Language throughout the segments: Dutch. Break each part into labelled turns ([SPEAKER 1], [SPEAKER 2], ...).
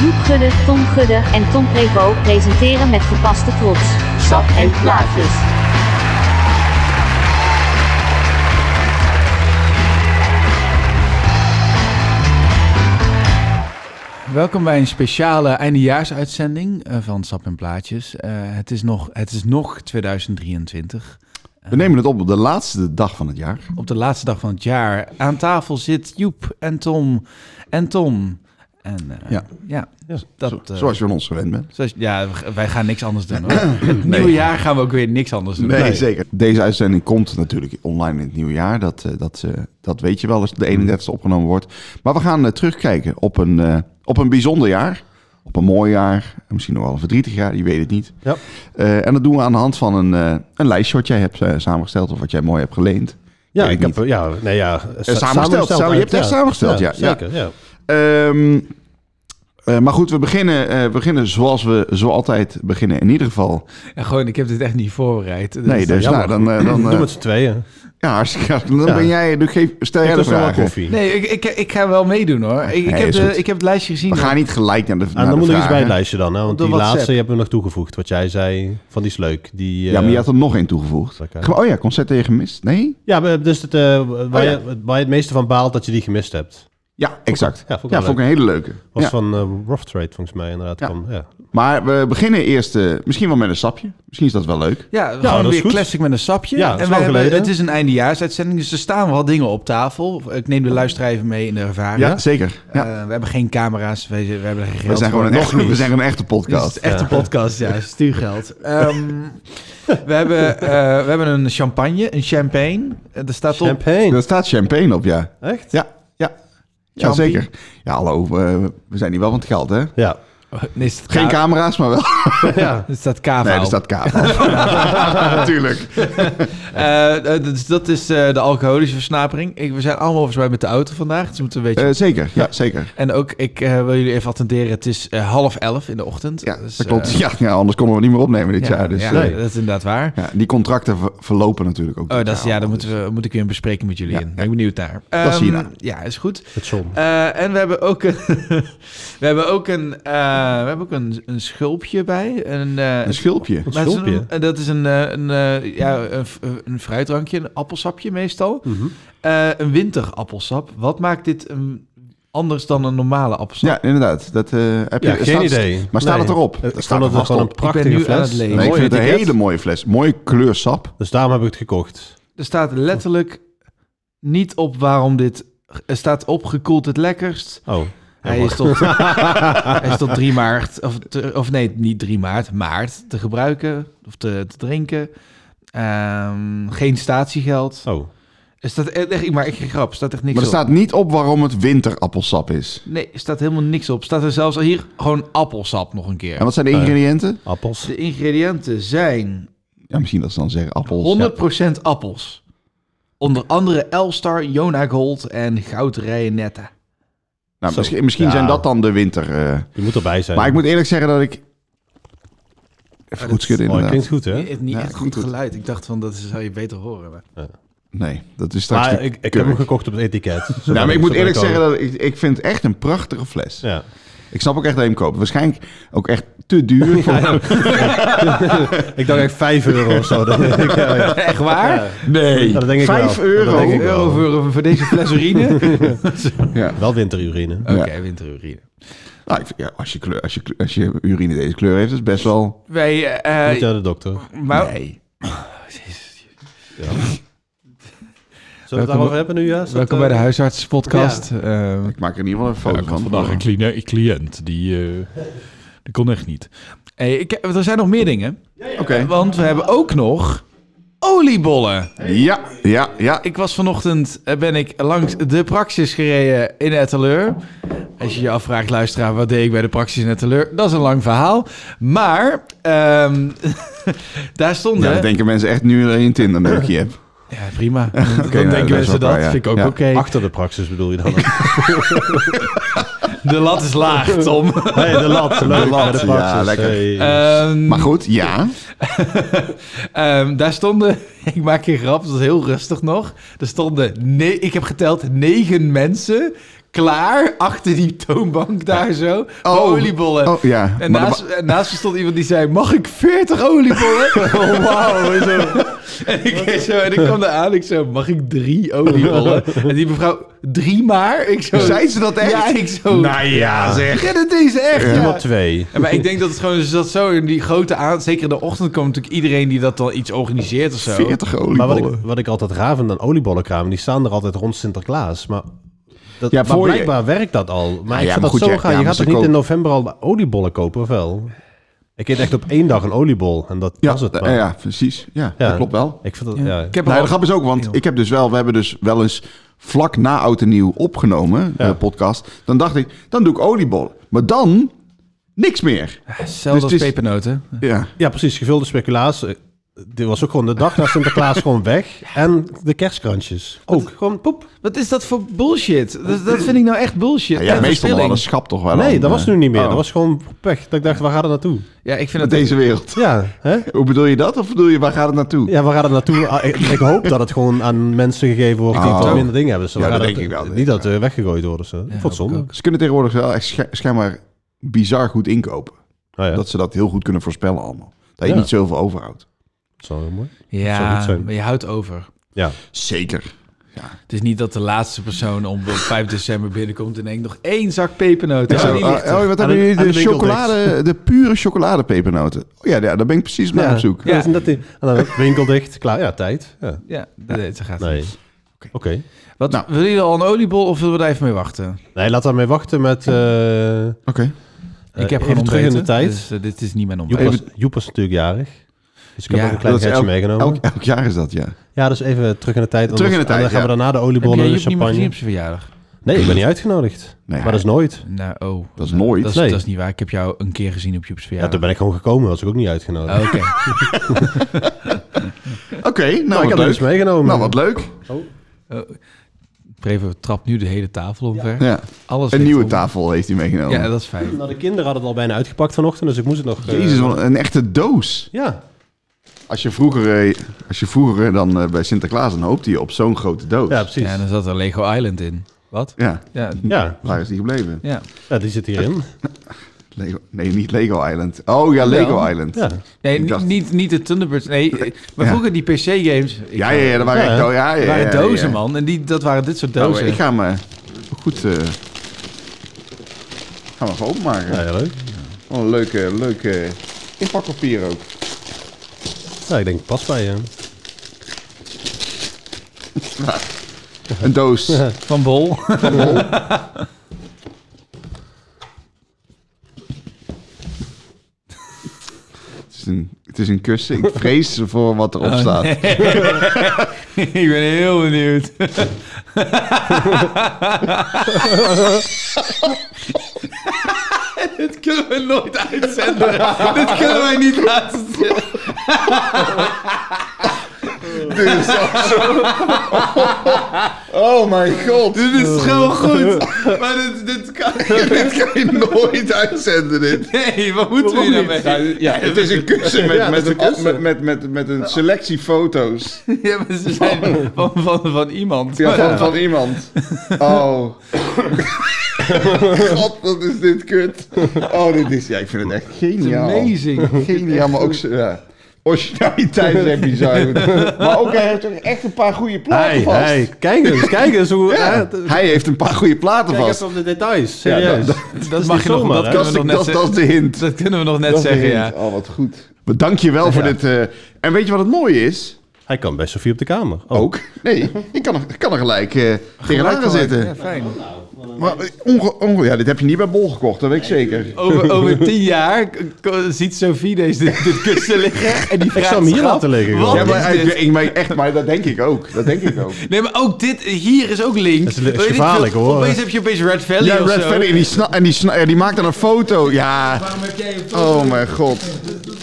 [SPEAKER 1] Gudde, Tom Gudde en Tom Prevo presenteren met gepaste trots. Sap en plaatjes.
[SPEAKER 2] Welkom bij een speciale eindejaarsuitzending eh, van Sap en Plaatjes. Eh, het, is nog, het is nog 2023.
[SPEAKER 3] We nemen het op op de laatste dag van het jaar.
[SPEAKER 2] Op de laatste dag van het jaar. Aan tafel zit Joep en Tom en Tom. En eh,
[SPEAKER 3] Ja.
[SPEAKER 2] ja,
[SPEAKER 3] Zo-
[SPEAKER 2] dat, eh,
[SPEAKER 3] Zoals je van ons gewend bent.
[SPEAKER 2] zoals- ja, we- wij gaan niks anders doen. Hoor. Het nieuwe jaar gaan we ook weer niks anders doen.
[SPEAKER 3] zeker. Deze uitzending komt natuurlijk online in het nieuwe jaar. Dat, eh, dat, eh, dat weet je wel als de 31ste opgenomen wordt. Maar we gaan eh, terugkijken op een, eh, op een bijzonder jaar. Op een mooi jaar. En Misschien nog wel een verdrietig jaar, je weet het niet.
[SPEAKER 4] Ja.
[SPEAKER 3] Eh, en dat doen we aan de hand van een, eh, een lijstje wat jij hebt eh, samengesteld. Of wat jij mooi hebt geleend.
[SPEAKER 4] Ja,
[SPEAKER 3] Weet
[SPEAKER 4] ik
[SPEAKER 3] niet. Eh,
[SPEAKER 4] heb, ja, nee, ja, sa-
[SPEAKER 3] samengesteld. Samen- je hebt echt
[SPEAKER 4] ja.
[SPEAKER 3] samengesteld, ja, ja.
[SPEAKER 4] Zeker, ja.
[SPEAKER 3] Ehm, eh, maar goed, we beginnen, eh, we beginnen zoals we zo altijd beginnen. In ieder geval.
[SPEAKER 2] En gewoon, ik heb dit echt niet voorbereid. Dus-
[SPEAKER 3] Nee, dus nou,
[SPEAKER 4] jammer.
[SPEAKER 3] dan, eh, dan,
[SPEAKER 4] Doe
[SPEAKER 3] eh,
[SPEAKER 4] met z'n tweeën.
[SPEAKER 3] Ja, hartstikke. hartstikke. Dan
[SPEAKER 4] Ja.
[SPEAKER 3] ben jij, dan geef, stel jij
[SPEAKER 4] Ik
[SPEAKER 3] de
[SPEAKER 4] was wel wat
[SPEAKER 3] vragen.
[SPEAKER 4] koffie. Ah,
[SPEAKER 2] Nee, ik, ik, ik ga wel meedoen hoor. Ik, ik,
[SPEAKER 3] Nee,
[SPEAKER 2] heb,
[SPEAKER 3] is
[SPEAKER 2] de,
[SPEAKER 3] goed.
[SPEAKER 2] ik heb het lijstje gezien.
[SPEAKER 3] We gaan niet gelijk naar de, naar
[SPEAKER 4] En Ah, dan
[SPEAKER 3] nou, de
[SPEAKER 4] moet nog iets
[SPEAKER 3] vragen.
[SPEAKER 4] bij het lijstje dan, hè, want
[SPEAKER 2] Op de
[SPEAKER 4] die
[SPEAKER 2] WhatsApp.
[SPEAKER 4] laatste die hebben we nog toegevoegd. Wat jij zei, van die is leuk. Die, eh,
[SPEAKER 3] Ja, maar je had er nog één toegevoegd.
[SPEAKER 4] Oké.
[SPEAKER 3] Oh ja, concert tegen gemist. Nee?
[SPEAKER 4] ja, maar dus het, eh, waar,
[SPEAKER 3] Oh, ja.
[SPEAKER 4] je, waar je het meeste van baalt dat je die gemist hebt.
[SPEAKER 3] Ja, exact.
[SPEAKER 4] ja,
[SPEAKER 3] Ja,
[SPEAKER 4] vond ik
[SPEAKER 3] vond
[SPEAKER 4] wel
[SPEAKER 3] ik een hele leuke.
[SPEAKER 4] Was
[SPEAKER 3] Ja.
[SPEAKER 4] van eh, Rough Trade volgens mij inderdaad.
[SPEAKER 3] Ja.
[SPEAKER 4] Kwam, ja.
[SPEAKER 3] Maar we beginnen eerst eh, misschien wel met een sapje. Misschien is Nou, dat wel leuk.
[SPEAKER 2] Ja, we
[SPEAKER 4] Ja,
[SPEAKER 2] gaan
[SPEAKER 4] dat is
[SPEAKER 2] weer
[SPEAKER 4] goed.
[SPEAKER 2] classic met een sapje.
[SPEAKER 4] Ja, dat is
[SPEAKER 2] en
[SPEAKER 4] lang
[SPEAKER 2] we hebben,
[SPEAKER 4] geleden.
[SPEAKER 2] het is een eindejaarsuitzending, dus er staan wel dingen op tafel. Ik neem de luisteraar even mee in de ervaring.
[SPEAKER 3] Ja, zeker. Ja.
[SPEAKER 2] Eh, we hebben geen camera's, we, we hebben geen geld.
[SPEAKER 3] we, zijn gewoon een
[SPEAKER 2] voor.
[SPEAKER 3] echte, we zijn gewoon een echte
[SPEAKER 2] Dit is
[SPEAKER 3] podcast.
[SPEAKER 2] het echte podcast, ja, stuurgeld. Ehm, we, hebben, eh, we hebben een champagne, een champagne. Eh, Er staat op
[SPEAKER 4] Champagne.
[SPEAKER 3] Daar staat champagne op, ja.
[SPEAKER 4] Echt?
[SPEAKER 3] Ja, ja. Ja,
[SPEAKER 2] Champie.
[SPEAKER 3] zeker. Ja, hallo. eh, we zijn hier wel van het geld, hè?
[SPEAKER 4] Ja.
[SPEAKER 2] nee, er staat
[SPEAKER 3] Geen
[SPEAKER 2] ka-
[SPEAKER 3] camera's, maar wel.
[SPEAKER 4] ja.
[SPEAKER 2] Er staat kava. op.
[SPEAKER 3] Nee,
[SPEAKER 4] Nou.
[SPEAKER 3] er staat kavel. Natuurlijk.
[SPEAKER 2] Eh, eh, dus dat is eh, de alcoholische versnapering. Ik- we zijn allemaal volgens mij met de auto vandaag, dus we moeten een beetje...
[SPEAKER 3] Eh, zeker, ja, zeker.
[SPEAKER 2] en ook, ik eh, wil jullie even attenderen, het is eh, half elf in de ochtend.
[SPEAKER 3] Ja,
[SPEAKER 2] Dus,
[SPEAKER 3] dat klopt.
[SPEAKER 2] eh,
[SPEAKER 3] Ja, ja, anders konden we niet meer opnemen dit
[SPEAKER 2] ja,
[SPEAKER 3] jaar. Dus,
[SPEAKER 2] ja,
[SPEAKER 3] eh,
[SPEAKER 4] nee.
[SPEAKER 2] dat is inderdaad waar.
[SPEAKER 3] Ja, die contracten ver- verlopen natuurlijk ook.
[SPEAKER 2] Oh,
[SPEAKER 3] dit
[SPEAKER 2] dat is,
[SPEAKER 3] jaar
[SPEAKER 2] ja, daar
[SPEAKER 3] al,
[SPEAKER 2] moeten
[SPEAKER 3] dus.
[SPEAKER 2] we, moet ik weer een bespreking met jullie
[SPEAKER 3] Ja,
[SPEAKER 2] in. Ik
[SPEAKER 3] ja.
[SPEAKER 2] ben benieuwd naar.
[SPEAKER 3] Dat zie je daar.
[SPEAKER 2] Ja, is goed.
[SPEAKER 4] Het zon.
[SPEAKER 2] Eh, en we hebben ook een, we hebben ook een, eh, we hebben ook een, een schulpje bij. Een, eh,
[SPEAKER 3] Een schulpje.
[SPEAKER 4] Wat
[SPEAKER 2] maar het is
[SPEAKER 4] schulpje?
[SPEAKER 2] een- dat is een, eh, een, eh, ja, een, f- een fruitdrankje, een appelsapje meestal.
[SPEAKER 4] Mhm.
[SPEAKER 2] Eh, een winterappelsap. Wat maakt dit een, anders dan een normale appelsap?
[SPEAKER 3] Ja, inderdaad. Dat, eh, heb je,
[SPEAKER 4] Ja,
[SPEAKER 3] staat-
[SPEAKER 4] geen idee.
[SPEAKER 3] Maar staat
[SPEAKER 4] Nee.
[SPEAKER 3] het
[SPEAKER 4] Eh,
[SPEAKER 3] erop?
[SPEAKER 4] Ik
[SPEAKER 3] Dat
[SPEAKER 4] vond
[SPEAKER 3] staat er
[SPEAKER 4] het
[SPEAKER 3] vast
[SPEAKER 4] gewoon
[SPEAKER 3] op.
[SPEAKER 4] een prachtige
[SPEAKER 2] Ik ben nu aan
[SPEAKER 4] fles.
[SPEAKER 2] het lezen.
[SPEAKER 3] Nee, ik
[SPEAKER 4] Mooi
[SPEAKER 3] vind het een
[SPEAKER 4] etiket.
[SPEAKER 3] hele mooie fles. Mooie kleur sap.
[SPEAKER 4] Dus daarom heb ik het gekocht.
[SPEAKER 2] Er staat letterlijk niet op waarom dit... Er staat opgekoeld het lekkerst.
[SPEAKER 4] Oh.
[SPEAKER 2] Hij is, tot, hij is tot 3 maart, of, te- of nee, niet 3 maart, maart te gebruiken of te, te drinken. Ehm, geen statiegeld.
[SPEAKER 4] Oh.
[SPEAKER 2] Er staat e- echt, maar echt geen grap, er staat echt niks
[SPEAKER 3] Maar er
[SPEAKER 2] op.
[SPEAKER 3] staat niet op waarom het winterappelsap is.
[SPEAKER 2] Nee, er staat helemaal niks op. Staat er zelfs hier gewoon appelsap nog een
[SPEAKER 3] En
[SPEAKER 2] keer.
[SPEAKER 3] wat zijn de
[SPEAKER 4] Nee.
[SPEAKER 3] ingrediënten?
[SPEAKER 4] Appels.
[SPEAKER 2] De ingrediënten zijn
[SPEAKER 3] Ja, misschien dat ze dan zeggen appels.
[SPEAKER 2] 100% appels. Onder andere Elstar, Jona Gold en Goudrijen Netta.
[SPEAKER 3] Nou,
[SPEAKER 4] Zo.
[SPEAKER 3] misschien misschien
[SPEAKER 4] Ja.
[SPEAKER 3] zijn dat dan de winter. eh.
[SPEAKER 4] Je moet erbij zijn. Oh,
[SPEAKER 3] Maar ik moet eerlijk zeggen dat ik... Even goed schudden
[SPEAKER 4] Oh, dat
[SPEAKER 3] inderdaad.
[SPEAKER 4] klinkt goed, hè?
[SPEAKER 2] Niet, niet
[SPEAKER 3] Ja,
[SPEAKER 2] echt goed
[SPEAKER 3] klinkt goed.
[SPEAKER 2] geluid. Ik dacht van, dat zou je beter horen. maar-
[SPEAKER 3] Nee, dat is straks...
[SPEAKER 4] Maar
[SPEAKER 3] niet
[SPEAKER 4] ik, ik heb
[SPEAKER 3] keurig.
[SPEAKER 4] hem gekocht op het etiket. Zo
[SPEAKER 3] Nou,
[SPEAKER 4] ben
[SPEAKER 3] maar ik moet
[SPEAKER 4] zo ben
[SPEAKER 3] eerlijk
[SPEAKER 4] al-
[SPEAKER 3] zeggen dat ik, ik vind het echt een prachtige fles.
[SPEAKER 4] Ja.
[SPEAKER 3] Ik snap ook echt dat je hem koopt. Waarschijnlijk ook echt te duur. voor-
[SPEAKER 4] Ik dacht echt 5 euro of zo. Dat, ik, ja, ja.
[SPEAKER 2] Echt waar?
[SPEAKER 3] Nee,
[SPEAKER 4] Ja, dat denk ik
[SPEAKER 3] Vijf
[SPEAKER 4] wel.
[SPEAKER 3] euro.
[SPEAKER 4] Dat denk ik
[SPEAKER 2] euro
[SPEAKER 4] wel.
[SPEAKER 2] voor, voor deze fles urine.
[SPEAKER 3] Ja.
[SPEAKER 4] Wel winterurine.
[SPEAKER 2] Oké,
[SPEAKER 3] Ja.
[SPEAKER 2] winterurine.
[SPEAKER 3] Nou, ik vind, ja, als, je kleur, als, je kleur- als je urine deze kleur heeft, is het best wel...
[SPEAKER 2] Wij, eh,
[SPEAKER 4] Moet je naar de dokter.
[SPEAKER 2] maar,
[SPEAKER 3] Nee.
[SPEAKER 4] Ja. Zullen we het daarover hebben nu, ja? Is dat,
[SPEAKER 2] welkom
[SPEAKER 4] eh,
[SPEAKER 2] bij de huisartsenpodcast. Eh,
[SPEAKER 3] Ik maak er in ieder geval een foto
[SPEAKER 5] Ja, ik
[SPEAKER 3] van.
[SPEAKER 5] had vandaag een cliënt, een cliënt die, eh, die kon echt niet.
[SPEAKER 2] hey, ik, er zijn nog meer dingen.
[SPEAKER 3] Oké.
[SPEAKER 2] Want we hebben ook nog oliebollen.
[SPEAKER 3] Ja, ja, ja.
[SPEAKER 2] Ik was vanochtend, eh, ben ik langs de praxis gereden in Etteleur. Als je je afvraagt, luisteraar, wat deed ik bij de praxis in Etteleur? Dat is een lang verhaal. Maar, ehm, daar stonden...
[SPEAKER 3] Ja, dan denken mensen echt nu dat je een Tinder-neukje hebt.
[SPEAKER 2] Ja, prima. dan
[SPEAKER 3] nou, dat is
[SPEAKER 2] denken mensen
[SPEAKER 3] wel
[SPEAKER 2] dat.
[SPEAKER 3] waar, ja.
[SPEAKER 2] Vind ik ook
[SPEAKER 3] Ja.
[SPEAKER 2] oké.
[SPEAKER 4] Achter de praxis bedoel je dan?
[SPEAKER 2] De lat is laag, Tom.
[SPEAKER 4] Nee, de lat. Leuk,
[SPEAKER 3] De lat,
[SPEAKER 4] bij de
[SPEAKER 3] ja,
[SPEAKER 4] praxis.
[SPEAKER 3] lekker. Eh,
[SPEAKER 4] Hey.
[SPEAKER 2] Ehm,
[SPEAKER 3] Maar goed, ja.
[SPEAKER 2] Ehm, daar stonden, ik maak geen grap, het was heel rustig nog. Er stonden, nee, ik heb geteld, negen mensen klaar achter die toonbank daar zo. Oh,
[SPEAKER 3] Oh.
[SPEAKER 2] oliebollen.
[SPEAKER 3] Oh ja.
[SPEAKER 2] En
[SPEAKER 3] maar de
[SPEAKER 2] naast, en naast me stond iemand die zei, mag ik 40 oliebollen? oh, wauw. En, zo. en, ik, keek zo, en ik kwam daar aan, ik zo, mag ik drie oliebollen? En die mevrouw, drie maar? Ik zo,
[SPEAKER 3] ba- Zei ze dat echt?
[SPEAKER 2] Ja, ik zo.
[SPEAKER 4] Nou ja, zeg.
[SPEAKER 2] Ja, dat is echt,
[SPEAKER 4] Doe
[SPEAKER 2] ja.
[SPEAKER 4] maar twee.
[SPEAKER 2] Ja, maar ik denk dat het gewoon ze zat zo in die grote aan. Zeker in de ochtend komt natuurlijk iedereen die dat dan iets organiseert of zo.
[SPEAKER 3] 40
[SPEAKER 4] Maar wat
[SPEAKER 3] oliebollen.
[SPEAKER 4] ik, wat ik altijd raar vind aan oliebollenkramen, die staan er altijd rond Sinterklaas. Maar, dat,
[SPEAKER 3] Ja,
[SPEAKER 4] maar
[SPEAKER 3] voor je-
[SPEAKER 4] blijkbaar werkt dat al. Maar
[SPEAKER 3] Ah,
[SPEAKER 4] ik
[SPEAKER 3] ja,
[SPEAKER 4] vind
[SPEAKER 3] maar
[SPEAKER 4] dat
[SPEAKER 3] goed,
[SPEAKER 4] zo
[SPEAKER 3] ja, ja,
[SPEAKER 4] gaan. je
[SPEAKER 3] maar
[SPEAKER 4] gaat
[SPEAKER 3] ze
[SPEAKER 4] toch niet
[SPEAKER 3] kopen-
[SPEAKER 4] in november al oliebollen kopen, of wel? Ik eet echt op één dag een oliebol en dat
[SPEAKER 3] ja,
[SPEAKER 4] was het.
[SPEAKER 3] eh,
[SPEAKER 4] Maar.
[SPEAKER 3] ja, precies. Ja,
[SPEAKER 4] Ja.
[SPEAKER 3] dat klopt wel.
[SPEAKER 4] Ik vind dat,
[SPEAKER 2] Ja.
[SPEAKER 4] ja.
[SPEAKER 2] Ik heb
[SPEAKER 3] Nou,
[SPEAKER 2] al-
[SPEAKER 3] de grap is ook, want ik heb dus wel, we hebben dus wel eens vlak na oud en nieuw opgenomen, de podcast. Dan dacht ik, dan doe ik oliebollen. Maar dan niks meer.
[SPEAKER 2] Hetzelfde
[SPEAKER 3] dus
[SPEAKER 2] als
[SPEAKER 3] het is-
[SPEAKER 2] pepernoten.
[SPEAKER 3] Ja.
[SPEAKER 4] Ja, precies. Gevulde speculaas. Eh, Dit was ook gewoon de dag na Sinterklaas gewoon weg. En de kerstkrantjes. Ook. Gewoon poep.
[SPEAKER 2] Wat is dat voor bullshit? Dat, dat vind ik nou echt bullshit.
[SPEAKER 3] Ja, ja
[SPEAKER 2] En
[SPEAKER 3] meestal
[SPEAKER 2] verspilling.
[SPEAKER 3] wel een schap toch wel.
[SPEAKER 4] Nee,
[SPEAKER 3] aan,
[SPEAKER 4] dat
[SPEAKER 3] eh,
[SPEAKER 4] was nu niet meer.
[SPEAKER 3] oh,
[SPEAKER 4] Dat was gewoon pech. Dat ik dacht, waar gaat het naartoe?
[SPEAKER 2] Ja, ik vind
[SPEAKER 3] met
[SPEAKER 2] dat
[SPEAKER 3] deze wereld.
[SPEAKER 4] Ja, hè?
[SPEAKER 3] Hoe bedoel je dat? Of bedoel je, waar gaat het naartoe?
[SPEAKER 4] Ja, waar gaat het naartoe? Ah, Ik, ik hoop dat het gewoon aan mensen gegeven wordt
[SPEAKER 3] Ik denk
[SPEAKER 4] die wat
[SPEAKER 3] het ook.
[SPEAKER 4] minder dingen hebben. Dus
[SPEAKER 3] Ah. Ja,
[SPEAKER 4] waar
[SPEAKER 3] dat
[SPEAKER 4] gaat
[SPEAKER 3] denk
[SPEAKER 4] het-
[SPEAKER 3] ik wel.
[SPEAKER 4] Niet dat eh, weggegooid worden. Zo. ik vond het zonde.
[SPEAKER 2] hoop ik
[SPEAKER 3] Ze kunnen tegenwoordig wel echt sch- schijnbaar bizar goed inkopen.
[SPEAKER 4] Ah, ja.
[SPEAKER 3] Dat ze dat heel goed kunnen voorspellen allemaal. Dat je
[SPEAKER 4] Ja.
[SPEAKER 3] niet zoveel overhoudt.
[SPEAKER 4] Dat is wel heel mooi. Zou
[SPEAKER 2] Ja,
[SPEAKER 4] goed zijn.
[SPEAKER 2] maar je houdt over.
[SPEAKER 4] Ja.
[SPEAKER 3] Zeker.
[SPEAKER 2] Het is niet dat de laatste persoon om 5 december binnenkomt en denkt nog één zak pepernoten.
[SPEAKER 3] Zo,
[SPEAKER 2] Ja, die
[SPEAKER 3] eh,
[SPEAKER 2] ligt er.
[SPEAKER 3] oh, wat
[SPEAKER 4] Aan
[SPEAKER 3] hebben
[SPEAKER 4] de-
[SPEAKER 3] jullie?
[SPEAKER 4] aan
[SPEAKER 3] De,
[SPEAKER 4] de winkel
[SPEAKER 3] chocolade, de pure chocoladepepernoten. Oh ja, ja, daar ben ik precies naar
[SPEAKER 4] Ja.
[SPEAKER 3] op zoek.
[SPEAKER 4] Ja, dus dat die, en dan winkel dicht. Klaar. Ja, tijd. Ja.
[SPEAKER 2] ja, nee, ze gaat.
[SPEAKER 4] Nee.
[SPEAKER 3] Oké.
[SPEAKER 4] Oké.
[SPEAKER 2] Wat,
[SPEAKER 3] Nou.
[SPEAKER 2] Wil je al een oliebol of willen we daar even mee wachten?
[SPEAKER 4] Nee, laat daarmee wachten met... eh eh,
[SPEAKER 3] Oké.
[SPEAKER 2] ik heb
[SPEAKER 4] even
[SPEAKER 2] gewoon
[SPEAKER 4] terug in de
[SPEAKER 2] ontbeten,
[SPEAKER 4] tijd.
[SPEAKER 2] Dus, eh, dit is niet mijn
[SPEAKER 4] Joep,
[SPEAKER 2] ontbijt.
[SPEAKER 3] Even-
[SPEAKER 4] was, Joep was natuurlijk jarig. Dus ik heb
[SPEAKER 2] Ja,
[SPEAKER 4] ook een klein
[SPEAKER 3] dat is
[SPEAKER 4] getje meegenomen.
[SPEAKER 3] Elk, elk jaar is dat, ja.
[SPEAKER 4] Ja, dus even terug in de tijd.
[SPEAKER 3] Terug in de
[SPEAKER 4] anders-
[SPEAKER 3] tijd,
[SPEAKER 4] Dan gaan we
[SPEAKER 3] ja.
[SPEAKER 4] daarna de
[SPEAKER 2] Heb
[SPEAKER 4] oliebollen
[SPEAKER 2] jij
[SPEAKER 4] en de
[SPEAKER 2] Joep niet meer gezien
[SPEAKER 4] champagne.
[SPEAKER 2] op zijn verjaardag?
[SPEAKER 4] Nee, ik ben niet uitgenodigd.
[SPEAKER 3] Nee,
[SPEAKER 4] maar dat is nooit.
[SPEAKER 2] Nou, oh.
[SPEAKER 3] Dat is nooit.
[SPEAKER 2] Dat is,
[SPEAKER 4] Nee.
[SPEAKER 2] dat is niet waar. Ik heb jou een keer gezien op Joep's
[SPEAKER 4] Ja, toen
[SPEAKER 2] verjaardag.
[SPEAKER 4] ben ik gewoon gekomen. was ik ook niet uitgenodigd.
[SPEAKER 2] Oh, Oké.
[SPEAKER 3] Oké, nou,
[SPEAKER 4] Nou, ik
[SPEAKER 3] wat
[SPEAKER 4] had er iets
[SPEAKER 3] leuk.
[SPEAKER 4] meegenomen.
[SPEAKER 3] Nou, wat leuk.
[SPEAKER 2] Oh, Prevo trapt nu de hele tafel omver.
[SPEAKER 3] Ja.
[SPEAKER 2] Alles
[SPEAKER 3] Een
[SPEAKER 2] ligt
[SPEAKER 3] nieuwe
[SPEAKER 2] om.
[SPEAKER 3] tafel heeft hij meegenomen.
[SPEAKER 2] Ja, dat is fijn.
[SPEAKER 4] Nou, de kinderen hadden het al bijna uitgepakt vanochtend, dus ik moest het nog... eh,
[SPEAKER 3] Jezus, wat een echte doos.
[SPEAKER 4] Ja.
[SPEAKER 3] Als je vroeger, eh, als je vroeger eh, dan eh, bij Sinterklaas, dan hoopte je op zo'n grote doos.
[SPEAKER 4] ja, precies.
[SPEAKER 2] Ja,
[SPEAKER 4] Ja,
[SPEAKER 2] en er zat een Lego Island in. Wat?
[SPEAKER 3] ja.
[SPEAKER 2] Ja.
[SPEAKER 4] ja.
[SPEAKER 3] Waar is die gebleven?
[SPEAKER 2] Ja.
[SPEAKER 4] die zit hierin.
[SPEAKER 3] Lego, nee, niet Lego Island. Oh ja, Lego Island.
[SPEAKER 4] Ja.
[SPEAKER 3] Ja,
[SPEAKER 2] Nee,
[SPEAKER 3] Ik
[SPEAKER 2] niet,
[SPEAKER 3] dacht-
[SPEAKER 2] niet, niet de Thunderbirds. Nee, eh, maar
[SPEAKER 3] Ja.
[SPEAKER 2] vroeger die PC-games.
[SPEAKER 3] ja, ja, dat waren
[SPEAKER 4] Ja,
[SPEAKER 3] echt
[SPEAKER 4] hè?
[SPEAKER 3] do- ja, ja,
[SPEAKER 2] Dat
[SPEAKER 3] ja,
[SPEAKER 2] waren
[SPEAKER 3] ja,
[SPEAKER 2] dozen,
[SPEAKER 3] ja.
[SPEAKER 2] man. En die, dat waren dit soort
[SPEAKER 3] Nou,
[SPEAKER 2] dozen.
[SPEAKER 3] ik ga hem eh, goed... eh ga hem even openmaken.
[SPEAKER 4] Ja, ja, leuk.
[SPEAKER 3] Wat een leuke, leuke inpakpapier ook.
[SPEAKER 4] Ja, ik denk, pas bij eh. je.
[SPEAKER 3] Een doos.
[SPEAKER 2] Van Bol.
[SPEAKER 3] Het is een, het is een kussen. Ik vrees voor wat erop staat.
[SPEAKER 2] ik ben heel benieuwd. Dit kunnen we nooit uitzenden.
[SPEAKER 3] Oh,
[SPEAKER 2] Dit kunnen wij niet laten zitten.
[SPEAKER 3] Dit is toch zo- Oh my god.
[SPEAKER 2] Dit is gewoon goed. Maar dit, dit kan...
[SPEAKER 3] Dit kan je nooit uitzenden, dit.
[SPEAKER 2] Nee, wat moeten we
[SPEAKER 3] Waarom
[SPEAKER 2] hier nou mee? Ja,
[SPEAKER 3] Het is een kussen met, met, een, met, met, met, met een selectie foto's
[SPEAKER 2] ja, maar ze zijn van, van, van iemand.
[SPEAKER 3] ja, van, van iemand. Oh. God, wat is dit kut. Oh, dit is... Ja, ik vind het echt geniaal.
[SPEAKER 2] Amazing.
[SPEAKER 3] Geniaal, maar ook... zo- Ja. Originaliteit is echt bizar. Maar ook, hij heeft toch echt een paar goede platen
[SPEAKER 4] Hey,
[SPEAKER 3] vast.
[SPEAKER 4] hey, kijk eens, kijk eens hoe...
[SPEAKER 3] Ja,
[SPEAKER 4] eh,
[SPEAKER 3] hij heeft een paar goede platen
[SPEAKER 4] Kijk
[SPEAKER 3] vast.
[SPEAKER 4] even op de details,
[SPEAKER 3] Ja,
[SPEAKER 4] serieus.
[SPEAKER 3] dat-
[SPEAKER 2] Dat
[SPEAKER 4] is
[SPEAKER 2] mag
[SPEAKER 4] niet
[SPEAKER 2] je nog,
[SPEAKER 4] zomaar,
[SPEAKER 2] dat
[SPEAKER 4] hè?
[SPEAKER 2] kunnen
[SPEAKER 3] Dat
[SPEAKER 2] we
[SPEAKER 3] is,
[SPEAKER 2] nog
[SPEAKER 3] de,
[SPEAKER 2] net zeggen.
[SPEAKER 3] dat, dat is de hint.
[SPEAKER 2] Dat kunnen we nog net
[SPEAKER 3] Dat is de
[SPEAKER 2] zeggen, ja.
[SPEAKER 3] hint. Oh, wat goed. Maar dank je wel voor dit. eh, en weet je wat het mooie is?
[SPEAKER 4] Hij kan bij Sofie op de kamer. Oh.
[SPEAKER 3] Ook. Nee, ik kan er, ik kan er gelijk eh tegenaan gaan
[SPEAKER 2] Ja,
[SPEAKER 3] zitten.
[SPEAKER 2] fijn.
[SPEAKER 3] Maar, eh, onge, onge, ja, dit heb je niet bij Bol gekocht, dat weet ik zeker.
[SPEAKER 2] Over, over tien jaar k- k- ziet Sophie deze dit, dit kussen liggen en die vraagt
[SPEAKER 4] zou hem hier
[SPEAKER 2] schrap,
[SPEAKER 4] laten liggen,
[SPEAKER 2] wat
[SPEAKER 4] gewoon.
[SPEAKER 3] Ja, maar,
[SPEAKER 2] is dit?
[SPEAKER 3] ik, ik- maar echt, maar dat denk ik ook. Dat denk ik ook.
[SPEAKER 2] Nee, maar ook dit, hier is ook Link.
[SPEAKER 4] Dat is- dat is
[SPEAKER 2] Weet ik
[SPEAKER 4] gevaarlijk,
[SPEAKER 2] veel,
[SPEAKER 4] hoor.
[SPEAKER 2] Opeens heb je opeens Red Valley
[SPEAKER 3] Ja,
[SPEAKER 2] of
[SPEAKER 3] Red
[SPEAKER 2] zo.
[SPEAKER 3] Valley, en die, sna- en die, sna- ja, die maakt dan een foto. Ja.
[SPEAKER 2] Waarom heb jij een foto?
[SPEAKER 3] Oh mijn god.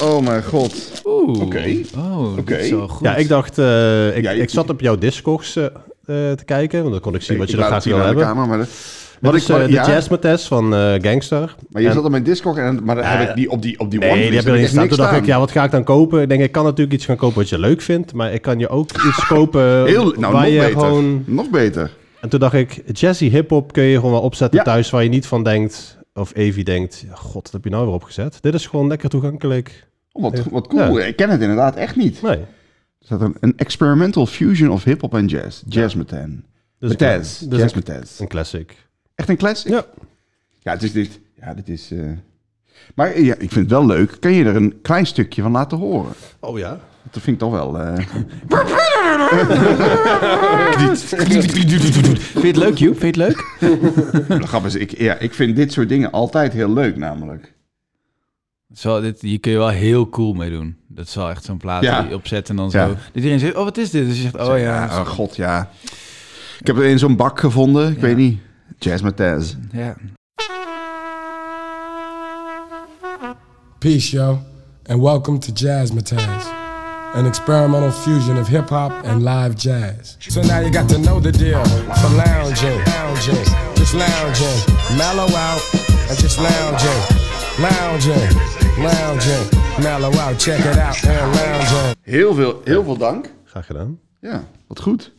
[SPEAKER 3] Oh mijn god.
[SPEAKER 2] Oeh.
[SPEAKER 3] Oké.
[SPEAKER 2] Oh, dit
[SPEAKER 3] Oké.
[SPEAKER 2] is wel goed.
[SPEAKER 4] Ja, ik dacht, eh, ik,
[SPEAKER 3] Ja, ik-
[SPEAKER 4] ik zat op jouw Discogs eh, eh, te kijken, want dan kon ik zien wat je
[SPEAKER 3] Ik
[SPEAKER 4] er
[SPEAKER 3] laat
[SPEAKER 4] graag
[SPEAKER 3] het hier
[SPEAKER 4] wil
[SPEAKER 3] aan de
[SPEAKER 4] hebben.
[SPEAKER 3] Kamer, maar dat-
[SPEAKER 4] Wat
[SPEAKER 3] wat
[SPEAKER 4] is
[SPEAKER 3] ik,
[SPEAKER 4] eh, de
[SPEAKER 3] ja,
[SPEAKER 4] jazzmatest van eh, Gangster.
[SPEAKER 3] maar je
[SPEAKER 4] En-
[SPEAKER 3] zat op mijn Discord en maar dan heb ik die op die op die wantlist
[SPEAKER 4] Nee, die heb je
[SPEAKER 3] heb ik
[SPEAKER 4] erin
[SPEAKER 3] echt
[SPEAKER 4] staan.
[SPEAKER 3] niks
[SPEAKER 4] Toen dacht ik,
[SPEAKER 3] staan.
[SPEAKER 4] ja, wat ga ik dan kopen? Ik denk, ik kan natuurlijk iets gaan kopen wat je leuk vindt, maar ik kan je ook iets kopen
[SPEAKER 3] Heel, nou, nog
[SPEAKER 4] waar je
[SPEAKER 3] beter.
[SPEAKER 4] gewoon...
[SPEAKER 3] Nog beter.
[SPEAKER 4] En En toen dacht ik, jazzy hip-hop kun je gewoon wel opzetten
[SPEAKER 3] Ja.
[SPEAKER 4] thuis waar je niet van denkt. Of Evie denkt, ja, god, wat heb je nou weer opgezet? Dit is gewoon lekker toegankelijk.
[SPEAKER 3] Oh, wat, wat cool. Ik ken het inderdaad echt niet.
[SPEAKER 4] Nee.
[SPEAKER 3] Er staat een, een experimental fusion of hip-hop en jazz. Jazz meteen.
[SPEAKER 4] Dus
[SPEAKER 3] Met Taz.
[SPEAKER 4] Dus
[SPEAKER 3] Jazz
[SPEAKER 4] een,
[SPEAKER 3] met Taz.
[SPEAKER 4] een classic.
[SPEAKER 3] Echt een classic?
[SPEAKER 4] Ja.
[SPEAKER 3] Ja, het is dit. Ja, dit is... eh, Maar ja, ik vind het wel leuk. Kan je er een klein stukje van laten horen?
[SPEAKER 4] Oh ja.
[SPEAKER 3] Dat vind ik toch wel... eh,
[SPEAKER 2] Vind je het leuk, Joep? Vind je het leuk?
[SPEAKER 3] de grap is, ik, ja, ik vind dit soort dingen altijd heel leuk namelijk.
[SPEAKER 2] Zo, dit, hier kun je wel heel cool mee doen. Dat is wel echt zo'n plaat
[SPEAKER 3] Ja.
[SPEAKER 2] die je opzet en dan zo.
[SPEAKER 3] Ja.
[SPEAKER 2] Dat iedereen zegt, oh, wat is dit? Dus je zegt, oh ja.
[SPEAKER 3] oh god, ja. Ik heb er in zo'n bak gevonden. Ik weet niet. Jazz met Taz.
[SPEAKER 2] ja.
[SPEAKER 6] Peace, yo, and welcome to Jazzmatazz, an experimental fusion of hip hop and live jazz. So now you got to know the deal for lounging, lounging, just lounging, mellow out, and just lounging, lounging, lounging, mellow out. Check it out and lounging.
[SPEAKER 3] Heel veel, heel veel dank.
[SPEAKER 4] Graag gedaan.
[SPEAKER 3] Ja, wat goed.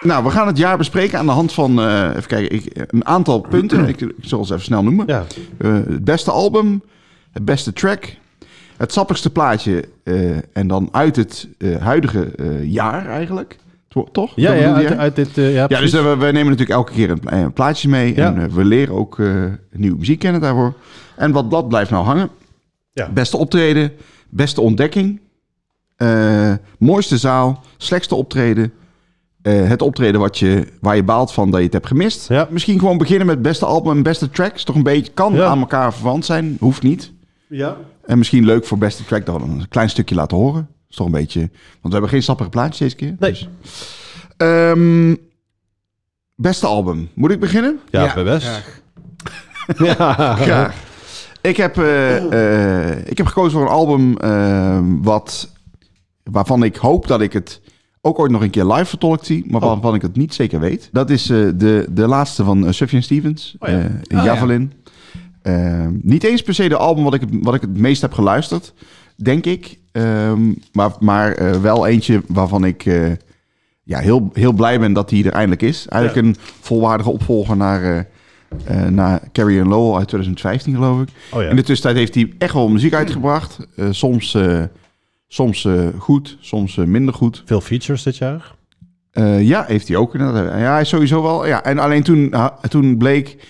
[SPEAKER 3] Nou, we gaan het jaar bespreken aan de hand van, eh, even kijken, ik, een aantal punten. Ik, ik zal ze even snel noemen.
[SPEAKER 4] Ja.
[SPEAKER 3] Eh, het beste album, het beste track, het sappigste plaatje eh, en dan uit het eh, huidige eh, jaar eigenlijk. To- Toch?
[SPEAKER 4] Ja,
[SPEAKER 3] Dat
[SPEAKER 4] ja,
[SPEAKER 3] bedoelde
[SPEAKER 4] uit,
[SPEAKER 3] jij?
[SPEAKER 4] uit dit... eh, ja,
[SPEAKER 3] Ja, dus
[SPEAKER 4] precies.
[SPEAKER 3] eh, we, we nemen natuurlijk elke keer een, pla- eh, plaatje mee.
[SPEAKER 4] Ja.
[SPEAKER 3] En eh, we leren ook eh, nieuwe muziek kennen daarvoor. En wat blad blijft nou hangen?
[SPEAKER 4] Ja.
[SPEAKER 3] Beste optreden, beste ontdekking, eh, mooiste zaal, slechtste optreden. eh, het optreden wat je, waar je baalt van dat je het hebt gemist.
[SPEAKER 4] Ja.
[SPEAKER 3] Misschien gewoon beginnen met beste album en beste tracks. Toch een beetje, kan
[SPEAKER 4] Ja.
[SPEAKER 3] aan elkaar verwant zijn, hoeft niet.
[SPEAKER 4] ja.
[SPEAKER 3] En misschien leuk voor beste track dan een klein stukje laten horen. Is toch een beetje, want we hebben geen sappige plaatjes deze keer.
[SPEAKER 4] Nee.
[SPEAKER 3] Dus. Ehm, beste album. Moet ik beginnen?
[SPEAKER 4] Ja,
[SPEAKER 2] Ja,
[SPEAKER 4] bij best.
[SPEAKER 3] Graag. Ik heb, eh, eh, ik heb gekozen voor een album eh, wat, waarvan ik hoop dat ik het ook ooit nog een keer live vertolkt zie, maar
[SPEAKER 4] Oh.
[SPEAKER 3] waarvan ik het niet zeker weet. Dat is eh, de, de laatste van eh, Sufjan Stevens,
[SPEAKER 4] Oh ja.
[SPEAKER 3] eh, in
[SPEAKER 2] ja.
[SPEAKER 3] Javelin. Eh, niet eens per se de album wat ik, het- wat ik het meest heb geluisterd, denk ik. Ehm, maar maar eh, wel eentje waarvan ik eh, ja, heel, heel blij ben dat hij er eindelijk is. Eigenlijk een volwaardige opvolger naar, eh eh, naar Carrie and Lowell uit 2015, geloof ik.
[SPEAKER 4] Oh ja.
[SPEAKER 3] In de tussentijd heeft hij echt wel muziek uitgebracht. Eh, soms eh, soms eh, goed, soms eh, minder goed.
[SPEAKER 4] Veel features dit jaar.
[SPEAKER 3] Eh, ja, heeft hij ook. inderdaad. Ja, hij is sowieso wel. Ja. En alleen toen, ha- toen bleek...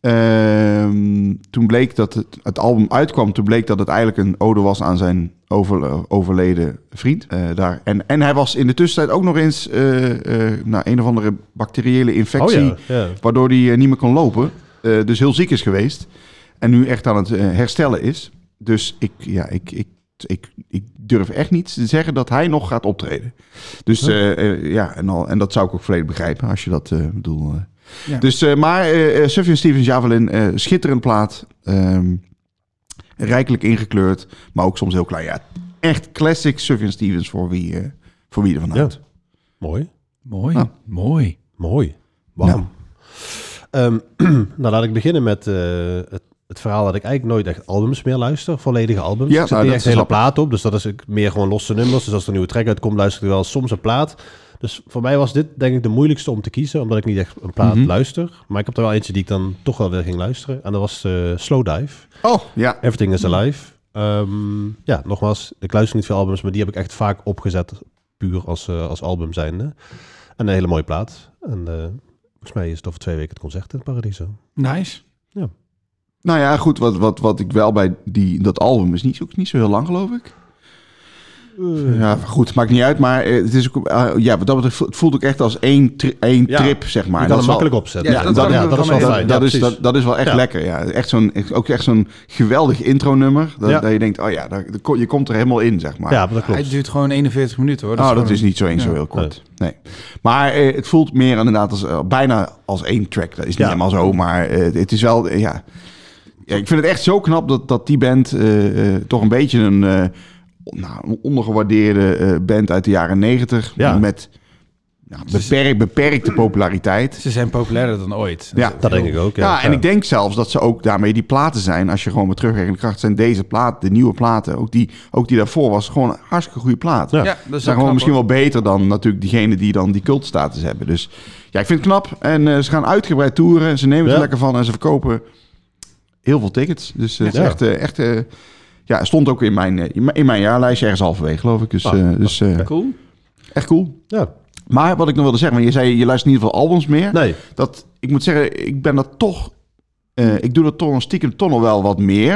[SPEAKER 3] ehm, toen bleek dat het, het album uitkwam, toen bleek dat het eigenlijk een ode was aan zijn over- eh, overleden vriend. eh, daar. En, en hij was in de tussentijd ook nog eens eh, eh, nou, een of andere bacteriële
[SPEAKER 4] Oh
[SPEAKER 3] infectie
[SPEAKER 4] ja. ja.
[SPEAKER 3] waardoor hij eh, niet meer kon lopen. Eh, dus heel ziek is geweest. En nu echt aan het eh, herstellen is. Dus ik, ja, ik, ik, ik, ik durf echt niet te zeggen dat hij nog gaat optreden. Dus eh, eh, ja, en, al, en dat zou ik ook volledig begrijpen als je dat eh bedoelt. eh.
[SPEAKER 2] Ja.
[SPEAKER 3] Dus, eh, maar eh eh, Sufjan Stevens Javelin, eh schitterend plaat. Ehm, rijkelijk ingekleurd, maar ook soms heel klein. Ja, echt classic Sufjan Stevens voor wie, eh, voor wie ervan
[SPEAKER 4] Ja.
[SPEAKER 3] houdt.
[SPEAKER 4] Mooi.
[SPEAKER 2] Mooi,
[SPEAKER 3] Nou.
[SPEAKER 2] mooi.
[SPEAKER 4] Mooi.
[SPEAKER 3] Nou.
[SPEAKER 4] Wauw. Ehm, nou, laat ik beginnen met eh, het, het verhaal dat ik eigenlijk nooit echt albums meer luister. Volledige albums.
[SPEAKER 3] Ja,
[SPEAKER 4] ik zet
[SPEAKER 3] nou,
[SPEAKER 4] niet
[SPEAKER 3] dat
[SPEAKER 4] echt hele
[SPEAKER 3] snap ik.
[SPEAKER 4] plaat op. Dus dat is ik- meer gewoon losse nummers. Dus als er een nieuwe track uitkomt, luister ik wel soms een plaat. Dus voor mij was dit denk ik de moeilijkste om te kiezen. Omdat ik niet echt een plaat
[SPEAKER 3] Mhm.
[SPEAKER 4] luister. Maar ik heb er wel eentje die ik dan toch wel weer ging luisteren. En dat was eh, Slow Dive.
[SPEAKER 3] Oh, ja.
[SPEAKER 4] Everything is Alive. Ehm, ja, nogmaals, ik luister niet veel albums, maar die heb ik echt vaak opgezet, puur als, eh, als album zijnde. En een hele mooie plaat. En eh, volgens mij is het over twee weken het concert in Paradiso.
[SPEAKER 2] Nice.
[SPEAKER 3] Nou ja, goed, wat, wat, wat ik wel bij die, dat album is niet, ook niet zo heel lang, geloof ik.
[SPEAKER 4] Eh.
[SPEAKER 3] Ja, goed, maakt niet uit, maar eh, het is ook, eh, ja, wat dat betreft, vo- het voelt ook echt als één, tri- één
[SPEAKER 4] Ja,
[SPEAKER 3] trip, zeg maar.
[SPEAKER 4] je
[SPEAKER 3] Dat is wel-
[SPEAKER 4] kan hem makkelijk opzetten.
[SPEAKER 3] Ja, dat-
[SPEAKER 2] dat kan
[SPEAKER 4] is wel
[SPEAKER 2] me
[SPEAKER 4] fijn.
[SPEAKER 3] dat,
[SPEAKER 4] Ja,
[SPEAKER 3] is,
[SPEAKER 4] precies.
[SPEAKER 3] dat, dat is wel echt
[SPEAKER 4] Ja.
[SPEAKER 3] lekker, ja. Echt zo'n, ook echt zo'n geweldig intro-nummer, dat,
[SPEAKER 4] Ja.
[SPEAKER 3] dat je denkt, oh ja, daar, daar ko- je komt er helemaal in, zeg maar.
[SPEAKER 4] ja, maar dat
[SPEAKER 2] Hij
[SPEAKER 4] klopt.
[SPEAKER 2] duurt gewoon 41 minuten hoor.
[SPEAKER 3] Dat oh, dat
[SPEAKER 2] gewoon
[SPEAKER 3] is niet zo eens
[SPEAKER 2] Ja.
[SPEAKER 3] zo heel kort. Nee. Maar eh, het voelt meer inderdaad als, eh, bijna als één track. Dat is niet
[SPEAKER 4] Ja.
[SPEAKER 3] helemaal zo, maar eh, het is wel... eh, ja. Ja, ik vind het echt zo knap dat, dat die band eh, eh, toch een beetje een, eh, nou, een ondergewaardeerde eh, band uit de jaren negentig...
[SPEAKER 4] Ja.
[SPEAKER 3] met ja, beperkt, beperkte populariteit.
[SPEAKER 2] Ze zijn populairder dan ooit.
[SPEAKER 3] Ja,
[SPEAKER 4] Dat denk ik ook. Ja,
[SPEAKER 3] Ja, en ik denk zelfs dat ze ook daarmee die platen zijn. Als je gewoon met terugwerkende kracht zijn deze platen, de nieuwe platen, ook die, ook die daarvoor was, gewoon een hartstikke goede plaat.
[SPEAKER 2] Ja,
[SPEAKER 4] Ja.
[SPEAKER 2] dat is wel
[SPEAKER 3] zijn gewoon
[SPEAKER 2] knap,
[SPEAKER 3] misschien
[SPEAKER 2] hoor.
[SPEAKER 3] wel beter dan natuurlijk diegenen die dan die cultstatus hebben. Dus ja, ik vind het knap. En eh, ze gaan uitgebreid toeren. Ze nemen het
[SPEAKER 4] Ja.
[SPEAKER 3] er lekker van en ze verkopen heel veel tickets. Dus eh, het
[SPEAKER 4] Ja.
[SPEAKER 3] is echt, eh, echt eh, ja, stond ook in mijn, eh, in mijn, in mijn jaarlijstje ergens halverwege, geloof ik. Dus,
[SPEAKER 4] Ah,
[SPEAKER 3] eh, dus eh,
[SPEAKER 2] Cool.
[SPEAKER 3] echt cool.
[SPEAKER 4] Ja.
[SPEAKER 3] Maar wat ik nog wilde zeggen, want je zei je luistert niet veel albums meer
[SPEAKER 4] Nee.
[SPEAKER 3] dat ik moet zeggen, ik ben dat toch. eh, ik doe dat toch een stiekem toch nog wel wat meer.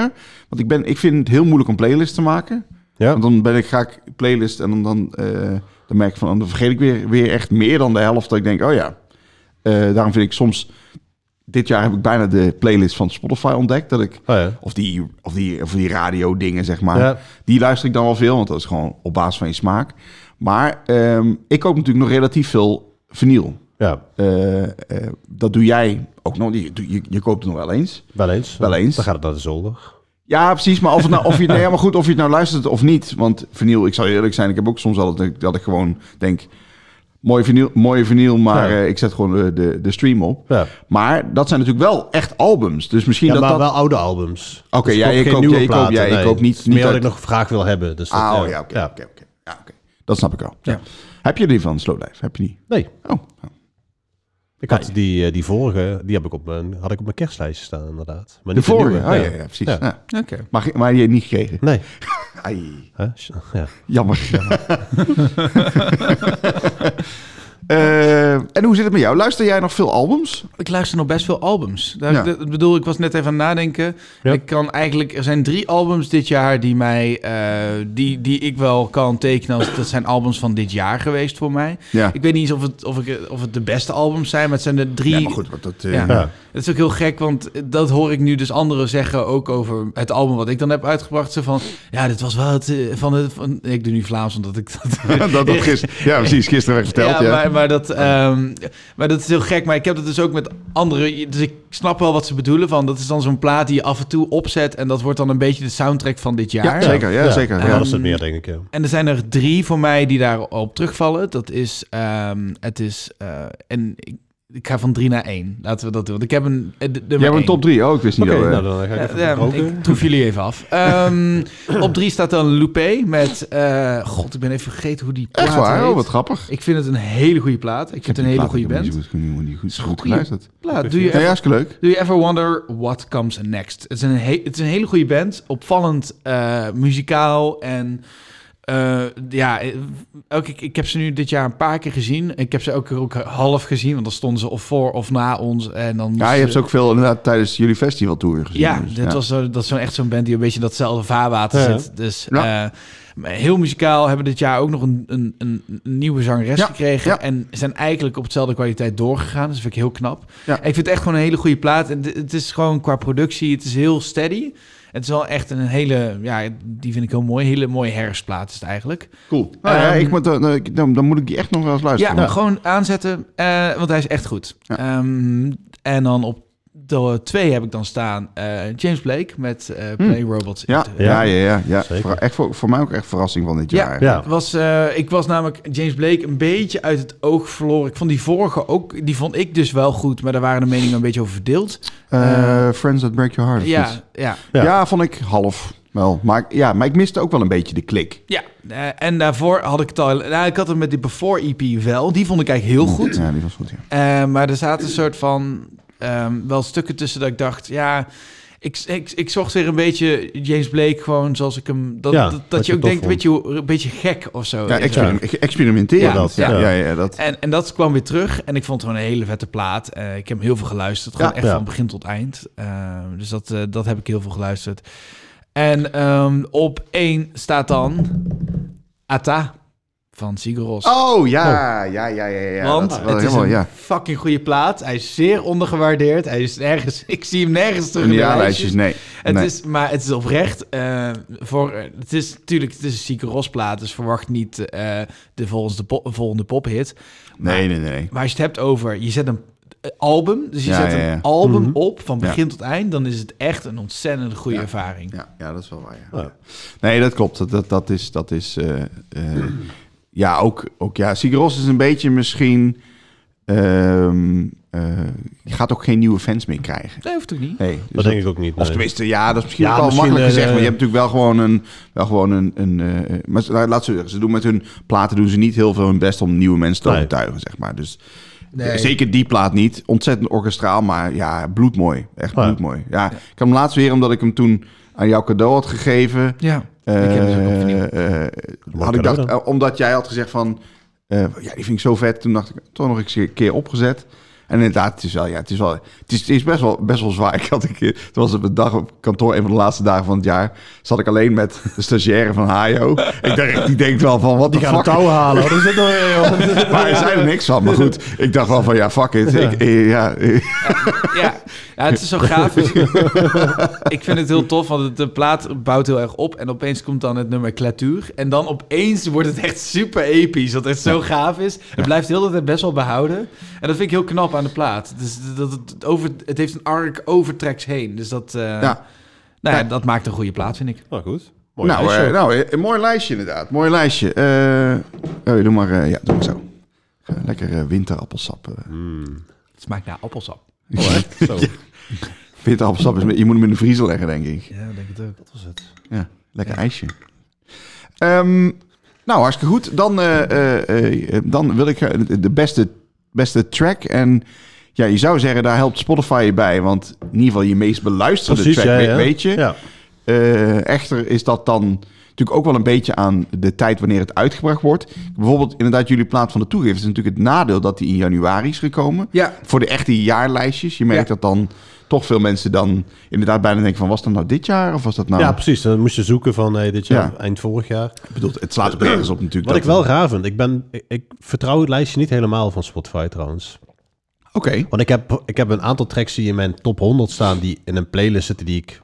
[SPEAKER 3] Want ik, ben, ik vind het heel moeilijk om playlists te maken.
[SPEAKER 4] Ja.
[SPEAKER 3] Want dan ben ik, ga ik playlist en dan, dan, eh, dan merk ik van... dan vergeet ik weer, weer echt meer dan de helft. Dat ik denk, oh ja. Eh, daarom vind ik soms... Dit jaar heb ik bijna de playlist van Spotify ontdekt. Dat ik,
[SPEAKER 4] Oh, ja.
[SPEAKER 3] of, die, of, die, of die radio dingen, zeg maar.
[SPEAKER 4] Ja.
[SPEAKER 3] Die luister ik dan wel veel, want dat is gewoon op basis van je smaak. Maar ehm, ik koop natuurlijk nog relatief veel vinyl.
[SPEAKER 4] ja,
[SPEAKER 3] Eh, eh, dat doe jij ook nog. Je, je, je koopt het nog wel eens.
[SPEAKER 4] wel eens.
[SPEAKER 3] Wel eens.
[SPEAKER 4] Dan gaat het naar de zolder.
[SPEAKER 3] Ja, precies. Maar of, het nou, of, je, nee, ja, maar goed, of je het nou luistert of niet. Want vinyl, ik zal je eerlijk zijn. Ik heb ook soms al dat ik, dat ik gewoon denk... Mooie vinyl, mooie vinyl maar
[SPEAKER 4] Ja.
[SPEAKER 3] eh, ik zet gewoon de, de, de stream op.
[SPEAKER 4] Ja.
[SPEAKER 3] Maar dat zijn natuurlijk wel echt albums. Dus misschien
[SPEAKER 4] Ja,
[SPEAKER 3] dat
[SPEAKER 4] maar
[SPEAKER 3] dat...
[SPEAKER 4] wel oude albums. Dus
[SPEAKER 3] Oké,
[SPEAKER 4] ik
[SPEAKER 3] ja,
[SPEAKER 4] koop
[SPEAKER 3] je
[SPEAKER 4] geen
[SPEAKER 3] koopt-
[SPEAKER 4] nieuwe
[SPEAKER 3] ja, je koopt-
[SPEAKER 4] platen,
[SPEAKER 3] ja, je
[SPEAKER 4] nee.
[SPEAKER 3] koopt niet-
[SPEAKER 4] Het is meer
[SPEAKER 3] niet
[SPEAKER 4] dat
[SPEAKER 3] uit-
[SPEAKER 4] ik nog graag wil hebben. Dus dat,
[SPEAKER 3] Ah,
[SPEAKER 4] ja.
[SPEAKER 3] oh, ja, oké.
[SPEAKER 4] Ja.
[SPEAKER 3] oké, oké. Ja, oké. Dat snap ik wel. Ja. Heb je die van Slow Life? Heb je die?
[SPEAKER 4] Nee,
[SPEAKER 3] Oh,
[SPEAKER 4] ik had die, eh, die vorige, die heb ik op mijn, had ik op mijn kerstlijstje staan inderdaad. Maar
[SPEAKER 3] de
[SPEAKER 4] niet
[SPEAKER 3] vorige.
[SPEAKER 4] nieuwe.
[SPEAKER 3] Oh, ja, ja, precies.
[SPEAKER 4] Ja.
[SPEAKER 3] Ja.
[SPEAKER 2] Oké.
[SPEAKER 3] Maar, ge- maar die heb je niet gekregen.
[SPEAKER 4] Nee.
[SPEAKER 3] Ai.
[SPEAKER 4] Hè? Ja.
[SPEAKER 3] Jammer. Eh, en hoe zit het met jou? Luister jij nog veel albums?
[SPEAKER 2] Ik luister nog best veel albums. Daar,
[SPEAKER 3] Ja.
[SPEAKER 2] dat- Ik bedoel, ik was net even aan het nadenken.
[SPEAKER 4] Ja.
[SPEAKER 2] Ik kan eigenlijk, er zijn drie albums dit jaar die mij, eh, die, die ik wel kan tekenen als dat zijn albums van dit jaar geweest voor mij.
[SPEAKER 3] Ja.
[SPEAKER 2] Ik weet niet eens of het, of, ik, of het de beste albums zijn, maar het zijn de drie.
[SPEAKER 3] Ja, maar goed. want Dat, eh,
[SPEAKER 2] Ja.
[SPEAKER 4] Ja.
[SPEAKER 2] Het is ook heel gek, want dat hoor ik nu dus anderen zeggen ook over het album wat ik dan heb uitgebracht. Zo van, ja, dit was wel het eh, van het. Van, ik doe nu Vlaams omdat ik dat.
[SPEAKER 3] dat, dat gisteren, ja, precies. Gisteren werd verteld. Ja,
[SPEAKER 2] ja, Maar, maar, dat, ehm, maar dat is heel gek. Maar ik heb dat dus ook met anderen. Dus ik snap wel wat ze bedoelen. Van, dat is dan zo'n plaat die je af en toe opzet. En dat wordt dan een beetje de soundtrack van dit jaar.
[SPEAKER 3] Ja, zeker. Ja, zeker.
[SPEAKER 4] Ja,
[SPEAKER 3] Ja.
[SPEAKER 4] dat is het meer, denk ik. Ja.
[SPEAKER 2] En er zijn er drie voor mij die daarop terugvallen. Dat is, ehm, het is, eh, en ik, ik ga van drie naar één. Laten we dat doen. Want ik heb een, eh, de,
[SPEAKER 3] Jij hebt een top 3. Oh, ik wist niet
[SPEAKER 4] Oké,
[SPEAKER 3] dat, eh,
[SPEAKER 4] nou dan ga ik
[SPEAKER 2] Ja,
[SPEAKER 4] even
[SPEAKER 2] ja,
[SPEAKER 4] roken.
[SPEAKER 2] ik troef jullie even af. Ehm, op drie staat dan Loupé met... eh, God, ik ben even vergeten hoe die plaat
[SPEAKER 3] Echt waar?
[SPEAKER 2] heet.
[SPEAKER 3] Oh, wat grappig.
[SPEAKER 2] Ik vind het een hele goede plaat. Ik vind het een hele goede band.
[SPEAKER 3] Goed, goed, goed
[SPEAKER 2] goeie
[SPEAKER 3] geluisterd.
[SPEAKER 2] Plaat. Nou, Doe je
[SPEAKER 3] Ja,
[SPEAKER 2] ever,
[SPEAKER 3] hartstikke leuk.
[SPEAKER 2] do you ever wonder what comes next? Het is een, he- het is een hele goede band. Opvallend eh, muzikaal en... eh, ja, eh, ook, ik, ik heb ze nu dit jaar een paar keer gezien. Ik heb ze ook, ook half gezien, want dan stonden ze of voor of na ons. En dan
[SPEAKER 3] Ja, Nou, je
[SPEAKER 2] moesten-
[SPEAKER 3] hebt ze ook veel inderdaad tijdens jullie festivaltour gezien.
[SPEAKER 2] Ja,
[SPEAKER 3] dus,
[SPEAKER 2] dit was zo, dat is zo'n echt zo'n band die een beetje in datzelfde vaarwater
[SPEAKER 4] Ja.
[SPEAKER 2] zit. Dus
[SPEAKER 3] Ja.
[SPEAKER 2] eh, maar heel muzikaal hebben dit jaar ook nog een, een, een een nieuwe zangeres
[SPEAKER 3] Ja,
[SPEAKER 2] gekregen.
[SPEAKER 3] ja.
[SPEAKER 2] En zijn eigenlijk op dezelfde kwaliteit doorgegaan. Dus dat vind ik heel knap.
[SPEAKER 3] Ja.
[SPEAKER 2] En ik vind het echt gewoon een hele goede plaat. En d- het is gewoon qua productie, het is heel steady. Het is wel echt een hele, ja, die vind ik heel mooi. Hele mooie herfstplaat is het eigenlijk.
[SPEAKER 3] Cool. Nou, ja,
[SPEAKER 2] Ehm,
[SPEAKER 3] ik moet, dan, dan- dan, dan moet ik die echt nog wel eens
[SPEAKER 2] Ja, nou,
[SPEAKER 3] luisteren.
[SPEAKER 2] maar gewoon aanzetten, eh, want hij is echt goed.
[SPEAKER 3] Ja.
[SPEAKER 2] Ehm, en dan op de twee heb ik dan staan eh, James Blake met eh, Play Robots.
[SPEAKER 3] Hm. Ja,
[SPEAKER 2] Eh,
[SPEAKER 3] ja, ja. ja, ja.
[SPEAKER 4] Zeker.
[SPEAKER 3] Voor, echt voor, voor mij ook echt verrassing van dit
[SPEAKER 2] Ja.
[SPEAKER 3] jaar.
[SPEAKER 4] Ja.
[SPEAKER 2] Was, eh, ik was namelijk James Blake een beetje uit het oog verloren. Ik vond die vorige ook, die vond ik dus wel goed, maar daar waren de meningen een beetje over verdeeld.
[SPEAKER 3] Eh, Friends That Break Your Heart. of iets.
[SPEAKER 2] Ehm, Ja, ja,
[SPEAKER 3] Ja.
[SPEAKER 4] Ja.
[SPEAKER 3] vond ik half wel. Maar, ik- ja, maar ik miste ook wel een beetje de klik.
[SPEAKER 2] ja. Eh, en daarvoor had ik het al, nou, ik had het met die Before EP wel, die vond ik eigenlijk heel goed.
[SPEAKER 3] Ja, die was goed, ja.
[SPEAKER 2] Eh, maar er zaten een soort van ehm, wel stukken tussen dat ik dacht, ja, ik, ik, ik zocht weer een beetje James Blake gewoon zoals ik hem, dat,
[SPEAKER 4] Ja,
[SPEAKER 2] dat, dat
[SPEAKER 4] wat
[SPEAKER 2] je
[SPEAKER 4] je
[SPEAKER 2] ook
[SPEAKER 4] tof
[SPEAKER 2] denkt, weet je, hoe- een beetje gek of zo.
[SPEAKER 3] Ja,
[SPEAKER 2] Is het.
[SPEAKER 3] experim- experimenteren
[SPEAKER 2] Ja,
[SPEAKER 3] dat. Ja,
[SPEAKER 2] ja.
[SPEAKER 3] ja, ja, dat.
[SPEAKER 2] En, en dat kwam weer terug. En ik vond het gewoon een hele vette plaat. Eh, ik heb hem heel veel geluisterd. Gewoon
[SPEAKER 3] Ja,
[SPEAKER 2] echt
[SPEAKER 4] ja.
[SPEAKER 2] van begin tot eind. Eh, dus dat, eh, dat heb ik heel veel geluisterd. En ehm, op één staat dan Ata van Sigur Ros.
[SPEAKER 3] Oh, ja, ja, ja, ja. ja
[SPEAKER 2] Want
[SPEAKER 3] dat,
[SPEAKER 2] het is
[SPEAKER 3] helemaal,
[SPEAKER 2] een
[SPEAKER 3] ja.
[SPEAKER 2] fucking goede plaat. Hij is zeer ondergewaardeerd. Hij is nergens, ik zie hem nergens terug
[SPEAKER 3] In
[SPEAKER 2] in
[SPEAKER 3] de
[SPEAKER 2] de
[SPEAKER 3] jaarlijstjes,
[SPEAKER 2] lijstjes.
[SPEAKER 3] nee.
[SPEAKER 2] Het
[SPEAKER 3] dus nee.
[SPEAKER 2] is, maar het is oprecht. eh, voor, het is natuurlijk het is een Sigur Ros plaat. Dus verwacht niet eh, de volgende, po- volgende pophit.
[SPEAKER 3] nee, nee, nee, nee.
[SPEAKER 2] Maar als je het hebt over, je zet een eh, album, dus je
[SPEAKER 3] Ja,
[SPEAKER 2] zet
[SPEAKER 3] ja, ja.
[SPEAKER 2] een album
[SPEAKER 4] Mhm.
[SPEAKER 2] op van
[SPEAKER 3] Ja.
[SPEAKER 2] begin tot eind, dan is het echt een ontzettend goede
[SPEAKER 3] Ja.
[SPEAKER 2] ervaring.
[SPEAKER 3] Ja, ja, dat is wel waar, ja.
[SPEAKER 4] Ja.
[SPEAKER 3] Nee, dat klopt. Dat, dat, dat is... Dat is eh, eh, Ja, ook, ook ja. Sigur Rós is een beetje misschien... ehm, eh, je gaat ook geen nieuwe fans meer krijgen.
[SPEAKER 2] Nee, hoeft ook niet.
[SPEAKER 3] Nee, dus
[SPEAKER 4] Dat denk ik ook niet.
[SPEAKER 3] Of
[SPEAKER 4] nee.
[SPEAKER 3] tenminste, ja, dat is misschien
[SPEAKER 4] Ja,
[SPEAKER 3] ook wel
[SPEAKER 4] misschien,
[SPEAKER 3] makkelijk
[SPEAKER 4] eh,
[SPEAKER 3] gezegd. Maar je
[SPEAKER 4] eh,
[SPEAKER 3] hebt natuurlijk wel gewoon een... Wel gewoon een, een eh, maar ze- nou, laat ze zeggen, ze doen met hun platen doen ze niet heel veel hun best om nieuwe mensen te
[SPEAKER 4] Nee.
[SPEAKER 3] overtuigen, zeg maar. Dus zeker die plaat niet. Ontzettend orkestraal, maar ja, bloedmooi. Echt
[SPEAKER 4] Ja.
[SPEAKER 3] bloedmooi. Ja, ik heb hem laatst weer, omdat ik hem toen aan jou cadeau had gegeven...
[SPEAKER 2] Ja, ik heb dus ook op vinyl.
[SPEAKER 3] Eh, eh, had ik dacht, eh, omdat jij had gezegd van, eh, ja, die vind ik zo vet. Toen dacht ik, toch nog eens een keer opgezet. En inderdaad, het is wel, ja, het is wel, het is, het is best wel, best wel zwaar. Ik had een keer, het was op een dag op kantoor, een van de laatste dagen van het jaar, zat ik alleen met de stagiaire van Hayo. Ik dacht, die denkt wel van, wat de
[SPEAKER 4] Die gaan het
[SPEAKER 3] fuck.
[SPEAKER 4] touw halen. Wat is dit nou weer, joh?
[SPEAKER 3] Maar hij zei er niks van. Maar goed, ik dacht wel van, ja, fuck it. Ik, eh, ja, eh,
[SPEAKER 2] Ja. ja, het is zo gaaf. ik vind het heel tof, want het- de plaat bouwt heel erg op. En opeens komt dan het nummer Klatuur. En dan opeens wordt het echt super episch. Dat het zo gaaf is. Het blijft heel de tijd best wel behouden. En dat vind ik heel knap aan de plaat. Dus dat het, over, het heeft een arc over tracks heen. Dus dat, eh,
[SPEAKER 3] Ja.
[SPEAKER 2] Nou ja,
[SPEAKER 3] Ja.
[SPEAKER 2] dat maakt een goede plaat, vind ik.
[SPEAKER 4] Nou goed. Mooi
[SPEAKER 3] nou,
[SPEAKER 4] lijstje.
[SPEAKER 3] eh, nou, eh, een mooi lijstje inderdaad. Mooi lijstje. Eh, oh, doe maar, eh, ja, doe maar zo. Eh, Lekker eh, winterappelsap. eh.
[SPEAKER 4] Hmm.
[SPEAKER 2] Het smaakt naar appelsap.
[SPEAKER 4] Oh, echt? Zo.
[SPEAKER 3] Witte appelsap is... met- Je moet hem in de vriezer leggen, denk ik.
[SPEAKER 2] Ja, denk het ook. Wat was het?
[SPEAKER 3] Ja, lekker ijsje. Ehm, nou, hartstikke goed. Dan, eh, eh, eh, eh, dan wil ik eh, de beste, beste track. En ja, je zou zeggen, daar helpt Spotify je bij. Want in ieder geval je meest beluisterde
[SPEAKER 4] Precies,
[SPEAKER 3] track, weet-
[SPEAKER 4] ja, ja.
[SPEAKER 3] weet je.
[SPEAKER 4] Ja.
[SPEAKER 3] Eh, echter is dat dan natuurlijk ook wel een beetje aan de tijd wanneer het uitgebracht wordt. Bijvoorbeeld inderdaad jullie plaat van de toegift is natuurlijk het nadeel dat die in januari is gekomen.
[SPEAKER 2] Ja.
[SPEAKER 3] Voor de echte jaarlijstjes. Je merkt
[SPEAKER 2] Ja.
[SPEAKER 3] dat dan toch veel mensen dan inderdaad bijna denken van was dat nou dit jaar of was dat nou...
[SPEAKER 4] ja, precies. Dan moest je zoeken van hey, dit jaar,
[SPEAKER 3] Ja.
[SPEAKER 4] eind vorig jaar.
[SPEAKER 3] ik bedoel, het slaat op nergens op natuurlijk.
[SPEAKER 4] Wat ik
[SPEAKER 3] dat-
[SPEAKER 4] wel raar vind, ik, ben, ik, ik vertrouw het lijstje niet helemaal van Spotify trouwens.
[SPEAKER 3] Oké.
[SPEAKER 4] Want ik heb, ik heb een aantal tracks die in mijn top 100 staan, die in een playlist zitten die ik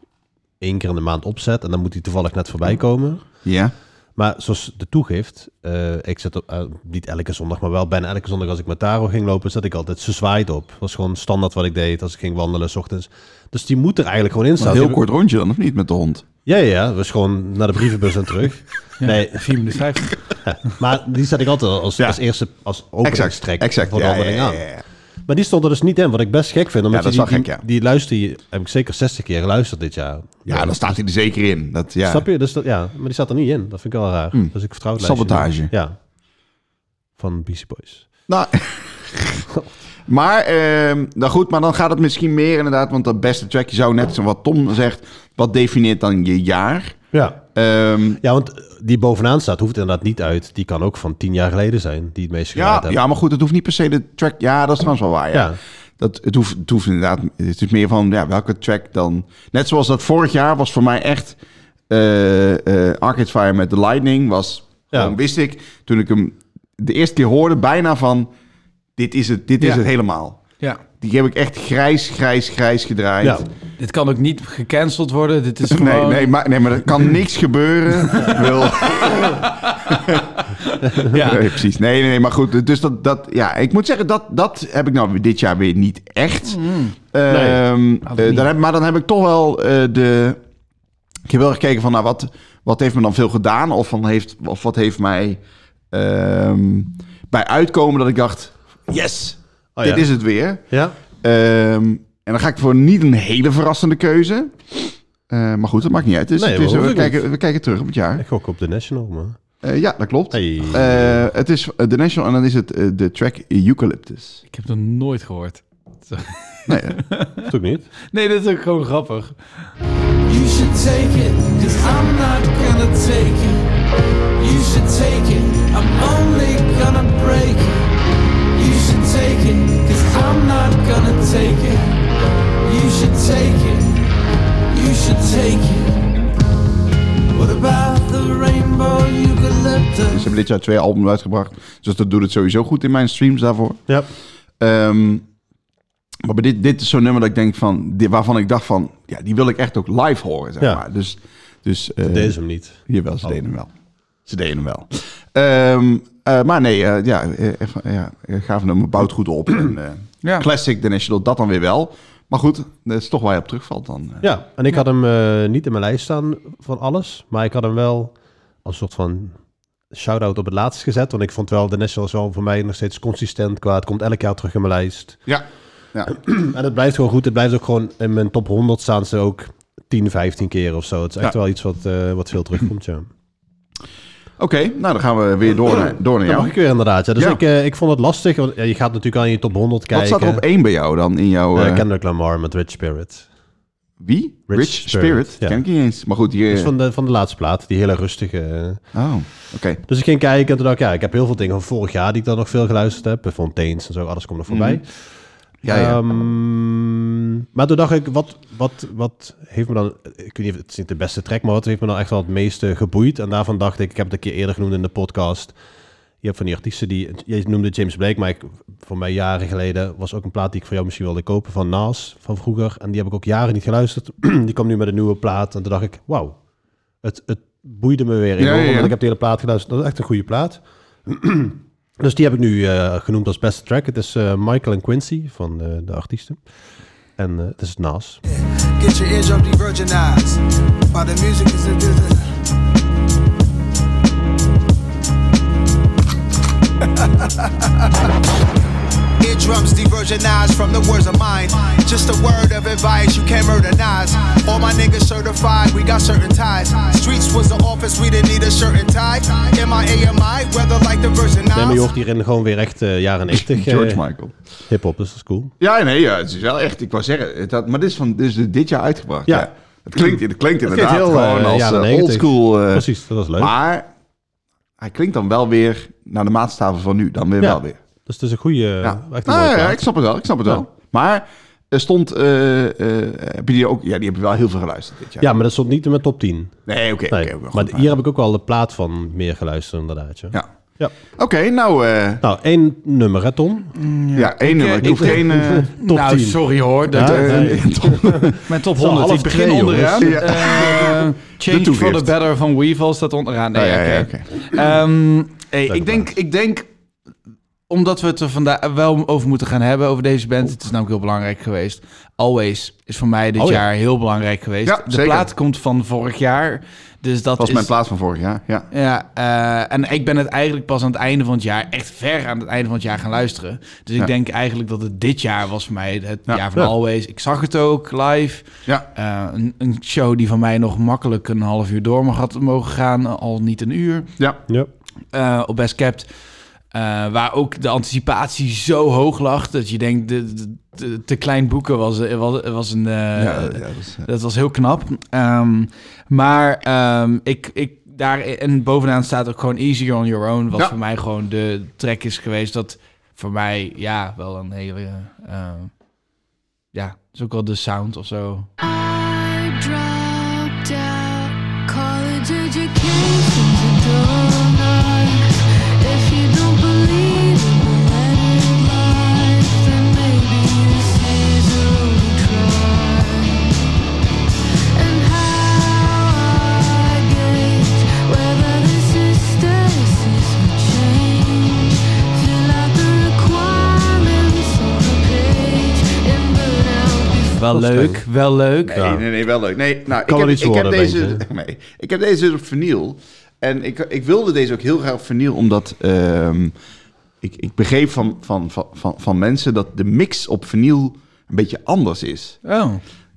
[SPEAKER 4] één keer in de maand opzet. En dan moet die toevallig net
[SPEAKER 3] Mhm.
[SPEAKER 4] voorbij komen.
[SPEAKER 3] Ja.
[SPEAKER 4] Maar zoals de toegift, eh, ik zet op, eh, niet elke zondag, maar wel bijna elke zondag als ik met Taro ging lopen, zet ik altijd ze zwaait op. Dat was gewoon standaard wat ik deed als ik ging wandelen s ochtends. Dus die moet er eigenlijk gewoon in staan.
[SPEAKER 3] Een heel
[SPEAKER 4] Die-
[SPEAKER 3] kort rondje dan, of niet, met de hond?
[SPEAKER 4] Ja, ja, ja. Dus gewoon naar de brievenbus en terug. Nee,
[SPEAKER 2] 4 minuten 50.
[SPEAKER 4] maar die zet ik altijd als, als eerste, als openingstrek
[SPEAKER 3] Exact.
[SPEAKER 4] voor de
[SPEAKER 3] Ja, ja,
[SPEAKER 4] wandeling
[SPEAKER 3] ja,
[SPEAKER 4] aan.
[SPEAKER 3] ja, ja.
[SPEAKER 4] Maar die stond er dus niet in, wat ik best gek vind. Omdat
[SPEAKER 3] Ja, dat
[SPEAKER 4] je
[SPEAKER 3] is
[SPEAKER 4] die,
[SPEAKER 3] wel
[SPEAKER 4] die-
[SPEAKER 3] gek, ja.
[SPEAKER 4] Die luister je, heb ik zeker 60 keer geluisterd dit jaar.
[SPEAKER 3] Ja, dan staat hij er zeker in. Dat, ja. Mm.
[SPEAKER 4] Snap je? Dus dat, ja, maar die staat er niet in. Dat vind ik wel raar. Dus ik vertrouw het lijstje
[SPEAKER 3] Sabotage.
[SPEAKER 4] niet. Ja. Van BC Boys.
[SPEAKER 3] Nou, maar, ehm nou goed, maar dan gaat het misschien meer inderdaad, want dat beste track, je zou net zo wat Tom zegt, wat defineert dan je jaar?
[SPEAKER 4] Ja.
[SPEAKER 3] Ehm,
[SPEAKER 4] Ja, want die bovenaan staat hoeft inderdaad niet uit. Die kan ook van 10 jaar geleden zijn, die het meest gedraaid
[SPEAKER 3] ja,
[SPEAKER 4] hebben.
[SPEAKER 3] ja, maar goed, het hoeft niet per se de track, ja, dat is trouwens wel waar, ja.
[SPEAKER 4] Ja.
[SPEAKER 3] Dat, het, hoeft, het hoeft inderdaad, het is meer van, ja, welke track dan? Net zoals dat vorig jaar was voor mij echt eh, eh, Arcade Fire met The Lightning, was,
[SPEAKER 4] Ja.
[SPEAKER 3] gewoon, wist ik, toen ik hem de eerste keer hoorde, bijna van, dit is het, dit is
[SPEAKER 2] Ja.
[SPEAKER 3] het helemaal.
[SPEAKER 2] Ja.
[SPEAKER 3] Die heb ik echt grijs, grijs, grijs gedraaid.
[SPEAKER 4] Ja.
[SPEAKER 2] Dit kan ook niet gecanceld worden. Dit is gewoon...
[SPEAKER 3] Nee, nee, maar, nee, maar er kan niks gebeuren. Wil,
[SPEAKER 2] Ja.
[SPEAKER 3] nee, precies. Nee, nee, nee, maar goed. Dus dat, dat, ja, ik moet zeggen, dat, dat heb ik nou dit jaar weer niet echt. Ehm, eh,
[SPEAKER 2] niet.
[SPEAKER 3] dan heb, maar dan heb ik toch wel eh, de... Ik heb wel gekeken van, nou, wat, wat heeft me dan veel gedaan? Of, van heeft, of wat heeft mij ehm, bij uitkomen dat ik dacht, yes,
[SPEAKER 4] Oh,
[SPEAKER 3] dit
[SPEAKER 4] ja.
[SPEAKER 3] is het weer.
[SPEAKER 4] Ja?
[SPEAKER 3] Ehm, en dan ga ik voor niet een hele verrassende keuze. Eh, maar goed, dat maakt niet uit. Dus,
[SPEAKER 4] Nee,
[SPEAKER 3] het is-
[SPEAKER 4] hoor,
[SPEAKER 3] we,
[SPEAKER 4] hoeft ook
[SPEAKER 3] kijken, we kijken terug op het jaar.
[SPEAKER 4] Ik gok op de National, man.
[SPEAKER 3] Eh, ja, dat klopt.
[SPEAKER 4] Hey.
[SPEAKER 3] Eh, het is eh, The National en dan is het eh, de track Eucalyptus.
[SPEAKER 2] Ik heb dat nooit gehoord.
[SPEAKER 3] Nee, eh,
[SPEAKER 4] Dat ook niet.
[SPEAKER 2] Nee, dit is ook gewoon grappig.
[SPEAKER 7] You should take it, cause I'm not gonna take it. You should take it, I'm only gonna break it. You should take it, cause I'm not gonna take it. You should take it, you should take it. What about the rainbow
[SPEAKER 3] Dus ze
[SPEAKER 7] eucalyptus?
[SPEAKER 3] hebben dit jaar twee albums uitgebracht. Dus dat doet het sowieso goed in mijn streams daarvoor.
[SPEAKER 4] Ja.
[SPEAKER 3] Ehm, maar bij dit, dit is zo'n nummer dat ik denk van... die- waarvan ik dacht van... Ja, die wil ik echt ook live horen, zeg
[SPEAKER 4] Ja.
[SPEAKER 3] maar. Dus, dus eh,
[SPEAKER 4] Deze hem niet.
[SPEAKER 3] Jawel, ze deden hem wel. Ze deden hem wel. Ehm, eh, maar nee, eh, ja, eh, eh, van- ja, eh, gaven hem bouwt goed op. En, eh,
[SPEAKER 2] Ja.
[SPEAKER 3] Classic, The National, dat dan weer wel. Maar goed, dat is toch waar je op terugvalt dan. eh.
[SPEAKER 4] Ja, en ik had hem eh, niet in mijn lijst staan van alles, maar ik had hem wel als soort van shout-out op het laatst gezet. Want ik vond wel The Nationals wel voor mij nog steeds consistent qua... Het komt elk jaar terug in mijn lijst.
[SPEAKER 3] Ja. ja.
[SPEAKER 4] En het blijft gewoon goed. Het blijft ook gewoon in mijn top 100 staan ze ook 10, 15 keer of zo. Het is echt
[SPEAKER 3] Ja.
[SPEAKER 4] wel iets wat, eh, wat veel terugkomt, ja.
[SPEAKER 3] Oké, nou dan gaan we weer door naar, door naar
[SPEAKER 4] Dat
[SPEAKER 3] jou.
[SPEAKER 4] mag ik weer inderdaad. Ja. Dus
[SPEAKER 3] Ja.
[SPEAKER 4] Ik, eh, ik vond het lastig, want ja, je gaat natuurlijk al in je top 100 kijken.
[SPEAKER 3] Wat staat er op één bij jou dan in jouw...
[SPEAKER 4] Eh,
[SPEAKER 3] eh,
[SPEAKER 4] Kendrick Lamar met Rich Spirit.
[SPEAKER 3] wie?
[SPEAKER 4] Rich
[SPEAKER 3] Rich,
[SPEAKER 4] Spirit,
[SPEAKER 3] Spirit.
[SPEAKER 4] ja.
[SPEAKER 3] Ken ik niet eens. Maar goed, hier...
[SPEAKER 4] Dus van de, van de laatste plaat, die hele rustige. eh.
[SPEAKER 3] Oh, oké.
[SPEAKER 4] Dus ik ging kijken en toen dacht ik, ja, ik heb heel veel dingen van vorig jaar die ik dan nog veel geluisterd heb. Fontaines en zo, alles komt er voorbij.
[SPEAKER 3] Mhm. Ja, ja.
[SPEAKER 4] Ehm, maar toen dacht ik, wat, wat, wat heeft me dan, ik weet niet, of het is niet de beste track, maar wat heeft me dan echt wel het meeste geboeid? En daarvan dacht ik, ik heb het een keer eerder genoemd in de podcast. Je hebt van die artiesten die, je noemde James Blake, maar ik, voor mij jaren geleden was ook een plaat die ik voor jou misschien wilde kopen van Nas van vroeger. En die heb ik ook jaren niet geluisterd. die kwam nu met een nieuwe plaat en toen dacht ik, wauw, het, het boeide me weer
[SPEAKER 3] Ja,
[SPEAKER 4] enorm,
[SPEAKER 3] ja, ja.
[SPEAKER 4] want ik heb de hele plaat geluisterd. Dat is echt een goede plaat. Dus die heb ik nu eh, genoemd als beste track. Het is eh, Michael en Quincy van eh, de artiesten. En eh, het is Nas.
[SPEAKER 8] Get your eardrum de-virginized while the music is in business. Eardrums de-virginized from the words of mine. Just a word of advice, you can't murder knives. All my niggas certified, we got certain ties. Streets was the office, we didn't need a shirt and tie. MIA, MI, weather like the Virgin
[SPEAKER 4] Nee, maar je hoort
[SPEAKER 8] Islands.
[SPEAKER 4] hierin gewoon weer echt eh, jaren 90 eh,
[SPEAKER 3] George Michael.
[SPEAKER 4] hip-hop. Dus dat is cool.
[SPEAKER 3] Ja, nee, ja, het is wel echt, ik wou zeggen, het had, maar dit is, van, dit is dit jaar uitgebracht.
[SPEAKER 4] Ja.
[SPEAKER 3] Ja. Het, klinkt, het klinkt inderdaad
[SPEAKER 4] heel,
[SPEAKER 3] gewoon
[SPEAKER 4] eh,
[SPEAKER 3] als
[SPEAKER 4] jaren
[SPEAKER 3] eh,
[SPEAKER 4] 90.
[SPEAKER 3] oldschool. eh,
[SPEAKER 4] Precies, dat was leuk.
[SPEAKER 3] Maar hij klinkt dan wel weer naar de maatstaven van nu, dan weer
[SPEAKER 4] Ja.
[SPEAKER 3] wel weer.
[SPEAKER 4] Dus het is een goede,
[SPEAKER 3] Ja,
[SPEAKER 4] echt een
[SPEAKER 3] Nou,
[SPEAKER 4] mooie
[SPEAKER 3] ja,
[SPEAKER 4] plaat.
[SPEAKER 3] ik snap het wel, ik snap het
[SPEAKER 4] Ja.
[SPEAKER 3] wel. Maar er stond, eh, eh, heb je die ook, ja, die heb je wel heel veel geluisterd dit jaar.
[SPEAKER 4] Ja, maar dat stond niet in mijn top 10. Nee,
[SPEAKER 3] Nee, oké, oké. oké, goed,
[SPEAKER 4] maar hier heb ik ook wel de plaat van meer geluisterd inderdaad. Ja.
[SPEAKER 3] Ja.
[SPEAKER 4] Ja.
[SPEAKER 3] Oké, nou, eh,
[SPEAKER 4] Nou, één nummer hè Tom?
[SPEAKER 3] ja, één nummer. Ik hoef geen... eh,
[SPEAKER 4] Top
[SPEAKER 2] nou,
[SPEAKER 4] 10.
[SPEAKER 2] sorry hoor. Dat,
[SPEAKER 4] Ja,
[SPEAKER 2] eh,
[SPEAKER 4] nee.
[SPEAKER 2] Mijn top
[SPEAKER 4] Zo,
[SPEAKER 2] 100,
[SPEAKER 4] half
[SPEAKER 2] ik begin
[SPEAKER 4] twee,
[SPEAKER 2] onderaan.
[SPEAKER 3] jongens. Ja.
[SPEAKER 2] Eh, Change
[SPEAKER 3] toegift. Oh,
[SPEAKER 2] for the Better van Weevil staat onderaan. Nee,
[SPEAKER 3] Ja,
[SPEAKER 2] oké.
[SPEAKER 3] ja, oké.
[SPEAKER 2] Ehm, hey,
[SPEAKER 4] Leuke
[SPEAKER 2] ik, denk, ik denk, omdat we het er vandaag wel over moeten gaan hebben, over deze band. Het is namelijk heel belangrijk geweest. Always is voor mij dit
[SPEAKER 4] Oh ja.
[SPEAKER 2] jaar heel belangrijk geweest.
[SPEAKER 3] Ja,
[SPEAKER 2] de
[SPEAKER 3] zeker.
[SPEAKER 2] plaat komt van vorig jaar. Dus dat
[SPEAKER 3] Dat was
[SPEAKER 2] is,
[SPEAKER 3] mijn plaats van vorig jaar, ja.
[SPEAKER 2] Ja, eh, en ik ben het eigenlijk pas aan het einde van het jaar, echt ver aan het einde van het jaar gaan luisteren. Dus ik
[SPEAKER 3] Ja.
[SPEAKER 2] denk eigenlijk dat het dit jaar was voor mij het
[SPEAKER 3] Ja.
[SPEAKER 2] jaar van
[SPEAKER 4] Ja.
[SPEAKER 2] Always. Ik zag het ook live.
[SPEAKER 3] Ja,
[SPEAKER 2] Eh, een, een show die van mij nog makkelijk een half uur door mag had mogen gaan, al niet een uur.
[SPEAKER 3] ja.
[SPEAKER 4] Ja.
[SPEAKER 2] eh, op Best Kept. eh, waar ook de anticipatie zo hoog lag dat je denkt, de, de- de- te klein boeken was, was, was een... eh,
[SPEAKER 3] ja, ja, dat is, eh,
[SPEAKER 2] dat was heel knap. Ehm, maar ehm, ik, ik daar en bovenaan staat ook gewoon Easy on Your Own, wat
[SPEAKER 3] Ja.
[SPEAKER 2] voor mij gewoon de track is geweest. Dat voor mij ja wel een hele ehm, ja, het is ook wel de sound of zo.
[SPEAKER 9] I dropped out college education's a dull knife. If you don't believe in the letter life, then maybe this is a lonely cry. And how I gauge whether this is stasis or change. Fill out the requirements on the page and burn out before.
[SPEAKER 2] Wel leuk, wel leuk.
[SPEAKER 3] Nee, nee, nee, wel leuk. Nee, nou,
[SPEAKER 4] Kan
[SPEAKER 3] ik,
[SPEAKER 4] wel
[SPEAKER 3] heb,
[SPEAKER 4] iets
[SPEAKER 3] ik, heb
[SPEAKER 4] worden,
[SPEAKER 3] deze,
[SPEAKER 4] denk je?
[SPEAKER 3] nee, ik heb deze dus op vinyl. En ik, ik wilde deze ook heel graag op vinyl, omdat ehm, ik, ik begreep van, van, van, van, van mensen dat de mix op vinyl een beetje anders is.
[SPEAKER 2] Oh.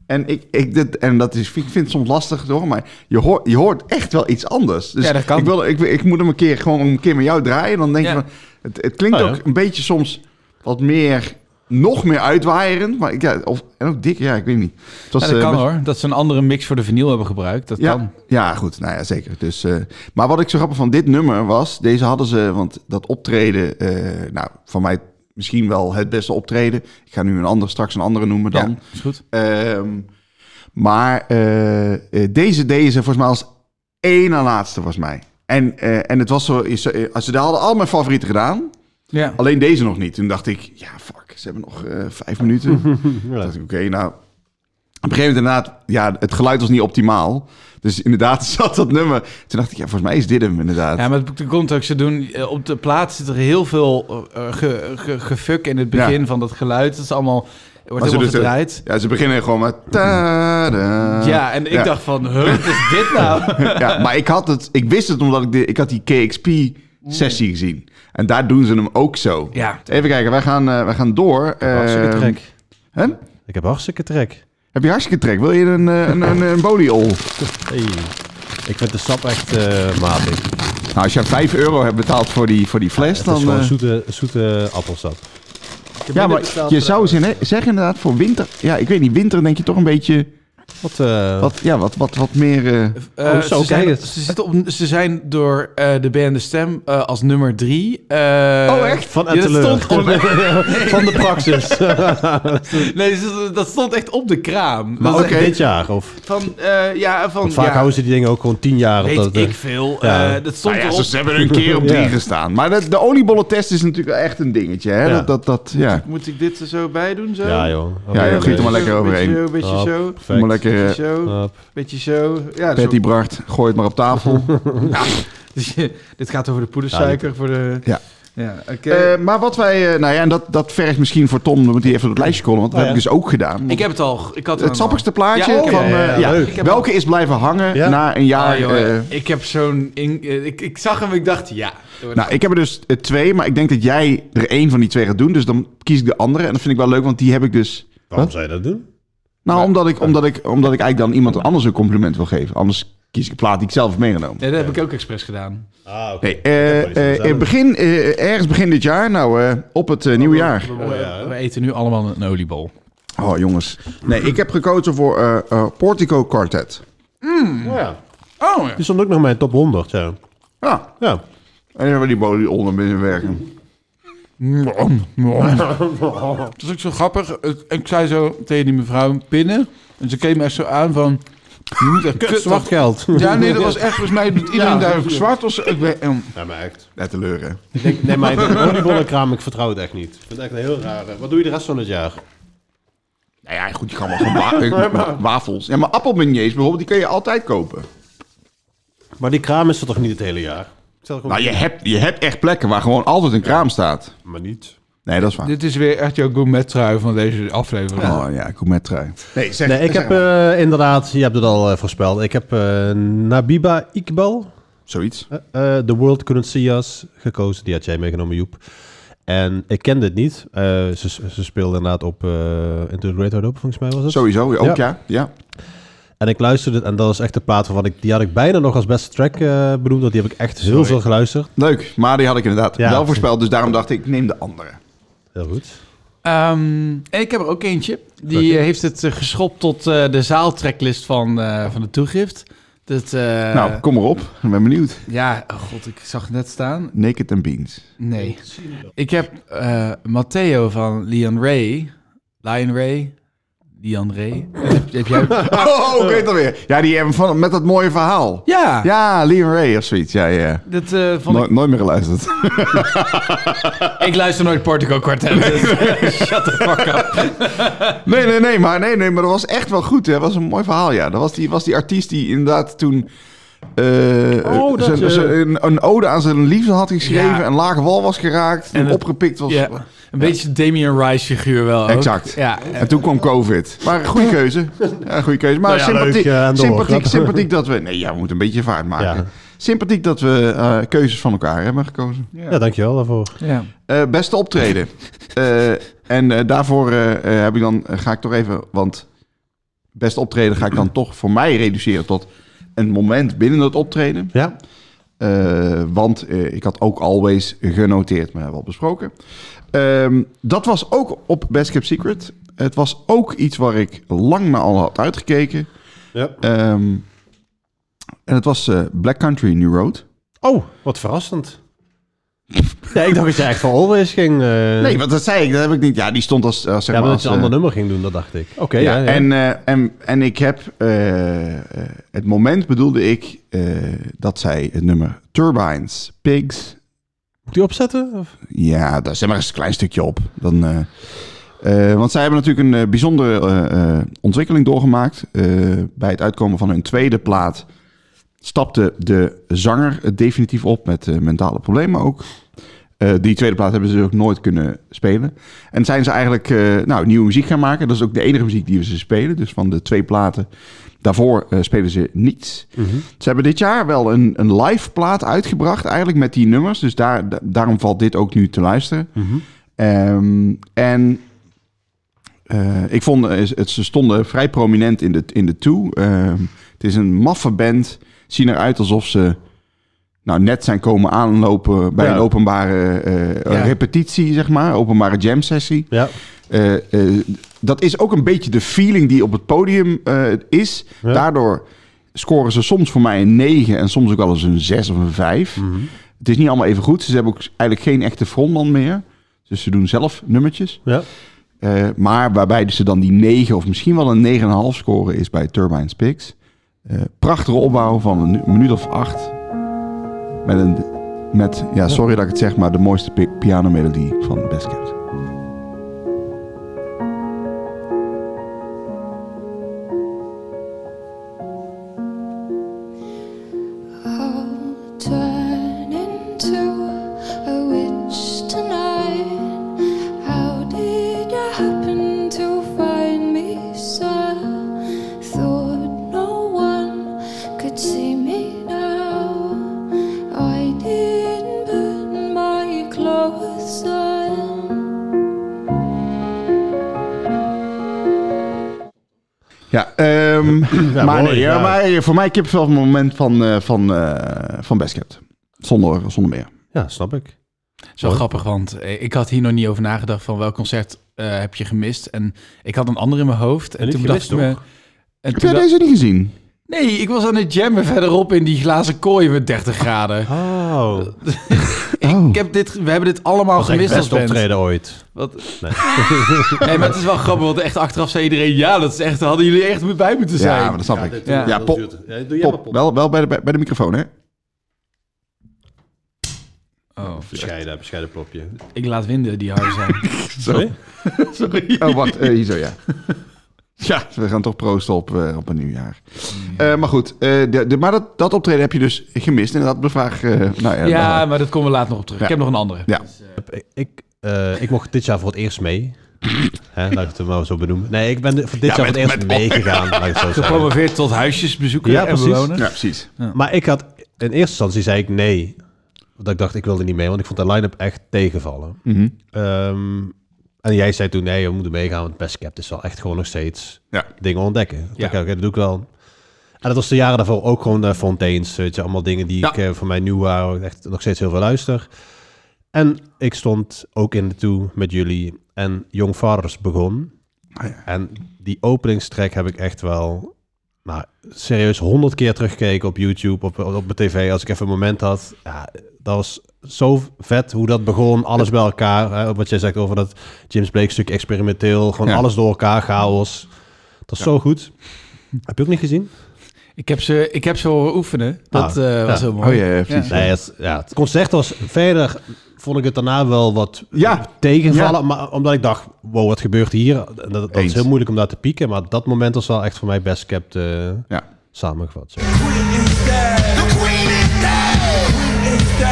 [SPEAKER 3] En, ik, ik, dit, en dat is, ik vind het soms lastig hoor, maar je hoort, je hoort echt wel iets anders. Dus
[SPEAKER 2] Ja, dat kan.
[SPEAKER 3] Ik, wil, ik, ik moet hem een keer gewoon een keer met jou draaien. Dan denk
[SPEAKER 2] Ja.
[SPEAKER 3] je van, het, het klinkt
[SPEAKER 4] Oh, ja.
[SPEAKER 3] ook een beetje soms wat meer, nog meer uitwaaierend. Maar ik, ja, of, en ook dik, ja, ik weet niet. Het was,
[SPEAKER 2] Ja, dat
[SPEAKER 3] eh,
[SPEAKER 2] kan
[SPEAKER 3] best-
[SPEAKER 2] hoor. Dat ze een andere mix voor de vinyl hebben gebruikt. Dat
[SPEAKER 3] ja,
[SPEAKER 2] kan.
[SPEAKER 3] ja, goed. Nou ja, zeker. Dus, eh, maar wat ik zo grappig van dit nummer was... Deze hadden ze, want dat optreden... eh, nou, van mij misschien wel het beste optreden. Ik ga nu een ander, straks een andere noemen dan.
[SPEAKER 2] Ja, is goed.
[SPEAKER 3] Ehm, maar eh, eh, deze deden ze volgens mij als één na laatste, volgens mij. En, eh, en het was zo... is- eh, Ze hadden al mijn favorieten gedaan.
[SPEAKER 2] Ja.
[SPEAKER 3] Alleen deze nog niet. Toen dacht ik, ja, fuck, ze hebben nog eh, vijf minuten. Toen dacht ik, oké, nou... Op een gegeven moment inderdaad, ja, het geluid was niet optimaal. Dus inderdaad zat dat nummer. Toen dacht ik, ja, volgens mij is dit hem inderdaad.
[SPEAKER 2] Ja, maar het komt ook, ze doen eh, op de plaat zit er heel veel eh, eh, ge, ge, gefuk in het begin
[SPEAKER 3] Ja.
[SPEAKER 2] van dat geluid. Het is allemaal wordt helemaal
[SPEAKER 3] doen
[SPEAKER 2] gedraaid.
[SPEAKER 3] ja, ze beginnen gewoon met... tada.
[SPEAKER 2] ja, en ik
[SPEAKER 3] ja.
[SPEAKER 2] dacht van, huh, wat is dit nou?
[SPEAKER 3] Ja, maar ik had het... Ik wist het omdat ik, de, ik had die KXP-sessie gezien. En daar doen ze hem ook zo.
[SPEAKER 2] Mm. ja.
[SPEAKER 3] Even kijken, wij gaan, eh, wij gaan door.
[SPEAKER 4] Hartstikke
[SPEAKER 3] Ehm,
[SPEAKER 4] trek.
[SPEAKER 3] hè?
[SPEAKER 4] Ik heb hartstikke trek.
[SPEAKER 3] Heb je hartstikke trek? Wil je een, eh, een, een, een boliol?
[SPEAKER 4] Hey. Ik vind de sap echt eh matig. Het
[SPEAKER 3] Nou, als je 5 euro hebt betaald voor die, voor die fles,
[SPEAKER 4] is
[SPEAKER 3] dan...
[SPEAKER 4] gewoon
[SPEAKER 3] eh,
[SPEAKER 4] zoete, zoete appelsap.
[SPEAKER 3] ja, maar je zou zin, zeggen inderdaad voor winter... Ja, ik weet niet, winter denk je toch een beetje...
[SPEAKER 4] Wat, eh
[SPEAKER 3] Wat, ja, wat, wat, wat meer... eh,
[SPEAKER 2] Eh,
[SPEAKER 4] Oh, zo,
[SPEAKER 2] ze, zijn,
[SPEAKER 4] kijk eens.
[SPEAKER 2] ze, zitten op, ze zijn door eh, de band De Stem eh, als nummer drie. eh,
[SPEAKER 3] Oh, echt?
[SPEAKER 4] Van
[SPEAKER 2] ja, dat
[SPEAKER 4] Etteleur.
[SPEAKER 2] stond op-
[SPEAKER 4] van de praxis.
[SPEAKER 2] nee, ze- dat stond echt op de kraam.
[SPEAKER 3] Maar
[SPEAKER 2] Dat is
[SPEAKER 3] oké.
[SPEAKER 2] echt
[SPEAKER 4] Dit jaar. Of,
[SPEAKER 2] Van, eh, ja, van...
[SPEAKER 4] want vaak
[SPEAKER 2] ja,
[SPEAKER 4] houden ze die dingen ook gewoon tien jaar.
[SPEAKER 2] Weet
[SPEAKER 4] op dat, eh,
[SPEAKER 2] ik veel.
[SPEAKER 4] ja.
[SPEAKER 2] eh, dat stond
[SPEAKER 3] Nou ja,
[SPEAKER 2] erop.
[SPEAKER 3] ze, ze hebben er een keer op drie
[SPEAKER 4] Ja.
[SPEAKER 3] gestaan. Maar de, de oliebollentest is natuurlijk wel echt een dingetje. Hè?
[SPEAKER 4] Ja.
[SPEAKER 3] Dat, dat, dat, ja.
[SPEAKER 2] Moet ik dit er zo bij doen? Zo?
[SPEAKER 4] ja, joh. Oh.
[SPEAKER 3] Ja,
[SPEAKER 2] Oké,
[SPEAKER 3] joh, giet er
[SPEAKER 2] beetje
[SPEAKER 3] maar lekker
[SPEAKER 2] zo,
[SPEAKER 3] overheen.
[SPEAKER 2] Beetje zo, beetje
[SPEAKER 4] Hop,
[SPEAKER 2] zo.
[SPEAKER 4] perfect.
[SPEAKER 3] Doe maar lekker...
[SPEAKER 2] Beetje
[SPEAKER 3] eh,
[SPEAKER 2] zo,
[SPEAKER 4] Hop.
[SPEAKER 2] beetje zo. Ja, zo. Dus
[SPEAKER 3] Patty Bracht, gooi het maar op tafel.
[SPEAKER 2] dit gaat over de poedersuiker. voor de...
[SPEAKER 3] Ja.
[SPEAKER 2] ja oké.
[SPEAKER 3] Eh, maar wat wij... eh, nou ja, en dat, dat vergt misschien voor Tom... Dan moet hij even op het lijstje komen. Want dat
[SPEAKER 4] Oh,
[SPEAKER 3] heb ik dus ook gedaan. Want
[SPEAKER 2] ik heb het al. Ik had
[SPEAKER 3] het
[SPEAKER 2] al.
[SPEAKER 3] sappigste plaatje
[SPEAKER 2] Ja, oh, ja,
[SPEAKER 3] van...
[SPEAKER 2] ja,
[SPEAKER 3] eh,
[SPEAKER 4] ja,
[SPEAKER 3] ja.
[SPEAKER 4] leuk.
[SPEAKER 2] Ik heb
[SPEAKER 3] Welke is blijven hangen
[SPEAKER 4] Ja.
[SPEAKER 3] na een
[SPEAKER 2] Ah,
[SPEAKER 3] jaar...
[SPEAKER 2] joh,
[SPEAKER 3] eh,
[SPEAKER 2] ik heb zo'n... in- eh, ik, ik zag hem, ik dacht, ja.
[SPEAKER 3] nou, ik heb er dus eh, twee, maar ik denk dat jij er één van die twee gaat doen. Dus dan kies ik de andere. En dat vind ik wel leuk, want die heb ik dus...
[SPEAKER 4] Waarom zou je dat doen?
[SPEAKER 3] Nou, omdat, ik, omdat, ik, omdat ik eigenlijk dan iemand anders een compliment wil geven. Anders kies ik een plaat die ik zelf heb meegenomen.
[SPEAKER 2] Nee, dat heb ik ook expres gedaan.
[SPEAKER 4] Ah, oké.
[SPEAKER 3] Nee, eh, eh, eh, begin, eh, ergens begin dit jaar, nou, eh, op het eh, nieuwe jaar.
[SPEAKER 4] Oh,
[SPEAKER 2] We, we eten nu allemaal een oliebol.
[SPEAKER 3] Oh, jongens. Nee, ik heb gekozen voor eh, eh, Portico Quartet.
[SPEAKER 4] ja.
[SPEAKER 2] Oh, ja.
[SPEAKER 4] Die stond ook nog in mijn top 100. Ja.
[SPEAKER 3] Ja,
[SPEAKER 4] ja.
[SPEAKER 3] en dan hebben we die bolie onder binnen werken.
[SPEAKER 2] Het is ook zo grappig. Het- Ik zei zo tegen die mevrouw pinnen. En ze keek me echt zo aan van... Je moet echt kut
[SPEAKER 4] Zwart
[SPEAKER 2] wachten.
[SPEAKER 4] geld.
[SPEAKER 2] Ja, nee, dat was echt... Volgens mij doet iedereen daar ook zwart. Of zo. Ik weet- ehm,
[SPEAKER 4] Ja, maar echt.
[SPEAKER 3] Net te leuren.
[SPEAKER 4] Ik denk, nee, maar de oliebollenkraam, ik vertrouw het echt niet. Ik vind het echt een heel raar. Wat doe je de rest van het jaar?
[SPEAKER 3] Nou ja, goed, je kan wel gewoon wa- eh, wa- wafels. Ja, maar appelmeniers bijvoorbeeld, die kun je altijd kopen.
[SPEAKER 4] Maar die kraam is er toch niet het hele jaar? Ik stel gewoon-
[SPEAKER 3] Nou, je hebt, je hebt echt plekken waar gewoon altijd een kraam staat.
[SPEAKER 4] Maar niet.
[SPEAKER 3] Nee, dat is waar.
[SPEAKER 2] Dit is weer echt jouw gourmet-trui van deze aflevering.
[SPEAKER 3] Oh ja, gourmet trui. Nee, zeg,
[SPEAKER 4] Nee, ik heb eh, inderdaad, je hebt het al eh, voorspeld. Ik heb eh, Nabiba Iqbal,
[SPEAKER 3] Zoiets.
[SPEAKER 4] eh, eh, The World Couldn't See Us, gekozen. Die had jij meegenomen, Joep. En ik kende het niet. Eh, ze, ze speelde inderdaad op eh Into the Great Wide Open, volgens mij was het.
[SPEAKER 3] Sowieso, ook
[SPEAKER 4] Ja.
[SPEAKER 3] ja. ja.
[SPEAKER 4] En ik luisterde het en dat was echt de plaat waarvan ik... Die had ik bijna nog als beste track eh, benoemd, want die heb ik echt heel veel geluisterd.
[SPEAKER 3] Leuk, maar die had ik inderdaad
[SPEAKER 4] Ja.
[SPEAKER 3] wel voorspeld. Dus daarom dacht ik, ik neem de andere.
[SPEAKER 4] Heel goed.
[SPEAKER 2] Ehm, en ik heb er ook eentje. Die
[SPEAKER 4] Oké.
[SPEAKER 2] eh, heeft het eh, geschopt tot eh, de zaaltracklist van, eh, van de toegift. Dat, eh,
[SPEAKER 3] nou, kom erop. Ik ben benieuwd.
[SPEAKER 2] Ja, oh god, ik zag het net staan.
[SPEAKER 3] Naked and Beans.
[SPEAKER 2] Nee. Ik heb eh, Matteo van Lian Ray. Lion Ray. Lian Ray. heb, heb jij...
[SPEAKER 3] Oh, ik weet het alweer. Ja, die hebben van, met dat mooie verhaal.
[SPEAKER 2] Ah. Ja,
[SPEAKER 3] Ja, Liam Ray of zoiets. Ja, ja.
[SPEAKER 2] Dat, eh, vond
[SPEAKER 3] No-
[SPEAKER 2] ik...
[SPEAKER 3] Nooit meer geluisterd.
[SPEAKER 2] ik luister nooit Portico Quartet. dus, Shut the fuck up.
[SPEAKER 3] Nee, nee, nee. Maar, nee, nee, maar dat was echt wel goed. Hè. Dat was een mooi verhaal, ja. Dat was die, was die artiest die inderdaad toen... eh,
[SPEAKER 4] Oh, dat
[SPEAKER 3] zijn-
[SPEAKER 4] je-
[SPEAKER 3] zijn- een, een ode aan zijn liefde had geschreven.
[SPEAKER 2] Ja.
[SPEAKER 3] Een lage wal was geraakt. En
[SPEAKER 2] het-
[SPEAKER 3] opgepikt was.
[SPEAKER 2] Ja, een beetje Damien Rice figuur wel ook.
[SPEAKER 3] Exact.
[SPEAKER 2] Ja,
[SPEAKER 3] En toen kwam COVID. Maar goede keuze. Ja, goede keuze. Maar
[SPEAKER 4] Nou ja,
[SPEAKER 3] sympathiek,
[SPEAKER 4] leuk, eh, en door.
[SPEAKER 3] sympathiek, sympathiek dat we... Nee, ja, we moeten een beetje vaart maken.
[SPEAKER 4] Ja.
[SPEAKER 3] Sympathiek dat we eh, keuzes van elkaar hebben gekozen.
[SPEAKER 4] Ja, dankjewel daarvoor.
[SPEAKER 2] ja.
[SPEAKER 3] Eh, beste optreden. Eh, en eh, daarvoor eh, eh, heb ik dan, eh, ga ik toch even... Want beste optreden ga ik dan toch voor mij reduceren tot een moment binnen dat optreden.
[SPEAKER 4] Ja,
[SPEAKER 3] Eh, want eh, ik had ook Always genoteerd, maar hebben we al besproken. Ehm, dat was ook op Best Kept Secret. Het was ook iets waar ik lang naar al had uitgekeken.
[SPEAKER 4] Ja.
[SPEAKER 3] Ehm, en het was eh, Black Country New Road.
[SPEAKER 4] Oh, wat verrassend. ja, ik dacht dat je eigenlijk voor Always ging. eh,
[SPEAKER 3] Nee, want dat zei ik, dat heb ik niet. Ja, die stond als, als zeg
[SPEAKER 4] ja, maar
[SPEAKER 3] maar
[SPEAKER 4] dat je een
[SPEAKER 3] als,
[SPEAKER 4] ander
[SPEAKER 3] eh,
[SPEAKER 4] nummer ging doen, dat dacht ik. Oké, ja,
[SPEAKER 3] ja,
[SPEAKER 4] ja.
[SPEAKER 3] En, eh, en, en ik heb eh, eh, het moment bedoelde ik eh, dat zij het nummer Turbines, Pigs,
[SPEAKER 4] Moet die opzetten? Of?
[SPEAKER 3] Ja, daar zet maar eens een klein stukje op. Dan, eh, eh, want zij hebben natuurlijk een eh, bijzondere eh, eh, ontwikkeling doorgemaakt. Eh, bij het uitkomen van hun tweede plaat stapte de zanger het definitief op met eh, mentale eh, problemen ook. Eh, die tweede plaat hebben ze ook nooit kunnen spelen. En zijn ze eigenlijk eh, nou, nieuwe muziek gaan maken. Dat is ook de enige muziek die we ze spelen. Dus van de twee platen daarvoor eh, spelen ze niets. Ze hebben dit jaar wel een, een live plaat uitgebracht eigenlijk met die nummers. Dus daar, da- daarom valt dit ook nu te luisteren. Ehm, en eh, ik vond, eh, het, ze stonden vrij prominent in de, in de toe. Ehm, het is een maffe band. Zien eruit alsof ze nou, net zijn komen aanlopen bij
[SPEAKER 4] Ja.
[SPEAKER 3] een openbare eh,
[SPEAKER 10] Ja.
[SPEAKER 3] repetitie, zeg maar. Openbare jam sessie.
[SPEAKER 4] Ja.
[SPEAKER 3] Eh, eh, dat is ook een beetje de feeling die op het podium eh, is.
[SPEAKER 4] Ja.
[SPEAKER 3] Daardoor scoren ze soms voor mij een 9 en soms ook wel eens een 6 of een 5.
[SPEAKER 4] Mhm.
[SPEAKER 3] Het is niet allemaal even goed. Ze hebben ook eigenlijk geen echte frontman meer. Dus ze doen zelf nummertjes.
[SPEAKER 4] Ja.
[SPEAKER 3] Eh, maar waarbij dus ze dan die 9 of misschien wel een 9,5 scoren is bij Turbine Spiks. Eh, prachtige opbouw van een minuut of 8. Met een, met, ja, sorry dat ik het zeg, maar de mooiste pi- pianomelodie van Best Kept.
[SPEAKER 9] I'll turn into a witch tonight. How did you happen to find me, sir? Thought no one could see me now. I didn't put my clothes on.
[SPEAKER 3] Ja, ehm, maar,
[SPEAKER 4] mooi,
[SPEAKER 3] nee, ja,
[SPEAKER 4] ja.
[SPEAKER 3] maar eh, voor mij kipvel het moment van, eh, van, eh, van Best Kept. Zonder, zonder meer.
[SPEAKER 4] ja, snap ik.
[SPEAKER 2] Zo grappig, want eh, ik had hier nog niet over nagedacht van welk concert eh, heb je gemist. En ik had een ander in mijn hoofd. En
[SPEAKER 4] niet
[SPEAKER 2] toen dacht
[SPEAKER 4] gemist,
[SPEAKER 2] ik me...
[SPEAKER 4] toch?
[SPEAKER 2] En
[SPEAKER 3] Heb jij
[SPEAKER 2] toen dacht-
[SPEAKER 3] deze niet gezien?
[SPEAKER 2] Nee, ik was aan het jammen verderop in die glazen kooi met 30 graden. Dus
[SPEAKER 4] Oh,
[SPEAKER 2] Ik heb dit, we hebben dit allemaal
[SPEAKER 4] was echt
[SPEAKER 2] gemist als
[SPEAKER 4] best
[SPEAKER 2] band.
[SPEAKER 4] optreden ooit.
[SPEAKER 2] Wat?
[SPEAKER 4] Nee.
[SPEAKER 2] Nee. maar het is wel grappig, want echt achteraf zei iedereen... Ja, dat is echt, daar hadden jullie echt moet bij moeten zijn.
[SPEAKER 3] Ja, maar dat snap ik.
[SPEAKER 2] Ja.
[SPEAKER 3] Ja, pop,
[SPEAKER 4] doe jij maar
[SPEAKER 3] pop.
[SPEAKER 4] pop.
[SPEAKER 3] Wel, wel bij, de, bij bij de microfoon, hè?
[SPEAKER 2] Oh,
[SPEAKER 4] Bescheiden, bescheiden plopje.
[SPEAKER 2] ik laat winden die hard zijn.
[SPEAKER 4] Sorry?
[SPEAKER 3] Oh, wacht. eh, hier zo, ja. Ja, we gaan toch proosten op, eh, op een nieuwjaar. Eh, maar goed, eh, de, de, maar dat, dat optreden heb je dus gemist. En dat de vraag... eh, nou ja,
[SPEAKER 2] Ja,
[SPEAKER 3] dan-
[SPEAKER 2] maar dat komen we later nog op terug.
[SPEAKER 3] Ja.
[SPEAKER 2] Ik heb nog een andere.
[SPEAKER 3] ja.
[SPEAKER 4] Ik- Ik, eh, ik mocht dit jaar voor het eerst mee. Hè, laat ik het maar zo benoemen. Nee, ik ben dit- voor dit jaar voor het eerst meegegaan. laat ik het zo zeggen.
[SPEAKER 2] Gepromoveerd tot huisjesbezoeker
[SPEAKER 4] Ja,
[SPEAKER 2] en
[SPEAKER 4] precies.
[SPEAKER 2] bewoner.
[SPEAKER 3] ja, precies.
[SPEAKER 4] Maar ik had in eerste instantie zei ik nee. Want ik dacht, ik wilde niet mee, want ik vond de line-up echt tegenvallen.
[SPEAKER 3] Mhm.
[SPEAKER 4] Ehm, en jij zei toen, nee, we moeten meegaan, want Best Kept is wel echt gewoon nog steeds
[SPEAKER 3] Ja.
[SPEAKER 4] dingen ontdekken. Ja.
[SPEAKER 2] Ja.
[SPEAKER 4] Oké, dat doe ik wel. En dat was de jaren daarvoor ook gewoon eh, Fontaines, weet je, allemaal dingen die
[SPEAKER 2] Ja.
[SPEAKER 4] ik eh, voor mij nieuw waren, waar ik echt nog steeds heel veel luister. En ik stond ook in de toe met jullie en Young Fathers begon.
[SPEAKER 3] Ah, ja.
[SPEAKER 4] En die openingstrack heb ik echt wel nou, serieus honderd keer teruggekeken op YouTube, op, op mijn tv, als ik even een moment had. Ja, dat was zo vet hoe dat begon, alles bij elkaar. Hè, wat jij zegt over dat James Blake stuk experimenteel, gewoon
[SPEAKER 3] Ja.
[SPEAKER 4] alles door elkaar, chaos. Dat is zo goed. Heb je ook niet gezien?
[SPEAKER 2] Ik heb ze, ik heb ze horen oefenen. Dat
[SPEAKER 4] Ah,
[SPEAKER 2] eh, was
[SPEAKER 4] ja.
[SPEAKER 2] heel mooi.
[SPEAKER 3] Oh ja, precies.
[SPEAKER 4] Nee, het, ja, het concert was verder, vond ik het daarna wel wat
[SPEAKER 3] Ja.
[SPEAKER 4] tegenvallen.
[SPEAKER 3] Ja.
[SPEAKER 4] Maar omdat ik dacht, wow, wat gebeurt hier? Dat, dat is
[SPEAKER 3] Eens.
[SPEAKER 4] heel moeilijk om daar te pieken. Maar dat moment was wel echt voor mij best kept eh,
[SPEAKER 3] Ja.
[SPEAKER 4] samengevat. zo.
[SPEAKER 8] The queen is dead. The queen is dead.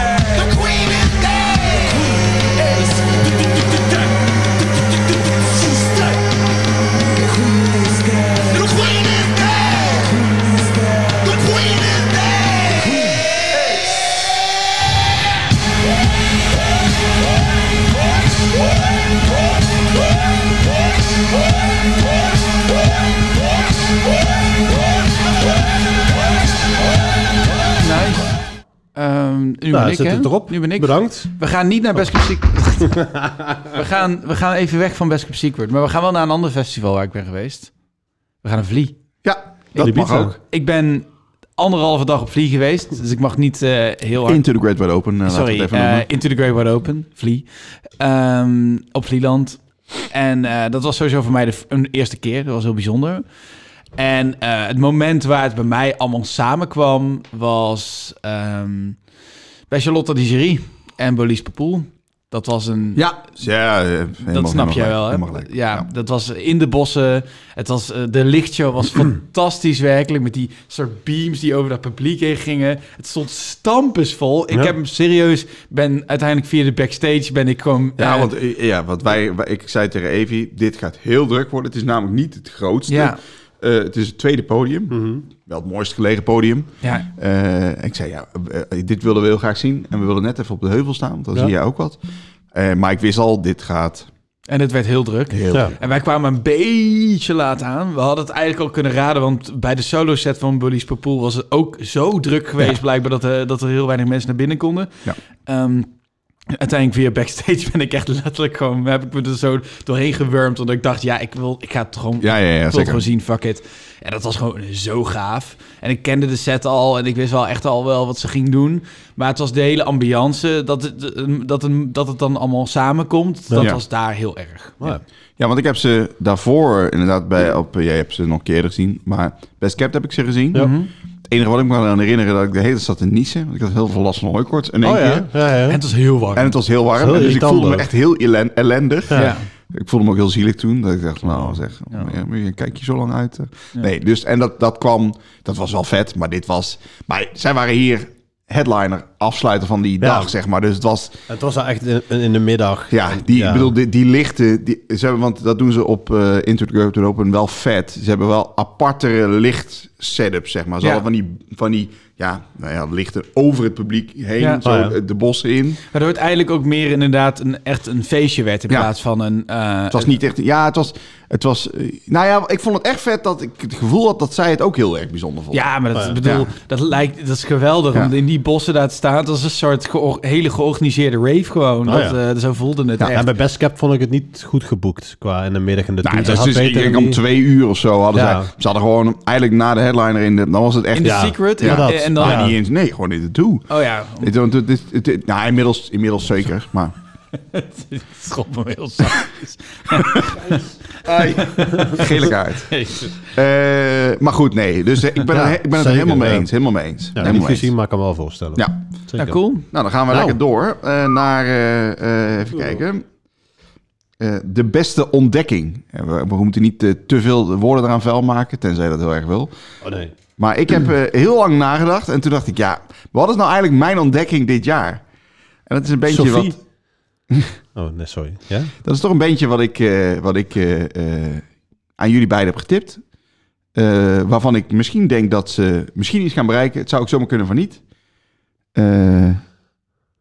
[SPEAKER 8] The queen is dead. The queen is dead.
[SPEAKER 2] Nice. Ehm, nu
[SPEAKER 4] Nou,
[SPEAKER 2] ben ik,
[SPEAKER 4] zit
[SPEAKER 2] hè?
[SPEAKER 4] het erop.
[SPEAKER 2] Nu ben ik.
[SPEAKER 4] Bedankt.
[SPEAKER 2] We gaan niet naar Best Kept Secret. we, gaan, we gaan even weg van Best Kept Secret. Maar we gaan wel naar een ander festival waar ik ben geweest. We gaan naar Vlie.
[SPEAKER 3] Ja, dat mag
[SPEAKER 4] Ibiza.
[SPEAKER 3] ook.
[SPEAKER 2] Ik ben anderhalve dag op Vlie geweest. Dus ik mag niet eh, heel hard...
[SPEAKER 3] Into the Great Wide Open, eh, laten we
[SPEAKER 2] Sorry,
[SPEAKER 3] het even
[SPEAKER 2] eh,
[SPEAKER 3] noemen.
[SPEAKER 2] Into the Great Wide Open, Vlie. Ehm, op Vlieland. En eh, dat was sowieso voor mij de f- een eerste keer. Dat was heel bijzonder. En eh, het moment waar het bij mij allemaal samenkwam... was ehm, bij Charlotte Digerie en Bolis Papoel. Dat was een...
[SPEAKER 11] Ja,
[SPEAKER 3] Ja, eh, helemaal-
[SPEAKER 2] dat snap jij
[SPEAKER 3] helemaal gelijk,
[SPEAKER 2] wel, hè?
[SPEAKER 3] helemaal gelijk.
[SPEAKER 2] Ja, dat was in de bossen. Het was, eh, de lichtshow was fantastisch werkelijk. Met die soort beams die over dat publiek heen gingen. Het stond stampesvol. Ik
[SPEAKER 4] Ja.
[SPEAKER 2] heb hem serieus... Ben uiteindelijk via de backstage ben ik gewoon...
[SPEAKER 3] Ja,
[SPEAKER 2] eh,
[SPEAKER 3] want eh, ja, wat wij, wij- ik zei tegen Evi, dit gaat heel druk worden. Het is namelijk niet het grootste.
[SPEAKER 2] Ja.
[SPEAKER 3] Eh, het is het tweede podium.
[SPEAKER 4] Mhm.
[SPEAKER 3] Wel het mooist gelegen podium.
[SPEAKER 2] Ja.
[SPEAKER 3] Eh, ik zei, ja, eh, dit wilden we heel graag zien. En we wilden net even op de heuvel staan, want dan
[SPEAKER 4] Ja.
[SPEAKER 3] zie je ook wat. Eh, maar ik wist al, dit gaat
[SPEAKER 2] En het werd heel druk.
[SPEAKER 3] heel
[SPEAKER 4] Ja.
[SPEAKER 3] druk.
[SPEAKER 2] En wij kwamen een beetje laat aan. We hadden het eigenlijk al kunnen raden, want bij de solo set van Bullies per Poel was het ook zo druk geweest, blijkbaar, dat, eh, dat er heel weinig mensen naar binnen konden.
[SPEAKER 3] Ja.
[SPEAKER 2] Ehm, uiteindelijk via backstage ben ik echt letterlijk gewoon, heb ik me er zo doorheen gewurmd, omdat ik dacht, ja, ik wil, ik ga het gewoon,
[SPEAKER 3] Ja, ja, ja,
[SPEAKER 2] ik wil het
[SPEAKER 3] zeker.
[SPEAKER 2] gewoon zien, fuck it. En dat was gewoon zo gaaf. En ik kende de set al en ik wist wel echt al wel wat ze ging doen. Maar het was de hele ambiance, dat het, dat het, dat het dan allemaal samenkomt, dat
[SPEAKER 3] Ja.
[SPEAKER 2] was daar heel erg.
[SPEAKER 4] Ja.
[SPEAKER 3] Ja, want ik heb ze daarvoor eh, inderdaad bij op. eh, Jij hebt ze nog een keer gezien, maar Best Kept heb ik ze gezien. Het enige wat ik me kan herinneren dat ik de hele tijd zat te niezen. Want ik had heel veel last van hooikoorts in één
[SPEAKER 4] Oh ja,
[SPEAKER 3] keer.
[SPEAKER 4] ja, ja.
[SPEAKER 2] En het was heel warm.
[SPEAKER 3] En het was heel warm,
[SPEAKER 4] Dat is heel
[SPEAKER 3] dus ik
[SPEAKER 4] irritant
[SPEAKER 3] voelde me
[SPEAKER 4] ook.
[SPEAKER 3] echt heel elen- ellendig.
[SPEAKER 2] Ja.
[SPEAKER 3] Ik voelde me ook heel zielig toen. Dat ik dacht, nou zeg, ja. maar je- kijk je zo lang uit. eh. Nee, dus en dat, dat kwam, dat was wel vet, maar dit was... Maar zij waren hier headliner, afsluiter van die dag, zeg maar. Dus het was,
[SPEAKER 4] Het was daar echt in, in de middag.
[SPEAKER 3] ja, die, Ik bedoel, die, die lichten, die, ze hebben, want dat doen ze op eh Into the Curve to the Open wel vet. Ze hebben wel apartere licht setup, zeg maar. Ze
[SPEAKER 2] Ja.
[SPEAKER 3] hadden van die, van die ja, nou ja, lichten over het publiek heen,
[SPEAKER 2] Ja.
[SPEAKER 3] zo
[SPEAKER 4] Oh ja.
[SPEAKER 3] eh, de bossen in.
[SPEAKER 2] Waardoor het eigenlijk ook meer inderdaad een, echt een feestje werd in
[SPEAKER 3] Ja.
[SPEAKER 2] plaats van een... eh,
[SPEAKER 3] Het was niet echt. Ja, het was. Het was eh, nou ja, ik vond het echt vet dat ik het gevoel had dat zij het ook heel erg bijzonder vond.
[SPEAKER 2] Ja, maar dat
[SPEAKER 4] ja.
[SPEAKER 2] bedoel,
[SPEAKER 3] Ja.
[SPEAKER 2] dat lijkt, dat is geweldig
[SPEAKER 3] Ja.
[SPEAKER 2] om in die bossen daar te staan. Dat is een soort geor- hele georganiseerde rave gewoon.
[SPEAKER 4] Oh,
[SPEAKER 2] dat,
[SPEAKER 4] ja.
[SPEAKER 2] eh, zo voelde het
[SPEAKER 3] Ja,
[SPEAKER 2] echt.
[SPEAKER 4] En bij Best Cap vond ik het niet goed geboekt qua in de middag en de
[SPEAKER 3] Nou,
[SPEAKER 4] toet.
[SPEAKER 3] het was
[SPEAKER 4] Hij
[SPEAKER 3] dus,
[SPEAKER 4] had
[SPEAKER 3] ik
[SPEAKER 4] beter
[SPEAKER 3] denk
[SPEAKER 4] in
[SPEAKER 3] om
[SPEAKER 4] die-
[SPEAKER 3] twee uur of zo hadden
[SPEAKER 4] Ja.
[SPEAKER 3] zij. Ze hadden gewoon eigenlijk na de headliner in de. Dan was het echt.
[SPEAKER 2] in de
[SPEAKER 4] ja.
[SPEAKER 2] secret.
[SPEAKER 4] Ja, dat.
[SPEAKER 2] en, en dan,
[SPEAKER 3] nou, niet eens. Nee, gewoon in de toe.
[SPEAKER 2] Oh ja,
[SPEAKER 3] Het- want het- het- het- het- Nou, inmiddels, inmiddels zeker. Maar.
[SPEAKER 2] schop me heel zacht.
[SPEAKER 3] Gele kaart. Eh, maar goed, nee. Dus eh, ik ben,
[SPEAKER 4] Ja,
[SPEAKER 3] er, ik ben het er
[SPEAKER 4] zeker,
[SPEAKER 3] helemaal mee
[SPEAKER 4] ja.
[SPEAKER 3] eens. Helemaal mee eens.
[SPEAKER 4] Ja,
[SPEAKER 3] helemaal
[SPEAKER 4] niet
[SPEAKER 3] mee eens.
[SPEAKER 4] gezien, maar ik kan me wel voorstellen.
[SPEAKER 3] Ja.
[SPEAKER 2] Ja,
[SPEAKER 4] Zeker.
[SPEAKER 2] cool.
[SPEAKER 3] Nou, dan gaan we lekker door eh, naar, eh, eh, even kijken. Eh, de beste ontdekking. Eh, We, we moeten niet eh, te veel woorden eraan vuil maken, tenzij dat heel erg wil.
[SPEAKER 4] Oh nee.
[SPEAKER 3] Maar ik heb eh, heel lang nagedacht en toen dacht ik, ja, wat is nou eigenlijk mijn ontdekking dit jaar? En dat is een beetje
[SPEAKER 4] Sophie.
[SPEAKER 3] wat.
[SPEAKER 4] Oh nee, sorry. Ja?
[SPEAKER 3] Dat is toch een beetje wat ik, eh, wat ik eh, eh, aan jullie beiden heb getipt. Eh, waarvan ik misschien denk dat ze misschien iets gaan bereiken. Het zou ook zomaar kunnen van niet. Eh,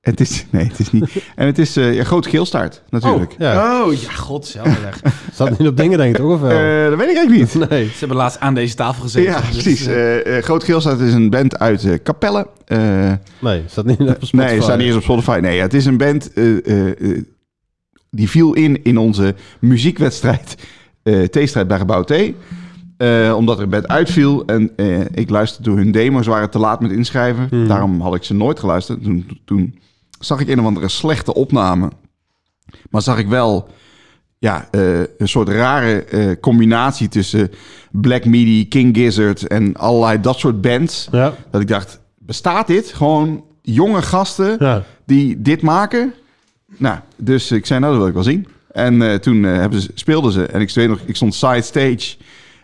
[SPEAKER 3] het is, nee, het is niet. En het is eh, ja, groot geelstaart, natuurlijk.
[SPEAKER 4] Ja.
[SPEAKER 2] Oh ja, god, zelfweg.
[SPEAKER 4] Staat niet op dingen denk ik toch of wel?
[SPEAKER 3] Eh, dat weet ik eigenlijk niet.
[SPEAKER 4] nee.
[SPEAKER 2] Ze hebben laatst aan deze tafel gezeten.
[SPEAKER 3] Ja,
[SPEAKER 2] dus,
[SPEAKER 3] precies.
[SPEAKER 2] eh,
[SPEAKER 3] Eh, eh, Groot Geelstaart is een band uit eh, Capelle. Eh,
[SPEAKER 4] Nee, staat niet op Spotify.
[SPEAKER 3] nee, staat niet eens op Spotify. Nee, ja, het is een band eh, eh, eh, die viel in in onze muziekwedstrijd eh T-strijd bij Gebouw T. Eh, omdat er een band uitviel en eh, ik luisterde toen hun demo's waren te laat met inschrijven.
[SPEAKER 4] Hmm.
[SPEAKER 3] Daarom had ik ze nooit geluisterd. Toen, toen zag ik een of andere slechte opname. Maar zag ik wel ja, eh, een soort rare eh, combinatie tussen Black Midi, King Gizzard en allerlei dat soort bands.
[SPEAKER 4] Ja.
[SPEAKER 3] Dat ik dacht, bestaat dit? Gewoon jonge gasten
[SPEAKER 4] Ja.
[SPEAKER 3] die dit maken? Nou, dus ik zei, nou, dat wil ik wel zien. En eh, toen eh, hebben ze, speelden ze. En ik, weet nog, ik stond side stage.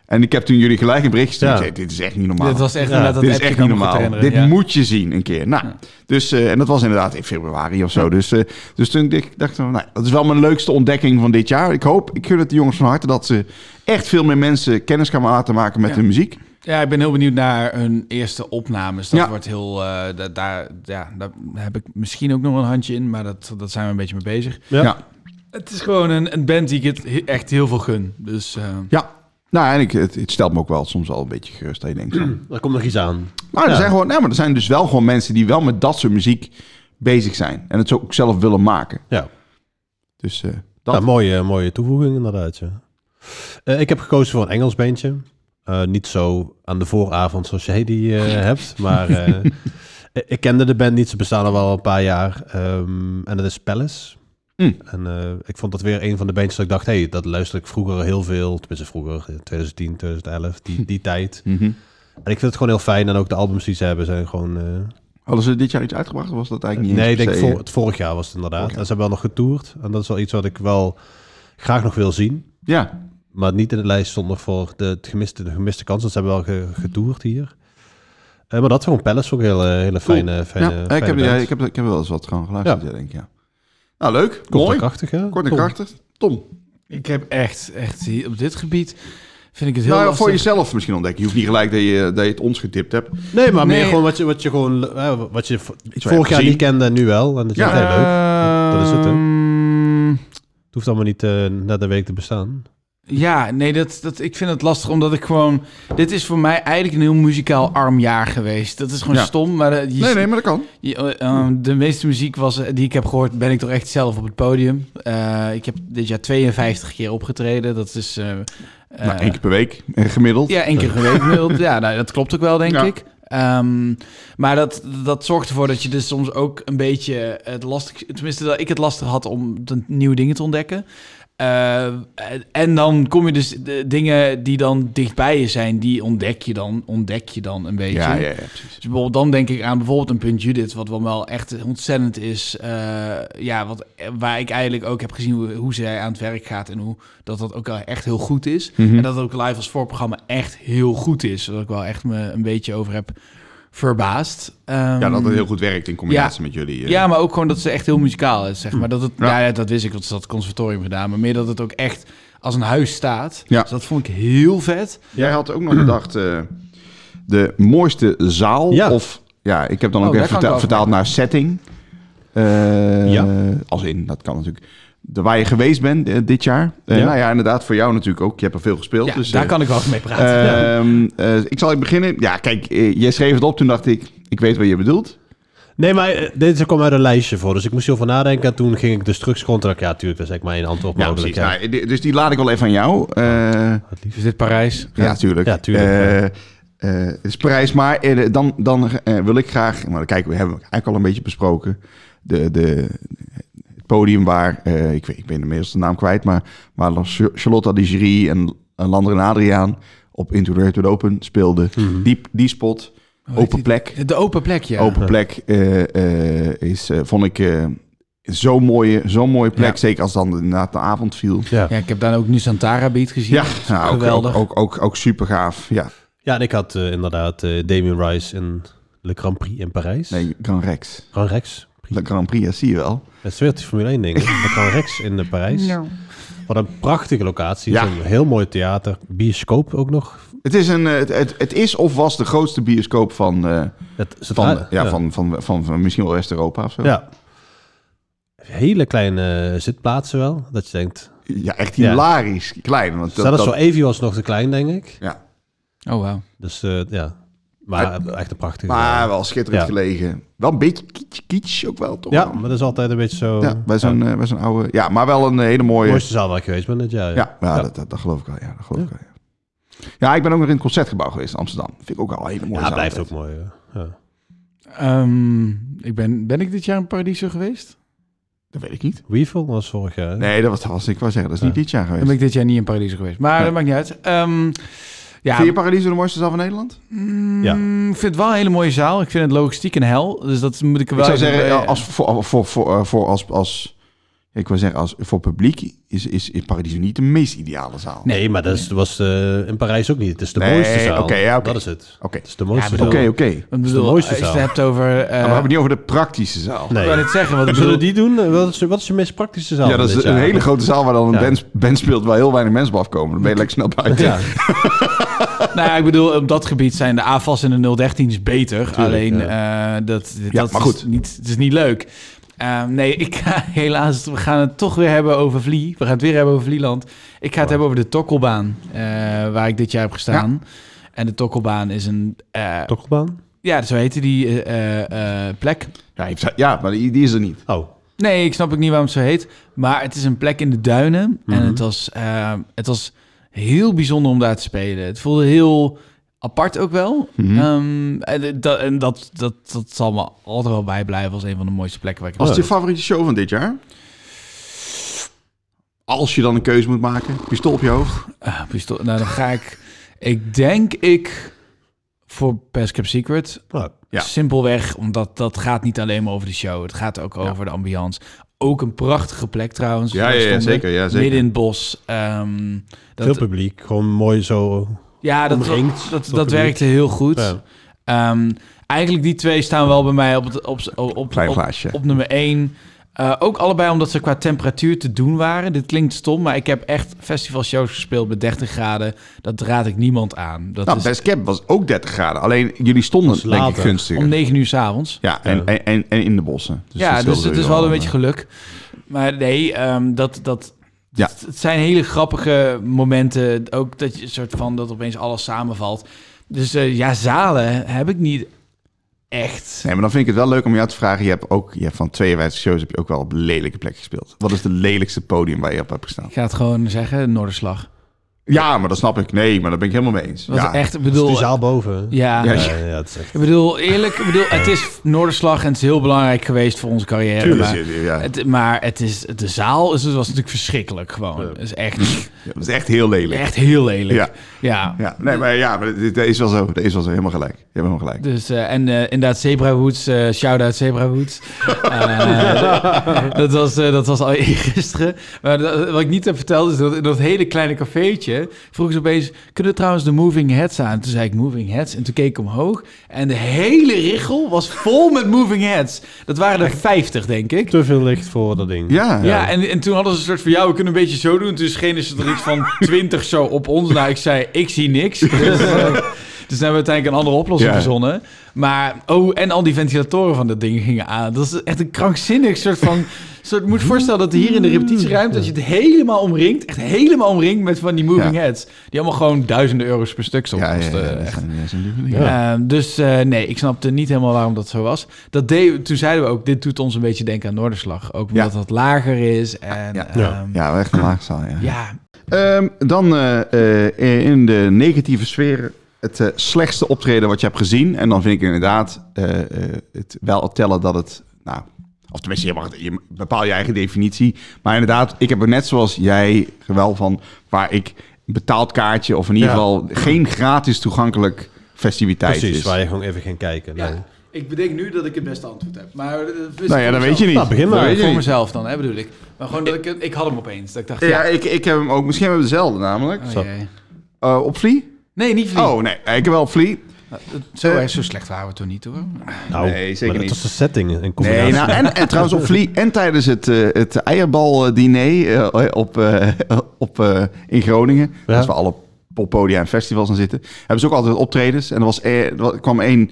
[SPEAKER 3] En ik heb toen jullie gelijk een berichtje gestuurd.
[SPEAKER 4] Ja.
[SPEAKER 3] Ik zei, dit is echt niet normaal.
[SPEAKER 2] Dit was echt
[SPEAKER 4] Ja,
[SPEAKER 2] inderdaad dat
[SPEAKER 3] dit is
[SPEAKER 2] appje
[SPEAKER 3] echt
[SPEAKER 2] kan
[SPEAKER 3] niet
[SPEAKER 2] me goed
[SPEAKER 3] normaal.
[SPEAKER 2] herinneren,
[SPEAKER 3] Dit
[SPEAKER 2] ja.
[SPEAKER 3] moet je zien een keer. Nou, dus, eh, en dat was inderdaad in februari of zo. Dus, eh, dus toen dacht ik, dacht, ik van, nou, dat is wel mijn leukste ontdekking van dit jaar. Ik hoop, ik gun het de jongens van harte dat ze echt veel meer mensen kennis gaan laten maken met
[SPEAKER 2] Ja.
[SPEAKER 3] hun muziek.
[SPEAKER 2] Ja, ik ben heel benieuwd naar hun eerste opnames. Dat
[SPEAKER 3] Ja.
[SPEAKER 2] wordt heel. eh, da- daar, ja, daar heb ik misschien ook nog een handje in, maar dat, dat zijn we een beetje mee bezig.
[SPEAKER 4] Ja.
[SPEAKER 3] Ja.
[SPEAKER 2] Het is gewoon een, een band die ik het he- echt heel veel gun. Dus eh,
[SPEAKER 3] Ja. Nou, en ik, het, het stelt me ook wel soms al een beetje gerust. Dat je denkt, zo,
[SPEAKER 4] Er komt nog iets aan.
[SPEAKER 3] Maar er,
[SPEAKER 4] Ja.
[SPEAKER 3] zijn gewoon, nee, maar er zijn dus wel gewoon mensen die wel met dat soort muziek bezig zijn. En het zo ook zelf willen maken.
[SPEAKER 4] Ja.
[SPEAKER 3] Dus eh, dat.
[SPEAKER 4] ja mooie, mooie toevoeging inderdaad. Ja. Eh, ik heb gekozen voor een Engels bandje. Eh, niet zo aan de vooravond zoals jij die eh, hebt. Maar eh, ik- ik kende de band niet. Ze bestaan al wel een paar jaar. Ehm, en dat is Palace.
[SPEAKER 3] Mm.
[SPEAKER 4] En eh, ik vond dat weer een van de bandjes dat ik dacht... hey, dat luister ik vroeger heel veel. Tenminste vroeger, eh, 2010, 2011, die, die tijd.
[SPEAKER 3] Mhm.
[SPEAKER 4] En ik vind het gewoon heel fijn. En ook de albums die ze hebben zijn gewoon... eh,
[SPEAKER 3] Hadden ze dit jaar iets uitgebracht? Of was dat eigenlijk niet
[SPEAKER 4] Nee, ik
[SPEAKER 3] eens per
[SPEAKER 4] denk
[SPEAKER 3] se,
[SPEAKER 4] voor, het vorig jaar was het inderdaad. En ze hebben wel nog getoerd. En dat is wel iets wat ik wel graag nog wil zien.
[SPEAKER 3] eh, Ja,
[SPEAKER 4] Maar niet in de lijst zonder voor de, het gemiste, de gemiste kans. Dat ze hebben wel ge- getoerd hier. Eh, maar dat van Palace ook een hele, hele fijne, fijne,
[SPEAKER 3] ja. ik,
[SPEAKER 4] fijne
[SPEAKER 3] heb,
[SPEAKER 4] band.
[SPEAKER 3] ja, ik, heb, ik heb wel eens wat gewoon geluisterd,
[SPEAKER 4] Ja.
[SPEAKER 3] ja. denk ik. Ja. Nou, leuk.
[SPEAKER 4] Kort
[SPEAKER 3] mooi.
[SPEAKER 4] en krachtig, hè?
[SPEAKER 3] Kort en
[SPEAKER 4] Tom.
[SPEAKER 3] krachtig. Tom,
[SPEAKER 2] Ik heb echt, echt hier- op dit gebied vind ik het heel
[SPEAKER 3] nou, ja,
[SPEAKER 2] lastig.
[SPEAKER 3] voor jezelf misschien ontdekken. Je hoeft niet gelijk dat je, dat je het ons getipt hebt.
[SPEAKER 4] Nee, maar meer
[SPEAKER 2] Nee.
[SPEAKER 4] gewoon wat je, wat je, gewoon, eh, wat je v-
[SPEAKER 3] je hebt
[SPEAKER 4] vorig jaar
[SPEAKER 3] gezien.
[SPEAKER 4] niet kende en nu wel. En dat je
[SPEAKER 3] Ja. Eh.
[SPEAKER 4] ja. leuk. Dat is het, hè?
[SPEAKER 2] Ehm,
[SPEAKER 4] Het hoeft allemaal niet eh, na de week te bestaan.
[SPEAKER 2] Ja, nee, dat, dat, ik vind het lastig omdat ik gewoon... Dit is voor mij eigenlijk een heel muzikaal arm jaar geweest. Dat is gewoon
[SPEAKER 3] Ja.
[SPEAKER 2] stom, maar eh, je,
[SPEAKER 3] Nee, nee, maar dat kan.
[SPEAKER 2] je- eh, ehm, de meeste muziek was, eh, die ik heb gehoord, ben ik toch echt zelf op het podium. Eh, ik heb dit jaar 52 keer opgetreden. Dat is... eh,
[SPEAKER 3] nou,
[SPEAKER 2] eh,
[SPEAKER 3] één keer per week eh, gemiddeld.
[SPEAKER 2] ja, één keer geweest. ja, nou, dat klopt ook wel, denk
[SPEAKER 3] Ja.
[SPEAKER 2] ik. Ehm, maar dat, dat zorgt ervoor dat je dus soms ook een beetje het lastig... Tenminste, dat ik het lastig had om de nieuwe dingen te ontdekken. Eh, en dan kom je dus... De dingen die dan dichtbij je zijn, die ontdek je dan, ontdek je dan een beetje.
[SPEAKER 3] ja, ja, ja, precies.
[SPEAKER 2] Dus bijvoorbeeld dan denk ik aan bijvoorbeeld een punt Judith, wat wel wel echt ontzettend is. eh, ja, wat, waar ik eigenlijk ook heb gezien hoe, hoe zij aan het werk gaat en hoe dat dat ook wel echt heel goed is.
[SPEAKER 3] Mhm.
[SPEAKER 2] En dat het ook live als voorprogramma echt heel goed is. Dat ik wel echt me een beetje over heb verbaasd. Ehm,
[SPEAKER 3] Ja, dat het heel goed werkt in combinatie met jullie. eh.
[SPEAKER 2] ja, maar ook gewoon dat ze echt heel muzikaal is,
[SPEAKER 3] Mhm.
[SPEAKER 2] zeg maar. Dat het, ja. ja, dat wist ik, want ze had het conservatorium gedaan. Maar meer dat het ook echt als een huis staat.
[SPEAKER 3] Ja.
[SPEAKER 2] Dus dat vond ik heel vet.
[SPEAKER 3] Jij had ook nog bedacht eh, de mooiste zaal.
[SPEAKER 4] Ja.
[SPEAKER 3] Of ja, ik heb dan ook
[SPEAKER 2] Oh, daar
[SPEAKER 3] even
[SPEAKER 2] kan ik
[SPEAKER 3] verta-
[SPEAKER 2] wel
[SPEAKER 3] vertaald naar setting. Eh,
[SPEAKER 4] Ja.
[SPEAKER 3] Als in, dat kan natuurlijk. De, waar je geweest bent eh, dit jaar. Eh,
[SPEAKER 4] Ja.
[SPEAKER 3] Nou ja, inderdaad, voor jou natuurlijk ook. Je hebt er veel gespeeld.
[SPEAKER 2] Ja,
[SPEAKER 3] dus,
[SPEAKER 2] daar
[SPEAKER 3] eh,
[SPEAKER 2] kan ik wel mee praten.
[SPEAKER 3] ehm, eh, ik zal even beginnen. Ja, kijk, eh, jij schreef het op. Toen dacht ik, ik weet wat je bedoelt.
[SPEAKER 4] Nee, maar eh, deze kwam uit een lijstje voor. Dus ik moest hierover nadenken. En toen ging ik dus terug contract. Ja, tuurlijk, dat is eigenlijk maar één antwoord
[SPEAKER 3] Ja,
[SPEAKER 4] mogelijk.
[SPEAKER 3] precies.
[SPEAKER 4] Ja,
[SPEAKER 3] Nou, eh, dus die laat ik wel even aan jou. Eh,
[SPEAKER 2] Is Dus dit Parijs?
[SPEAKER 3] Ja, natuurlijk.
[SPEAKER 4] Ja, tuurlijk,
[SPEAKER 3] Eh, eh, het is Parijs, maar eh, dan, dan eh, wil ik graag... Maar kijk, we hebben eigenlijk al een beetje besproken. De, de, het podium waar... eh, ik, weet, ik ben inmiddels de naam kwijt, maar... Waar Lan- Charlotte de Jury en, en Lander en Adriaan op Into the Red Wide Open speelden. Die, die spot, open plek.
[SPEAKER 2] De open plek, ja.
[SPEAKER 3] Open plek eh, eh, is, eh, vond ik... eh, Zo'n mooie, zo'n mooie plek,
[SPEAKER 2] Ja.
[SPEAKER 3] zeker als dan inderdaad de avond viel.
[SPEAKER 4] ja.
[SPEAKER 2] Ja, ik heb daar ook nu Santara Beat gezien.
[SPEAKER 3] Ja, nou, ook,
[SPEAKER 2] geweldig.
[SPEAKER 3] ook, ook, ook, ook super gaaf. Ja,
[SPEAKER 4] Ja, en ik had eh, inderdaad eh, Damien Rice in Le Grand Prix in Parijs.
[SPEAKER 3] nee, kan Rex.
[SPEAKER 4] Grand Rex.
[SPEAKER 3] De Grand Prix, dat zie je wel.
[SPEAKER 4] Het is weer het Formule 1 ding. hè? Le Grand Rex in eh, Parijs. Wat een prachtige locatie.
[SPEAKER 3] Ja.
[SPEAKER 4] Het is Een heel mooi theater. Bioscoop ook nog.
[SPEAKER 3] Het is, een, eh, het, het, het is of was de grootste bioscoop van, eh,
[SPEAKER 4] Het, is het
[SPEAKER 3] van,
[SPEAKER 4] raar-
[SPEAKER 3] ja, Van, van, van, van misschien wel West-Europa of zo.
[SPEAKER 4] Ah, Ja. Hele kleine zitplaatsen wel. Dat je denkt...
[SPEAKER 3] Ja, echt
[SPEAKER 4] Ja.
[SPEAKER 3] hilarisch klein. Want dat,
[SPEAKER 4] Zelfs
[SPEAKER 3] dat-
[SPEAKER 4] zo Evie was nog te klein, denk ik.
[SPEAKER 3] ja.
[SPEAKER 2] Oh, wauw.
[SPEAKER 4] Dus eh, ja. Maar echt een prachtige...
[SPEAKER 3] Maar wel schitterend
[SPEAKER 4] Ja.
[SPEAKER 3] gelegen. Wel een beetje kitsch, kitsch ook wel, toch?
[SPEAKER 4] ja,
[SPEAKER 3] wel?
[SPEAKER 4] maar dat is altijd een beetje zo...
[SPEAKER 3] ja bij zo'n eh, bij zo'n oude... Ja, maar wel een hele
[SPEAKER 4] De
[SPEAKER 3] mooie...
[SPEAKER 4] mooiste zaal waar ik geweest ben dit jaar.
[SPEAKER 3] Ja, ja,
[SPEAKER 4] Ja.
[SPEAKER 3] Dat, dat, dat geloof ik wel. Ja, dat geloof ik wel ja. ja, ik ben ook nog in het Concertgebouw geweest in Amsterdam. Vind ik ook al een hele mooie
[SPEAKER 4] Ja,
[SPEAKER 3] zaal.
[SPEAKER 4] blijft ook mooi. ja. Ja.
[SPEAKER 2] Ehm, ik ben, ben ik dit jaar in Paradiso geweest?
[SPEAKER 3] Dat weet ik niet.
[SPEAKER 4] Weevil was vorig jaar.
[SPEAKER 3] Nee, dat was, dat was ik wou zeggen. Dat is niet dit jaar
[SPEAKER 2] Dan
[SPEAKER 3] geweest.
[SPEAKER 2] ben ik dit jaar niet in Paradiso geweest. Maar dat maakt niet uit. Ehm, ja,
[SPEAKER 3] Vind je Paradiso de mooiste zaal van Nederland?
[SPEAKER 4] Ja.
[SPEAKER 2] mm, ik vind het wel een hele mooie zaal. Ik vind het logistiek een hel. Dus dat moet ik er
[SPEAKER 3] Ik
[SPEAKER 2] wel
[SPEAKER 3] zou
[SPEAKER 2] even
[SPEAKER 3] zeggen,
[SPEAKER 2] bij-
[SPEAKER 3] ja, als voor, voor, voor, eh, voor als, als ik wil zeggen, als voor publiek is, is, is Paradiso niet de meest ideale zaal.
[SPEAKER 4] Nee, maar dat is, was eh, in Parijs ook niet. Het is de
[SPEAKER 3] Nee,
[SPEAKER 4] mooiste zaal.
[SPEAKER 3] oké, ja, oké.
[SPEAKER 4] Dat is het.
[SPEAKER 3] Oké.
[SPEAKER 4] Het is de mooiste
[SPEAKER 2] Ja,
[SPEAKER 4] zaal.
[SPEAKER 2] bedoel-
[SPEAKER 3] Oké, oké. Maar
[SPEAKER 2] Ik
[SPEAKER 4] is de
[SPEAKER 2] bedoel,
[SPEAKER 4] mooiste
[SPEAKER 2] als je het
[SPEAKER 4] zaal.
[SPEAKER 2] hebt over... eh
[SPEAKER 3] we hebben het niet over de praktische zaal.
[SPEAKER 2] Ik
[SPEAKER 4] Nee.
[SPEAKER 2] wil net zeggen, want ik
[SPEAKER 4] Zullen we
[SPEAKER 2] bedoel...
[SPEAKER 4] die doen? Eh, Wat is, wat is je meest praktische zaal?
[SPEAKER 3] Ja, dat
[SPEAKER 4] van
[SPEAKER 3] is
[SPEAKER 4] dit
[SPEAKER 3] een
[SPEAKER 4] jaar?
[SPEAKER 3] hele grote zaal waar dan een
[SPEAKER 4] Ja.
[SPEAKER 3] band, band speelt waar heel weinig mensen op afkomen. Dan ben je lekker snel buiten.
[SPEAKER 4] Ja.
[SPEAKER 2] Nou ja, ik bedoel, op dat gebied zijn de AFAS en de 013's beter. Alleen, eh, dat, dat
[SPEAKER 3] maar
[SPEAKER 2] Is
[SPEAKER 3] goed.
[SPEAKER 2] niet, het is niet leuk. Eh, nee, ik ga helaas... We gaan het toch weer hebben over Vlie. We gaan het weer hebben over Vlieland. Ik ga het hebben over de Tokkelbaan, eh, waar ik dit jaar heb gestaan. En de Tokkelbaan is een... eh,
[SPEAKER 4] Tokkelbaan?
[SPEAKER 2] ja, zo heette die eh, eh, eh, plek.
[SPEAKER 3] Ja, ik zou- ja, maar die, die is er niet.
[SPEAKER 4] Oh,
[SPEAKER 2] Nee, ik snap ook niet waarom het zo heet. Maar het is een plek in de duinen.
[SPEAKER 3] Mhm.
[SPEAKER 2] En het was, eh, het was heel bijzonder om daar te spelen. Het voelde heel apart ook wel.
[SPEAKER 3] Mhm.
[SPEAKER 2] Ehm, en dat, en dat, dat, dat zal me altijd wel bijblijven als een van de mooiste plekken waar ik
[SPEAKER 3] Was het
[SPEAKER 2] heb
[SPEAKER 3] je favoriete show van dit jaar? Als je dan een keuze moet maken, pistool op je hoofd.
[SPEAKER 2] gespeeld. Ah, pistool. Nou, dan ga ik... Ik denk ik... voor Best Kept Secret.
[SPEAKER 4] Nou,
[SPEAKER 3] Ja.
[SPEAKER 2] Simpelweg, omdat dat gaat niet alleen maar over de show. Het gaat ook over de ambiance. Ook een prachtige plek trouwens.
[SPEAKER 3] Ja, ja, ja, zeker, ja, zeker.
[SPEAKER 2] Midden in het bos. Ehm, dat,
[SPEAKER 4] veel publiek, gewoon mooi zo.
[SPEAKER 2] ja, dat, dat,
[SPEAKER 4] omringd
[SPEAKER 2] dat,
[SPEAKER 4] door publiek.
[SPEAKER 2] werkte heel goed.
[SPEAKER 4] Ja.
[SPEAKER 2] Ehm, eigenlijk die twee staan wel bij mij op, het, op, op, op,
[SPEAKER 3] Klein
[SPEAKER 2] op,
[SPEAKER 3] glaasje.
[SPEAKER 2] op nummer één. Eh, ook allebei omdat ze qua temperatuur te doen waren. Dit klinkt stom, maar ik heb echt festivalshows gespeeld met 30 graden. Dat raad ik niemand aan. Dat
[SPEAKER 3] Nou,
[SPEAKER 2] is
[SPEAKER 3] Best Cap was ook 30 graden. Alleen jullie stonden denk ik
[SPEAKER 4] later.
[SPEAKER 3] gunstiger.
[SPEAKER 2] om 9 uur s'avonds.
[SPEAKER 3] Ja, en, en, en, en in de bossen. Dus
[SPEAKER 2] ja,
[SPEAKER 3] dat
[SPEAKER 2] dus
[SPEAKER 3] scheelde
[SPEAKER 2] het is
[SPEAKER 3] wel eh,
[SPEAKER 2] wel een beetje geluk. Maar nee, ehm, dat, dat,
[SPEAKER 3] Ja.
[SPEAKER 2] het- het zijn hele grappige momenten. Ook dat je een soort van dat opeens alles samenvalt. Dus eh, ja, zalen heb ik niet echt.
[SPEAKER 3] Nee, maar dan vind ik het wel leuk om jou te vragen. Je hebt ook je hebt van 52 shows heb je ook wel op lelijke plek gespeeld. Wat is de lelijkste podium waar je op hebt gestaan?
[SPEAKER 2] Ik ga het gewoon zeggen, Noorderslag.
[SPEAKER 3] Ja, maar dat snap ik. Nee, maar daar ben ik helemaal mee eens.
[SPEAKER 2] Wat
[SPEAKER 3] ja.
[SPEAKER 2] echt, ik
[SPEAKER 4] Dus
[SPEAKER 2] bedoel,
[SPEAKER 4] die zaal boven.
[SPEAKER 2] ja,
[SPEAKER 3] Ja,
[SPEAKER 4] Ja, ja, het is echt-
[SPEAKER 2] ik bedoel eerlijk, ik bedoel, het is Noorderslag en het is heel belangrijk geweest voor onze carrière.
[SPEAKER 3] Tuurlijk,
[SPEAKER 2] maar,
[SPEAKER 3] ja, ja.
[SPEAKER 2] het, maar het is, de zaal is, het was natuurlijk verschrikkelijk gewoon. Het is echt,
[SPEAKER 3] Ja, dat is echt heel lelijk.
[SPEAKER 2] echt heel lelijk.
[SPEAKER 3] Ja.
[SPEAKER 2] ja.
[SPEAKER 3] Ja, nee, maar ja, maar dit- dat is wel zo. Dat is wel zo. Helemaal gelijk. Je hebt helemaal gelijk.
[SPEAKER 2] Dus, eh, en eh, inderdaad, Zebra Woods, eh, shout-out Zebra Woods. Eh, dat, was, eh, dat was al gisteren. Maar dat- wat ik niet heb verteld is dat in dat hele kleine cafeetje... vroeg ze opeens, kunnen we trouwens de Moving Heads aan? Toen zei ik Moving Heads en toen keek ik omhoog... en de hele richel was vol met Moving Heads. Dat waren er 50, denk ik.
[SPEAKER 4] Te veel licht voor dat ding.
[SPEAKER 3] Ja,
[SPEAKER 2] Ja, en, en toen hadden ze een soort van, ja, we kunnen een beetje zo doen. Toen schenen ze er iets van twintig zo op ons. Nou, ik zei, ik zie niks. Dus, eh, dus toen hebben we uiteindelijk een andere oplossing
[SPEAKER 3] Ja.
[SPEAKER 2] verzonnen. Maar, oh, en al die ventilatoren van dat ding gingen aan. Dat is echt een krankzinnig soort van... Soort, moet je voorstellen dat hier in de repetitieruimte... dat je het helemaal omringt, echt helemaal omringt met van die moving
[SPEAKER 3] Ja.
[SPEAKER 2] heads. Die allemaal gewoon duizenden euro's per stuk
[SPEAKER 3] ja, ja, ja,
[SPEAKER 2] kosten.
[SPEAKER 3] ja, dat zijn- dat zijn lieve dingen.
[SPEAKER 2] Ehm, dus eh, nee, ik snapte niet helemaal waarom dat zo was. Dat deed, toen zeiden we ook, dit doet ons een beetje denken aan Noorderslag. Ook omdat
[SPEAKER 3] Ja.
[SPEAKER 2] dat lager is. En,
[SPEAKER 3] Ja.
[SPEAKER 2] ja,
[SPEAKER 4] Ja.
[SPEAKER 3] Ja, echt een laagzaal, ja.
[SPEAKER 2] ja.
[SPEAKER 3] Ehm, dan eh, eh, in de negatieve sfeer het eh, slechtste optreden wat je hebt gezien. En dan vind ik inderdaad eh, eh, het wel tellen dat het... Nou, of tenminste, je, mag, het- je bepaal je eigen definitie. Maar inderdaad, ik heb er net zoals jij wel van... waar ik een betaald kaartje of in ieder
[SPEAKER 4] Ja.
[SPEAKER 3] geval geen gratis toegankelijk festiviteit
[SPEAKER 4] Precies,
[SPEAKER 3] is.
[SPEAKER 4] waar je gewoon even ging kijken. Nou,
[SPEAKER 2] Ja.
[SPEAKER 4] nee.
[SPEAKER 2] Ik bedenk nu dat ik het beste antwoord heb. Maar, eh,
[SPEAKER 3] Nou ja, dat weet je niet.
[SPEAKER 4] Nou, begin maar.
[SPEAKER 3] Dat weet
[SPEAKER 2] Voor
[SPEAKER 3] je niet.
[SPEAKER 2] mezelf dan, hè, bedoel ik. Maar gewoon dat ik, het- ik had hem opeens. Dat ik dacht,
[SPEAKER 3] Ja,
[SPEAKER 2] ja.
[SPEAKER 3] ik, ik heb hem ook. Misschien hebben we dezelfde namelijk.
[SPEAKER 2] oh,
[SPEAKER 4] Zo.
[SPEAKER 2] jee.
[SPEAKER 3] Eh, op Vlie?
[SPEAKER 2] nee, niet verdiend.
[SPEAKER 3] Oh, nee. Ik heb wel op Vlie.
[SPEAKER 2] zo,
[SPEAKER 3] eh,
[SPEAKER 2] erg, zo slecht waren we toch niet, hoor.
[SPEAKER 4] Nou,
[SPEAKER 3] Nee, zeker
[SPEAKER 4] maar dat
[SPEAKER 3] niet.
[SPEAKER 4] was de setting en combinatie.
[SPEAKER 3] Nee, nou, en, en trouwens op Vlie en tijdens het, eh het eierbaldiner eh op, eh, op, eh, in Groningen,
[SPEAKER 4] Ja.
[SPEAKER 3] als we alle poppodia en festivals aan zitten, hebben ze ook altijd optredens. En er, was, eh, er kwam één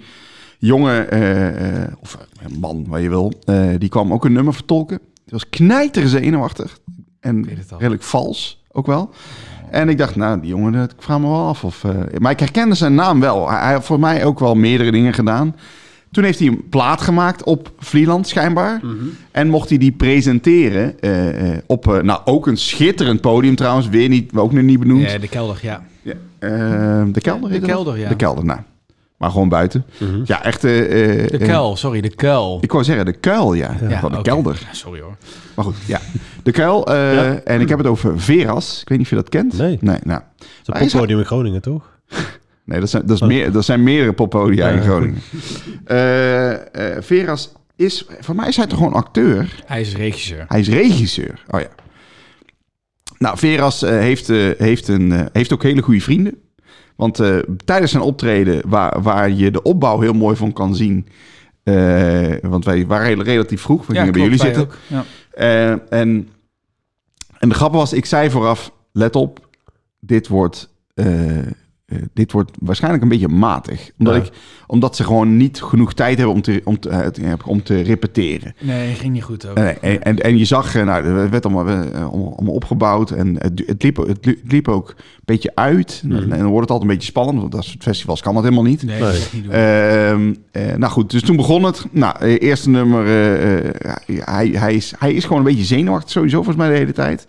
[SPEAKER 3] jonge, eh, eh, of een man, waar je wil, eh, die kwam ook een nummer vertolken. Die was knijterzenuwachtig en
[SPEAKER 2] weet het al.
[SPEAKER 3] redelijk vals ook wel. En ik dacht, nou, die jongen, dat- ik vraag me wel af. Of, eh, maar ik herkende zijn naam wel. Hij, hij had voor mij ook wel meerdere dingen gedaan. Toen heeft hij een plaat gemaakt op Vlieland, schijnbaar.
[SPEAKER 2] Mhm.
[SPEAKER 3] En mocht hij die presenteren eh, eh, op, eh, nou, ook een schitterend podium trouwens. Weer niet, ook nog niet benoemd.
[SPEAKER 2] de kelder, ja.
[SPEAKER 3] Ja, eh, de kelder?
[SPEAKER 2] De
[SPEAKER 3] heet dat?
[SPEAKER 2] kelder, ja.
[SPEAKER 3] De kelder, nou. Maar gewoon buiten. Ja, echt... eh, eh,
[SPEAKER 2] Mhm. De
[SPEAKER 3] eh,
[SPEAKER 2] kuil, sorry, de kuil.
[SPEAKER 3] ik wou zeggen, de kuil, ja.
[SPEAKER 2] Ja,
[SPEAKER 3] Van de
[SPEAKER 2] oké.
[SPEAKER 3] kelder.
[SPEAKER 2] Ja, Sorry, hoor.
[SPEAKER 3] Maar goed, ja. De kuil. eh, En ik heb het over Veras. Ik weet niet of je dat kent.
[SPEAKER 4] Nee.
[SPEAKER 3] Nee, nou.
[SPEAKER 4] Het
[SPEAKER 3] Hij
[SPEAKER 4] is
[SPEAKER 3] is-
[SPEAKER 4] een poppodium in Groningen, toch?
[SPEAKER 3] Nee, dat zijn, dat is meer, dat zijn meerdere poppodia in Groningen. Eh, eh, Veras is... Voor mij is hij toch gewoon acteur?
[SPEAKER 2] Hij is regisseur.
[SPEAKER 3] Hij is regisseur. Oh ja. Nou, Veras eh, heeft, eh, heeft, een, eh, heeft ook hele goede vrienden. Want eh, tijdens zijn optreden, waar, waar je de opbouw heel mooi van kan zien. eh, want wij waren heel- relatief vroeg. We gingen bij jullie
[SPEAKER 2] klopt,
[SPEAKER 3] zitten.
[SPEAKER 2] wij ook. Ja.
[SPEAKER 3] Eh, en, en de grap was, ik zei vooraf, let op, dit wordt, eh, eh, dit wordt waarschijnlijk een beetje matig. Omdat,
[SPEAKER 4] Ja.
[SPEAKER 3] ik, omdat ze gewoon niet genoeg tijd hebben om te, om te, eh, om te repeteren.
[SPEAKER 2] Nee, ging niet goed ook.
[SPEAKER 3] Nee, nee, en, en, en je zag, eh, nou, er werd allemaal, eh, allemaal, allemaal opgebouwd en het, du- het, liep, het li- het liep ook een beetje uit. En, en dan wordt het altijd een beetje spannend, want dat soort festivals kan dat helemaal niet.
[SPEAKER 2] Nee,
[SPEAKER 4] Nee.
[SPEAKER 2] dat is niet doen.
[SPEAKER 3] Ehm, eh, nou goed, dus toen begon het. Nou, eh, eerste nummer. eh, eh, hij, hij, is, hij is gewoon een beetje zenuwachtig sowieso volgens mij de hele tijd.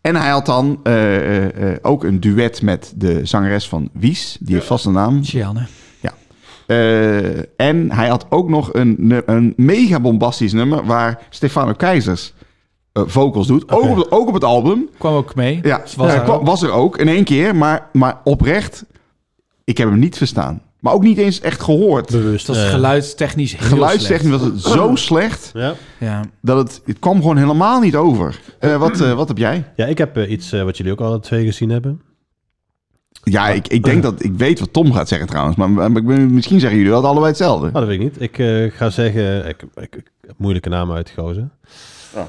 [SPEAKER 3] En hij had dan eh, eh, eh, ook een duet met de zangeres van Wies. Die heeft vast een naam.
[SPEAKER 2] Gianne.
[SPEAKER 3] Eh, en hij had ook nog een, nu- een mega bombastisch nummer... waar Stefano Keizers eh, vocals doet. Ook, op, ook op het album.
[SPEAKER 2] Kwam ook mee.
[SPEAKER 3] Ja,
[SPEAKER 2] Was
[SPEAKER 3] was,
[SPEAKER 2] er
[SPEAKER 3] er
[SPEAKER 2] ook.
[SPEAKER 3] was er ook in één keer. Maar, maar oprecht, ik heb hem niet verstaan. Maar ook niet eens echt gehoord.
[SPEAKER 4] Bewust.
[SPEAKER 2] Het was
[SPEAKER 4] eh,
[SPEAKER 2] geluidstechnisch heel
[SPEAKER 3] Geluidstechnisch
[SPEAKER 2] slecht.
[SPEAKER 3] was het zo slecht
[SPEAKER 4] Ja.
[SPEAKER 2] Ja.
[SPEAKER 4] Eh,
[SPEAKER 3] dat het, het kwam gewoon helemaal niet over. Eh, wat, eh, wat heb jij?
[SPEAKER 4] ja, ik heb eh, iets eh, wat jullie ook alle twee gezien hebben.
[SPEAKER 3] Ja, ik, ik denk dat ik weet wat Tom gaat zeggen trouwens. Maar, maar ik ben- misschien zeggen jullie dat allebei hetzelfde.
[SPEAKER 4] Nou, dat weet ik niet. Ik eh, ga zeggen... Ik, ik, ik heb moeilijke namen uitgekozen.
[SPEAKER 3] Ja.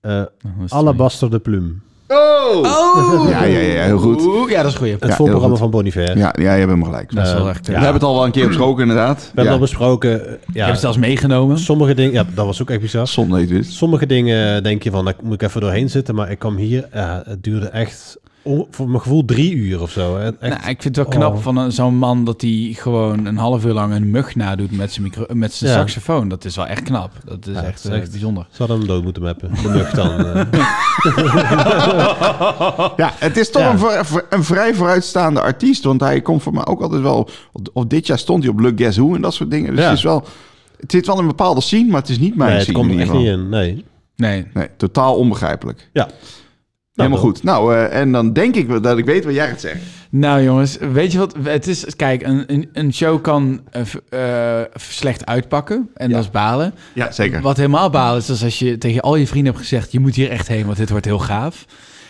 [SPEAKER 4] Eh,
[SPEAKER 2] Dat was
[SPEAKER 4] Alabaster de Plume.
[SPEAKER 3] Oh! Ja, ja, ja, heel goed.
[SPEAKER 2] Oeh, ja, dat is goed.
[SPEAKER 4] Het
[SPEAKER 3] Ja, heel
[SPEAKER 4] voorprogramma
[SPEAKER 3] goed.
[SPEAKER 4] van Bonifair.
[SPEAKER 3] Ja, ja, je hebt hem gelijk.
[SPEAKER 2] Dat is wel
[SPEAKER 4] Eh,
[SPEAKER 2] echt.
[SPEAKER 4] ja.
[SPEAKER 2] eh,
[SPEAKER 3] We hebben het al wel een keer besproken, inderdaad.
[SPEAKER 4] We hebben
[SPEAKER 3] ja.
[SPEAKER 4] al besproken. eh,
[SPEAKER 2] Ik
[SPEAKER 4] Ja,
[SPEAKER 2] heb het zelfs meegenomen.
[SPEAKER 4] sommige dingen... Ja, dat was ook echt bizar.
[SPEAKER 3] Zonde heet dit.
[SPEAKER 4] Sommige dingen denk je van, daar moet ik even doorheen zitten. Maar ik kwam hier, ja, het duurde echt, oh, voor mijn gevoel, drie uur of zo. hè. Echt,
[SPEAKER 2] Nou, ik vind het wel knap
[SPEAKER 4] Oh.
[SPEAKER 2] van een- zo'n man dat hij gewoon een half uur lang een mug nadoet met zijn, micro, met zijn
[SPEAKER 4] Ja.
[SPEAKER 2] saxofoon. Dat is wel echt knap. Dat is
[SPEAKER 4] Ja,
[SPEAKER 2] echt,
[SPEAKER 4] dat is
[SPEAKER 2] eh,
[SPEAKER 4] echt-
[SPEAKER 2] bijzonder.
[SPEAKER 4] Ze hadden hem dood moeten mappen. De mug dan. eh.
[SPEAKER 3] Ja, het is toch
[SPEAKER 4] Ja.
[SPEAKER 3] een, ver- ver- een vrij vooruitstaande artiest. Want hij komt voor mij ook altijd wel... Of dit jaar stond hij op Look Guess Who en dat soort dingen. Dus
[SPEAKER 4] Ja.
[SPEAKER 3] het is wel... Het zit wel in een bepaalde scene, maar het is niet mijn
[SPEAKER 4] nee, het
[SPEAKER 3] scene
[SPEAKER 4] komt
[SPEAKER 3] in
[SPEAKER 4] er echt
[SPEAKER 3] ieder geval.
[SPEAKER 4] niet in. Nee.
[SPEAKER 2] Nee.
[SPEAKER 3] Nee, totaal onbegrijpelijk.
[SPEAKER 4] Ja.
[SPEAKER 3] Helemaal
[SPEAKER 4] dan.
[SPEAKER 3] goed. Nou, eh, en dan denk ik wel dat ik weet wat jij gaat zeggen.
[SPEAKER 2] Nou jongens, weet je wat? Het is, kijk, een, een, een show kan eh, v- eh, slecht uitpakken. En dat is balen.
[SPEAKER 3] Ja, zeker.
[SPEAKER 2] Wat helemaal balen is, is als je tegen al je vrienden hebt gezegd... je moet hier echt heen, want dit wordt heel gaaf.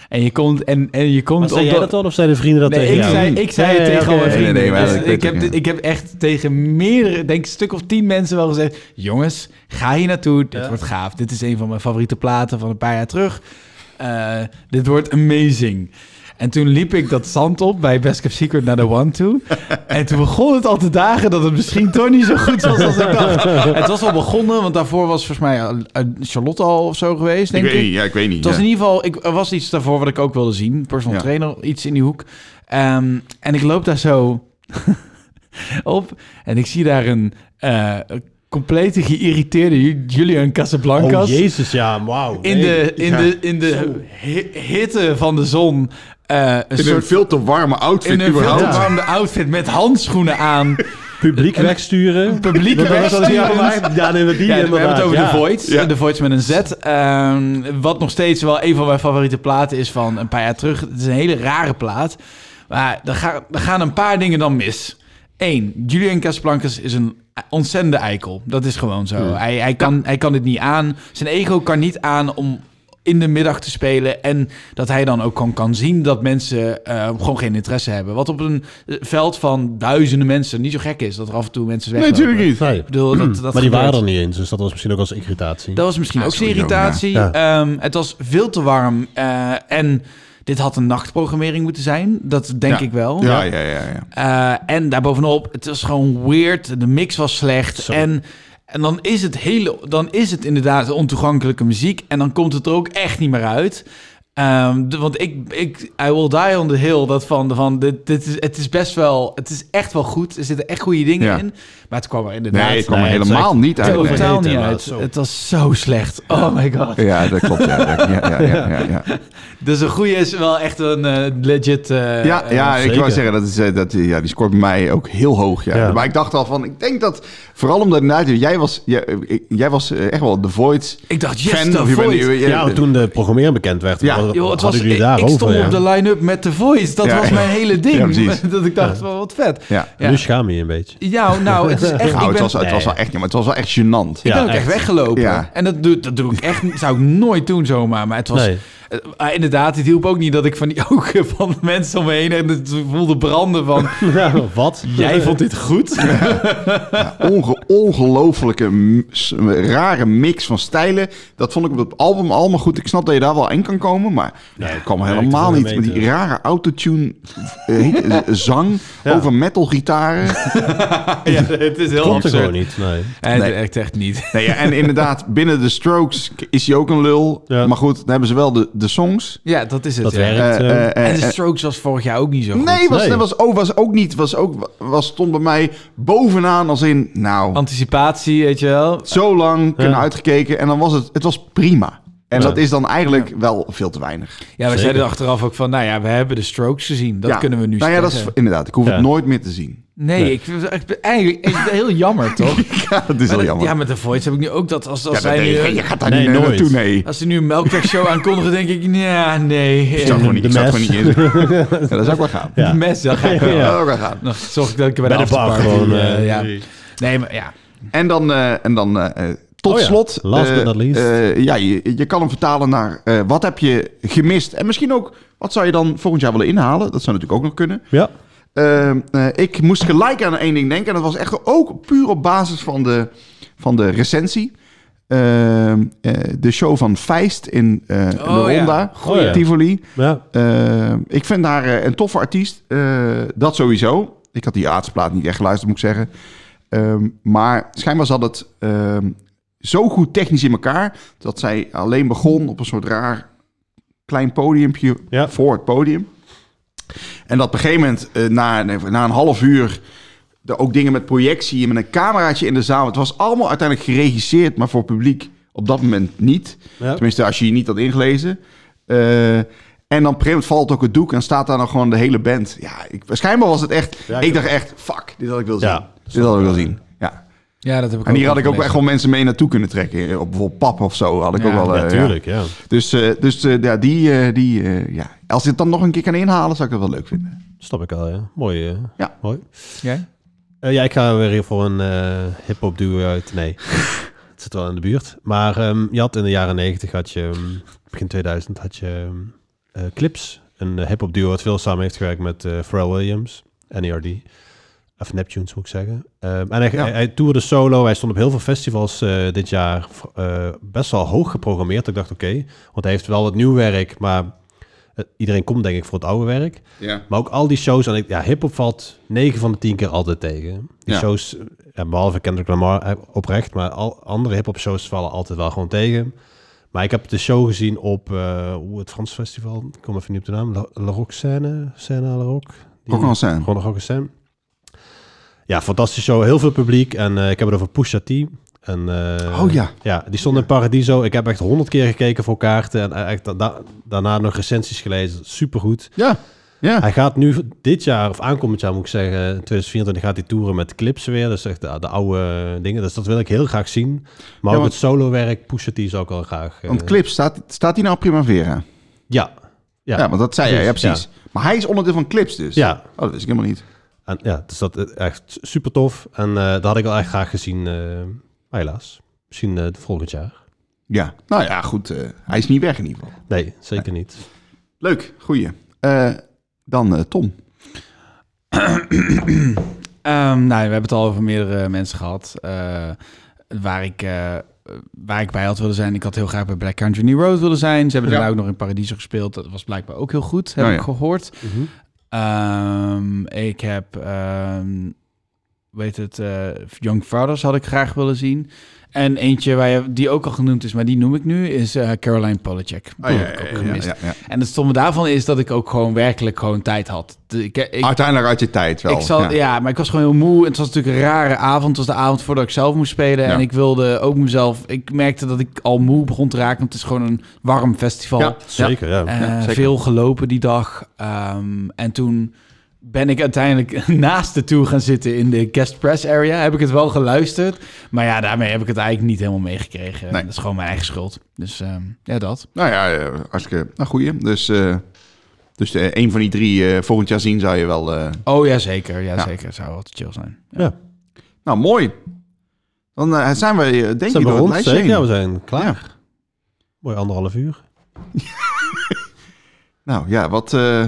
[SPEAKER 2] En je komt... En, en je komt
[SPEAKER 4] Maar zei
[SPEAKER 2] op
[SPEAKER 4] jij dat dan of zeiden vrienden dat
[SPEAKER 2] Nee,
[SPEAKER 4] tegen
[SPEAKER 2] ik
[SPEAKER 4] jou? Hmm.
[SPEAKER 2] zei, ik zei het
[SPEAKER 4] Nee,
[SPEAKER 2] tegen
[SPEAKER 4] oké.
[SPEAKER 2] al mijn vrienden.
[SPEAKER 3] Nee, nee, maar
[SPEAKER 2] Dus
[SPEAKER 3] dat weet
[SPEAKER 2] ik, heb,
[SPEAKER 3] ik, ja.
[SPEAKER 2] ik heb echt tegen meerdere, denk ik, een stuk of tien mensen wel gezegd... jongens, ga hier naartoe, dit
[SPEAKER 4] Ja.
[SPEAKER 2] wordt gaaf. Dit is een van mijn favoriete platen van een paar jaar terug. Eh, dit wordt amazing. En toen liep ik dat zand op bij Best Kept Secret naar de One toe. En toen begon het al te dagen dat het misschien toch niet zo goed was als ik dacht. Het was al begonnen, want daarvoor was volgens mij eh, Charlotte al of zo geweest, denk ik.
[SPEAKER 3] ja, ik weet niet.
[SPEAKER 2] Het was
[SPEAKER 3] ja.
[SPEAKER 2] in ieder geval, ik, er was iets daarvoor wat ik ook wilde zien. Personal
[SPEAKER 3] Ja.
[SPEAKER 2] trainer, iets in die hoek. Ehm, en ik loop daar zo op en ik zie daar een eh, een complete geïrriteerde Ju- Julian
[SPEAKER 4] Oh
[SPEAKER 2] Casablancas.
[SPEAKER 4] jezus, ja, wauw.
[SPEAKER 2] in,
[SPEAKER 4] nee.
[SPEAKER 2] de, in,
[SPEAKER 3] ja.
[SPEAKER 2] de, in de hi- hitte van de zon eh, een
[SPEAKER 3] in een
[SPEAKER 2] soort...
[SPEAKER 3] veel te warme
[SPEAKER 2] In
[SPEAKER 3] outfit
[SPEAKER 2] een veel
[SPEAKER 3] überhaupt.
[SPEAKER 2] te warme outfit met handschoenen aan.
[SPEAKER 4] Publiek wegsturen.
[SPEAKER 2] Publiek
[SPEAKER 4] Dat was dat- ja,
[SPEAKER 2] wegsturen.
[SPEAKER 4] maar- Ja, nee, maar die
[SPEAKER 2] Ja, we hebben
[SPEAKER 4] inderdaad,
[SPEAKER 2] het over
[SPEAKER 4] ja.
[SPEAKER 2] de Voids.
[SPEAKER 3] Ja.
[SPEAKER 2] De Voids met een Z. Ehm, wat nog steeds wel een van mijn favoriete platen is van een paar jaar terug. Het is een hele rare plaat. Maar er gaan, er gaan een paar dingen dan mis. Eén, Julian Casablancas is een ontzettende eikel. Dat is gewoon zo. Hij, hij, kan, hij kan dit niet aan. Zijn ego kan niet aan om in de middag te spelen. En dat hij dan ook gewoon kan zien dat mensen eh, gewoon geen interesse hebben. Wat op een eh, veld van duizenden mensen niet zo gek is. Dat er af en toe mensen
[SPEAKER 3] Nee,
[SPEAKER 2] weglopen.
[SPEAKER 3] natuurlijk niet.
[SPEAKER 4] Nee.
[SPEAKER 2] Ik bedoel, dat, dat
[SPEAKER 4] Maar die waren
[SPEAKER 2] gebeurt.
[SPEAKER 4] er niet eens, dus dat was misschien ook als irritatie.
[SPEAKER 2] Dat was misschien ook zijn
[SPEAKER 3] sowieso,
[SPEAKER 2] irritatie. Ehm, het was veel te warm. eh, en dit had een nachtprogrammering moeten zijn. Dat denk
[SPEAKER 3] Ja.
[SPEAKER 2] ik wel.
[SPEAKER 3] Ja, ja, ja. ja.
[SPEAKER 2] Eh, en daarbovenop, het was gewoon weird. De mix was slecht.
[SPEAKER 4] Zo.
[SPEAKER 2] En, en dan, is het hele, dan is het inderdaad ontoegankelijke muziek. En dan komt het er ook echt niet meer uit. Ehm, de- want ik, ik, I Will Die on the Hill, dat van, van dit, dit is, het is best wel, het is echt wel goed. Er zitten echt goede dingen
[SPEAKER 3] Ja.
[SPEAKER 2] in. Maar het kwam er inderdaad
[SPEAKER 3] Nee, ik kwam er
[SPEAKER 4] nee, het is
[SPEAKER 3] helemaal
[SPEAKER 4] echt-
[SPEAKER 3] niet
[SPEAKER 2] het
[SPEAKER 3] uit.
[SPEAKER 2] kwam
[SPEAKER 3] nee.
[SPEAKER 2] totaal
[SPEAKER 4] nee,
[SPEAKER 2] niet
[SPEAKER 4] nee,
[SPEAKER 2] uit.
[SPEAKER 4] zo.
[SPEAKER 2] Het was zo slecht. Oh my god.
[SPEAKER 3] Ja, dat klopt. Ja, ja, ja, ja, ja, ja.
[SPEAKER 2] Dus een goede is wel echt een eh, legit. eh,
[SPEAKER 3] Ja,
[SPEAKER 2] eh,
[SPEAKER 3] ja ik
[SPEAKER 4] zeker.
[SPEAKER 3] wou zeggen, dat is, eh, dat, ja, die scoort bij mij ook heel hoog. Ja.
[SPEAKER 4] Ja.
[SPEAKER 3] Maar ik dacht al van, ik denk dat, vooral omdat inderdaad, jij was, jij, eh, jij was eh, echt wel de Void.
[SPEAKER 2] Ik dacht, yes,
[SPEAKER 3] fan,
[SPEAKER 2] The
[SPEAKER 3] of je bent-
[SPEAKER 2] Voids.
[SPEAKER 3] je- je-
[SPEAKER 4] Ja, toen de programmeer bekend werd,
[SPEAKER 3] Ja.
[SPEAKER 4] ja. hadden
[SPEAKER 2] Joh, het was,
[SPEAKER 4] jullie
[SPEAKER 2] ik,
[SPEAKER 4] daarover.
[SPEAKER 2] ik stond
[SPEAKER 4] ja.
[SPEAKER 2] op de line-up met The Voice. Dat
[SPEAKER 3] Ja.
[SPEAKER 2] was mijn hele
[SPEAKER 3] Ja,
[SPEAKER 2] ding.
[SPEAKER 3] precies.
[SPEAKER 2] dat ik dacht, van, wat vet.
[SPEAKER 3] Ja. Dus-
[SPEAKER 2] ja.
[SPEAKER 4] Nu schaam je je een beetje.
[SPEAKER 2] Ja, nou, het is echt...
[SPEAKER 3] Nou,
[SPEAKER 2] ik
[SPEAKER 3] het
[SPEAKER 2] ben,
[SPEAKER 3] was, het was wel echt, maar het was wel echt gênant.
[SPEAKER 2] ik
[SPEAKER 4] Ja,
[SPEAKER 2] ben ook echt,
[SPEAKER 4] echt.
[SPEAKER 2] weggelopen.
[SPEAKER 3] Ja.
[SPEAKER 2] En dat doe, dat doe ik echt niet- zou ik nooit doen zomaar. Maar het was...
[SPEAKER 4] Nee.
[SPEAKER 2] eh, maar inderdaad, het hielp ook niet dat ik van die ogen van de mensen om me heen... en het voelde branden van...
[SPEAKER 4] Ja, wat?
[SPEAKER 2] Jij vond dit goed?
[SPEAKER 3] Onge- ongelofelijke, m- s- rare mix van stijlen. Dat vond ik op het album allemaal goed. Ik snap dat je daar wel in kan komen, maar
[SPEAKER 4] Nee,
[SPEAKER 3] ik kwam
[SPEAKER 4] nee,
[SPEAKER 3] helemaal
[SPEAKER 4] ik
[SPEAKER 3] niet
[SPEAKER 4] kan
[SPEAKER 3] met die
[SPEAKER 4] weten.
[SPEAKER 3] rare autotune eh, heet- eh, zang
[SPEAKER 4] Ja.
[SPEAKER 3] over metalgitaren.
[SPEAKER 2] ja, het is heel
[SPEAKER 4] Klopt er
[SPEAKER 2] absurd.
[SPEAKER 4] gewoon niet, nee.
[SPEAKER 2] En
[SPEAKER 3] Nee.
[SPEAKER 2] echt, echt niet.
[SPEAKER 3] Nee, ja, en inderdaad, binnen de Strokes is hij ook een lul.
[SPEAKER 4] Ja.
[SPEAKER 3] Maar goed, dan hebben ze wel de, de songs.
[SPEAKER 2] Ja, dat is het.
[SPEAKER 4] Dat
[SPEAKER 2] ja.
[SPEAKER 4] werkt.
[SPEAKER 3] Eh,
[SPEAKER 4] eh,
[SPEAKER 3] eh, eh,
[SPEAKER 2] En de
[SPEAKER 3] eh,
[SPEAKER 2] Strokes was vorig jaar ook niet zo goed.
[SPEAKER 3] nee, was,
[SPEAKER 4] Nee.
[SPEAKER 3] Was, ook, was ook niet. Was ook, was, stond bij mij bovenaan als in, nou,
[SPEAKER 2] Anticipatie, weet je wel.
[SPEAKER 3] zo lang kunnen
[SPEAKER 4] Ja.
[SPEAKER 3] uitgekeken. En dan was het, het was prima. En dat is dan eigenlijk wel veel te weinig.
[SPEAKER 2] Ja, we
[SPEAKER 4] Zeker.
[SPEAKER 2] zeiden achteraf ook van, nou ja, we hebben de strokes gezien. Dat
[SPEAKER 3] Ja.
[SPEAKER 2] kunnen we nu
[SPEAKER 3] Nou ja, dat is
[SPEAKER 2] zeggen.
[SPEAKER 3] inderdaad. Ik hoef
[SPEAKER 4] Ja.
[SPEAKER 3] het nooit meer te zien.
[SPEAKER 2] Nee, ik vind het echt- eigenlijk is het heel jammer, toch?
[SPEAKER 3] Ja, dat
[SPEAKER 2] Maar
[SPEAKER 3] is wel
[SPEAKER 2] dat-
[SPEAKER 3] jammer.
[SPEAKER 2] Ja, met de Voids heb ik nu ook dat. Als, als
[SPEAKER 3] Ja, dat
[SPEAKER 2] zij
[SPEAKER 3] denk ik.
[SPEAKER 2] nu,
[SPEAKER 3] je gaat daar
[SPEAKER 4] Nee,
[SPEAKER 3] niet meer
[SPEAKER 4] nooit.
[SPEAKER 3] naartoe, nee.
[SPEAKER 2] als ze nu een melkwegsshow aankondigen, denk ik, ja, nee.
[SPEAKER 3] Ik zou
[SPEAKER 2] Eh,
[SPEAKER 3] gewoon niet,
[SPEAKER 4] De
[SPEAKER 3] ik zou gewoon
[SPEAKER 4] mes.
[SPEAKER 3] niet in. Ja, dat zou ik wel gaan.
[SPEAKER 4] Ja.
[SPEAKER 2] Mes, dan ga ik wel.
[SPEAKER 3] Dat
[SPEAKER 4] Ja.
[SPEAKER 3] zou ik wel gaan.
[SPEAKER 2] Dan zorg ik dat ik er bij,
[SPEAKER 4] Bij de bar
[SPEAKER 2] afterparty,
[SPEAKER 4] gewoon,
[SPEAKER 2] eh,
[SPEAKER 4] eh,
[SPEAKER 2] ja.
[SPEAKER 4] nee.
[SPEAKER 2] Nee, maar ja.
[SPEAKER 3] En dan, eh, en dan eh, eh, tot
[SPEAKER 4] Oh ja,
[SPEAKER 3] slot.
[SPEAKER 4] last
[SPEAKER 3] eh,
[SPEAKER 4] but not least.
[SPEAKER 3] eh, ja, je, je kan hem vertalen naar eh, wat heb je gemist. En misschien ook, wat zou je dan volgend jaar willen inhalen? Dat zou natuurlijk ook nog kunnen.
[SPEAKER 4] Ja.
[SPEAKER 3] Eh, eh, ik moest gelijk aan één ding denken. En dat was echt ook puur op basis van de, van de recensie. Eh, eh, de show van Feist in eh
[SPEAKER 2] Oh
[SPEAKER 3] de
[SPEAKER 2] ja,
[SPEAKER 3] Ronda,
[SPEAKER 4] goeie.
[SPEAKER 3] Tivoli.
[SPEAKER 4] Ja.
[SPEAKER 3] Eh, ik vind haar eh, een toffe artiest. Eh, dat sowieso. Ik had die aardsplaat niet echt geluisterd, moet ik zeggen. Ehm, maar schijnbaar zat het ehm, zo goed technisch in elkaar... dat zij alleen begon op een soort raar klein podiumpje
[SPEAKER 4] Ja.
[SPEAKER 3] voor het podium. En dat op een gegeven moment, eh, na, na een half uur... er ook dingen met projectie en met een cameraatje in de zaal. Het was allemaal uiteindelijk geregisseerd, maar voor publiek op dat moment niet.
[SPEAKER 4] Ja.
[SPEAKER 3] Tenminste, als je je niet had ingelezen. Eh, en dan op een gegeven moment valt ook het doek en staat daar nog gewoon de hele band. Ja, ik, waarschijnlijk was het echt...
[SPEAKER 4] Ja,
[SPEAKER 3] ik
[SPEAKER 4] ik-
[SPEAKER 3] dacht echt, fuck, dit had ik wil zien.
[SPEAKER 4] Ja.
[SPEAKER 3] dit had ik wil zien, ja.
[SPEAKER 2] Ja, dat heb ik
[SPEAKER 3] En hier
[SPEAKER 2] wel
[SPEAKER 3] had ik ook echt
[SPEAKER 2] gelezen.
[SPEAKER 3] wel mensen mee naartoe kunnen trekken. Op bijvoorbeeld pap of zo had ik
[SPEAKER 2] Ja,
[SPEAKER 3] ook wel... eh,
[SPEAKER 4] Ja, tuurlijk, ja.
[SPEAKER 3] Dus, eh, dus eh, ja, die... eh, die eh, ja. Als ik het dan nog een keer kan inhalen, zou ik dat wel leuk vinden.
[SPEAKER 4] Snap ik al, ja. Mooi, eh,
[SPEAKER 3] Ja.
[SPEAKER 4] Mooi.
[SPEAKER 2] Jij?
[SPEAKER 4] Eh, ja, ik ga weer voor een eh hip-hop duo uit. Nee, het zit wel in de buurt. Maar ehm, je had in de jaren 90 had je, ehm, begin 2000 had je ehm, eh, Clips, een eh, hip-hop duo wat veel samen heeft gewerkt met eh Pharrell Williams, NERD. Of Neptunes moet ik zeggen. Ehm, en hij,
[SPEAKER 3] Ja.
[SPEAKER 4] hij, hij toerde solo. Hij stond op heel veel festivals eh, dit jaar. v- eh, best wel hoog geprogrammeerd. Ik dacht oké, want hij heeft wel het nieuw werk, maar eh, iedereen komt denk ik voor het oude werk.
[SPEAKER 3] Ja.
[SPEAKER 4] Maar ook al die shows, en ik, ja, hip-hop valt 9 van de 10 keer altijd tegen. Die
[SPEAKER 3] Ja.
[SPEAKER 4] shows, eh, ja, behalve Kendrick Lamar eh, oprecht, maar al andere hip-hop shows vallen altijd wel gewoon tegen. Maar ik heb de show gezien op eh, hoe het Frans Festival, ik kom even niet op de naam, La, La Rock Scène, Scène à La Rock. Die-
[SPEAKER 3] Ook wel zijn.
[SPEAKER 4] Gewoon de Rock Scène. Ja, fantastische show, heel veel publiek. En eh, ik heb het over Pusha T. En, eh,
[SPEAKER 3] Oh ja.
[SPEAKER 4] ja, die stonden in Paradiso. Ik heb echt honderd keer gekeken voor kaarten. En eh, echt da- da- daarna nog recensies gelezen. Supergoed.
[SPEAKER 3] Ja. Ja.
[SPEAKER 4] Hij gaat nu dit jaar, of aankomend jaar moet ik zeggen, 2024 gaat hij toeren met clips weer. Dus echt de, de oude dingen. Dus dat wil ik heel graag zien. Maar ook
[SPEAKER 3] want-
[SPEAKER 4] het solowerk, Pusha T zou ik al graag... eh,
[SPEAKER 3] Want Clips, staat, staat die nou op Primavera?
[SPEAKER 4] Ja. Ja,
[SPEAKER 3] Ja, want dat zei jij, ja, precies. Maar hij is onderdeel van Clips dus?
[SPEAKER 4] Ja.
[SPEAKER 3] Oh, dat wist ik helemaal niet.
[SPEAKER 4] En, ja, dus dat is echt super tof. En eh, dat had ik wel echt graag gezien. eh, maar helaas. Misschien eh, volgend jaar.
[SPEAKER 3] Ja. Nou ja, goed. eh, hij is niet weg in ieder geval.
[SPEAKER 4] Nee, zeker niet.
[SPEAKER 3] Leuk, goeie. Eh, dan eh, Tom.
[SPEAKER 2] Ehm, nou, we hebben het al over meerdere mensen gehad. eh, waar, ik, eh, waar ik bij had willen zijn. Ik had heel graag bij Black Country New Road willen zijn. Ze hebben
[SPEAKER 3] Ja.
[SPEAKER 2] daarna ook nog in Paradiso gespeeld. Dat was blijkbaar ook heel goed, heb
[SPEAKER 3] Oh,
[SPEAKER 2] ik
[SPEAKER 3] ja.
[SPEAKER 2] gehoord.
[SPEAKER 4] Mhm.
[SPEAKER 2] Ehm, ik heb, ehm, weet het, eh, Young Fathers had ik graag willen zien. En eentje waar je, die ook al genoemd is, maar die noem ik nu, is eh, Caroline Polachek.
[SPEAKER 3] Oh,
[SPEAKER 2] Die heb ik ook gemist. En het stomme daarvan is dat ik ook gewoon werkelijk gewoon tijd had. De- Ik, ik,
[SPEAKER 3] Uiteindelijk uit je tijd wel.
[SPEAKER 2] ik zal,
[SPEAKER 3] ja.
[SPEAKER 2] ja. maar ik was gewoon heel moe. Het was natuurlijk een rare avond. Het was de avond voordat ik zelf moest spelen.
[SPEAKER 3] Ja.
[SPEAKER 2] En ik wilde ook mezelf... Ik merkte dat ik al moe begon te raken. Want het is gewoon een warm festival.
[SPEAKER 3] Ja.
[SPEAKER 4] Zeker, ja.
[SPEAKER 2] Eh,
[SPEAKER 3] zeker.
[SPEAKER 2] Veel gelopen die dag. Ehm, en toen ben ik uiteindelijk naast de toe gaan zitten in de guest press area. Heb ik het wel geluisterd. Maar ja, daarmee heb ik het eigenlijk niet helemaal meegekregen.
[SPEAKER 3] Nee.
[SPEAKER 2] Dat is gewoon mijn eigen schuld. Dus ehm, ja, dat.
[SPEAKER 3] Nou ja, eh, hartstikke nou, goeie. Dus, eh dus eh, een van die drie eh, volgend jaar zien zou je wel... eh,
[SPEAKER 2] Oh, ja, zeker. Ja,
[SPEAKER 3] Ja.
[SPEAKER 2] zeker. Zou wel te chill zijn.
[SPEAKER 4] ja.
[SPEAKER 3] Nou, mooi. Dan eh, zijn we, eh, denk ik,
[SPEAKER 4] Zijn we
[SPEAKER 3] door het
[SPEAKER 4] rond?
[SPEAKER 3] lijstje
[SPEAKER 4] Zeker,
[SPEAKER 3] heen.
[SPEAKER 4] ja, we zijn klaar.
[SPEAKER 3] Ja.
[SPEAKER 4] Mooi anderhalf uur.
[SPEAKER 3] Nou ja, wat... eh,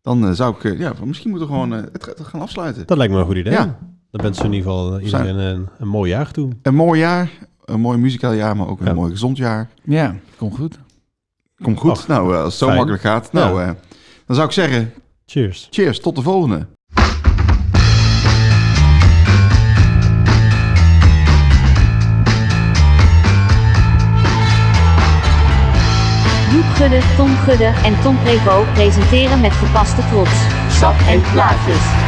[SPEAKER 3] dan eh, zou ik... eh, ja, misschien moeten we gewoon eh, het ga- het gaan afsluiten.
[SPEAKER 4] Dat lijkt me een goed idee.
[SPEAKER 3] Ja.
[SPEAKER 4] Dan wensen we in ieder geval eh, iedereen een, een mooi jaar toe.
[SPEAKER 3] Een mooi jaar. Een mooi muzikaal jaar, maar ook een
[SPEAKER 4] Ja.
[SPEAKER 3] mooi gezond jaar.
[SPEAKER 2] Ja, komt goed.
[SPEAKER 3] Kom goed.
[SPEAKER 4] Och,
[SPEAKER 3] nou, eh, als het zo
[SPEAKER 4] fijn.
[SPEAKER 3] makkelijk gaat. Nou, eh, dan zou ik zeggen,
[SPEAKER 4] Cheers.
[SPEAKER 3] cheers, tot de volgende.
[SPEAKER 1] Joep Gudde, Tom Gudde en Tom Prevo presenteren met gepaste trots. Sap en plaatjes.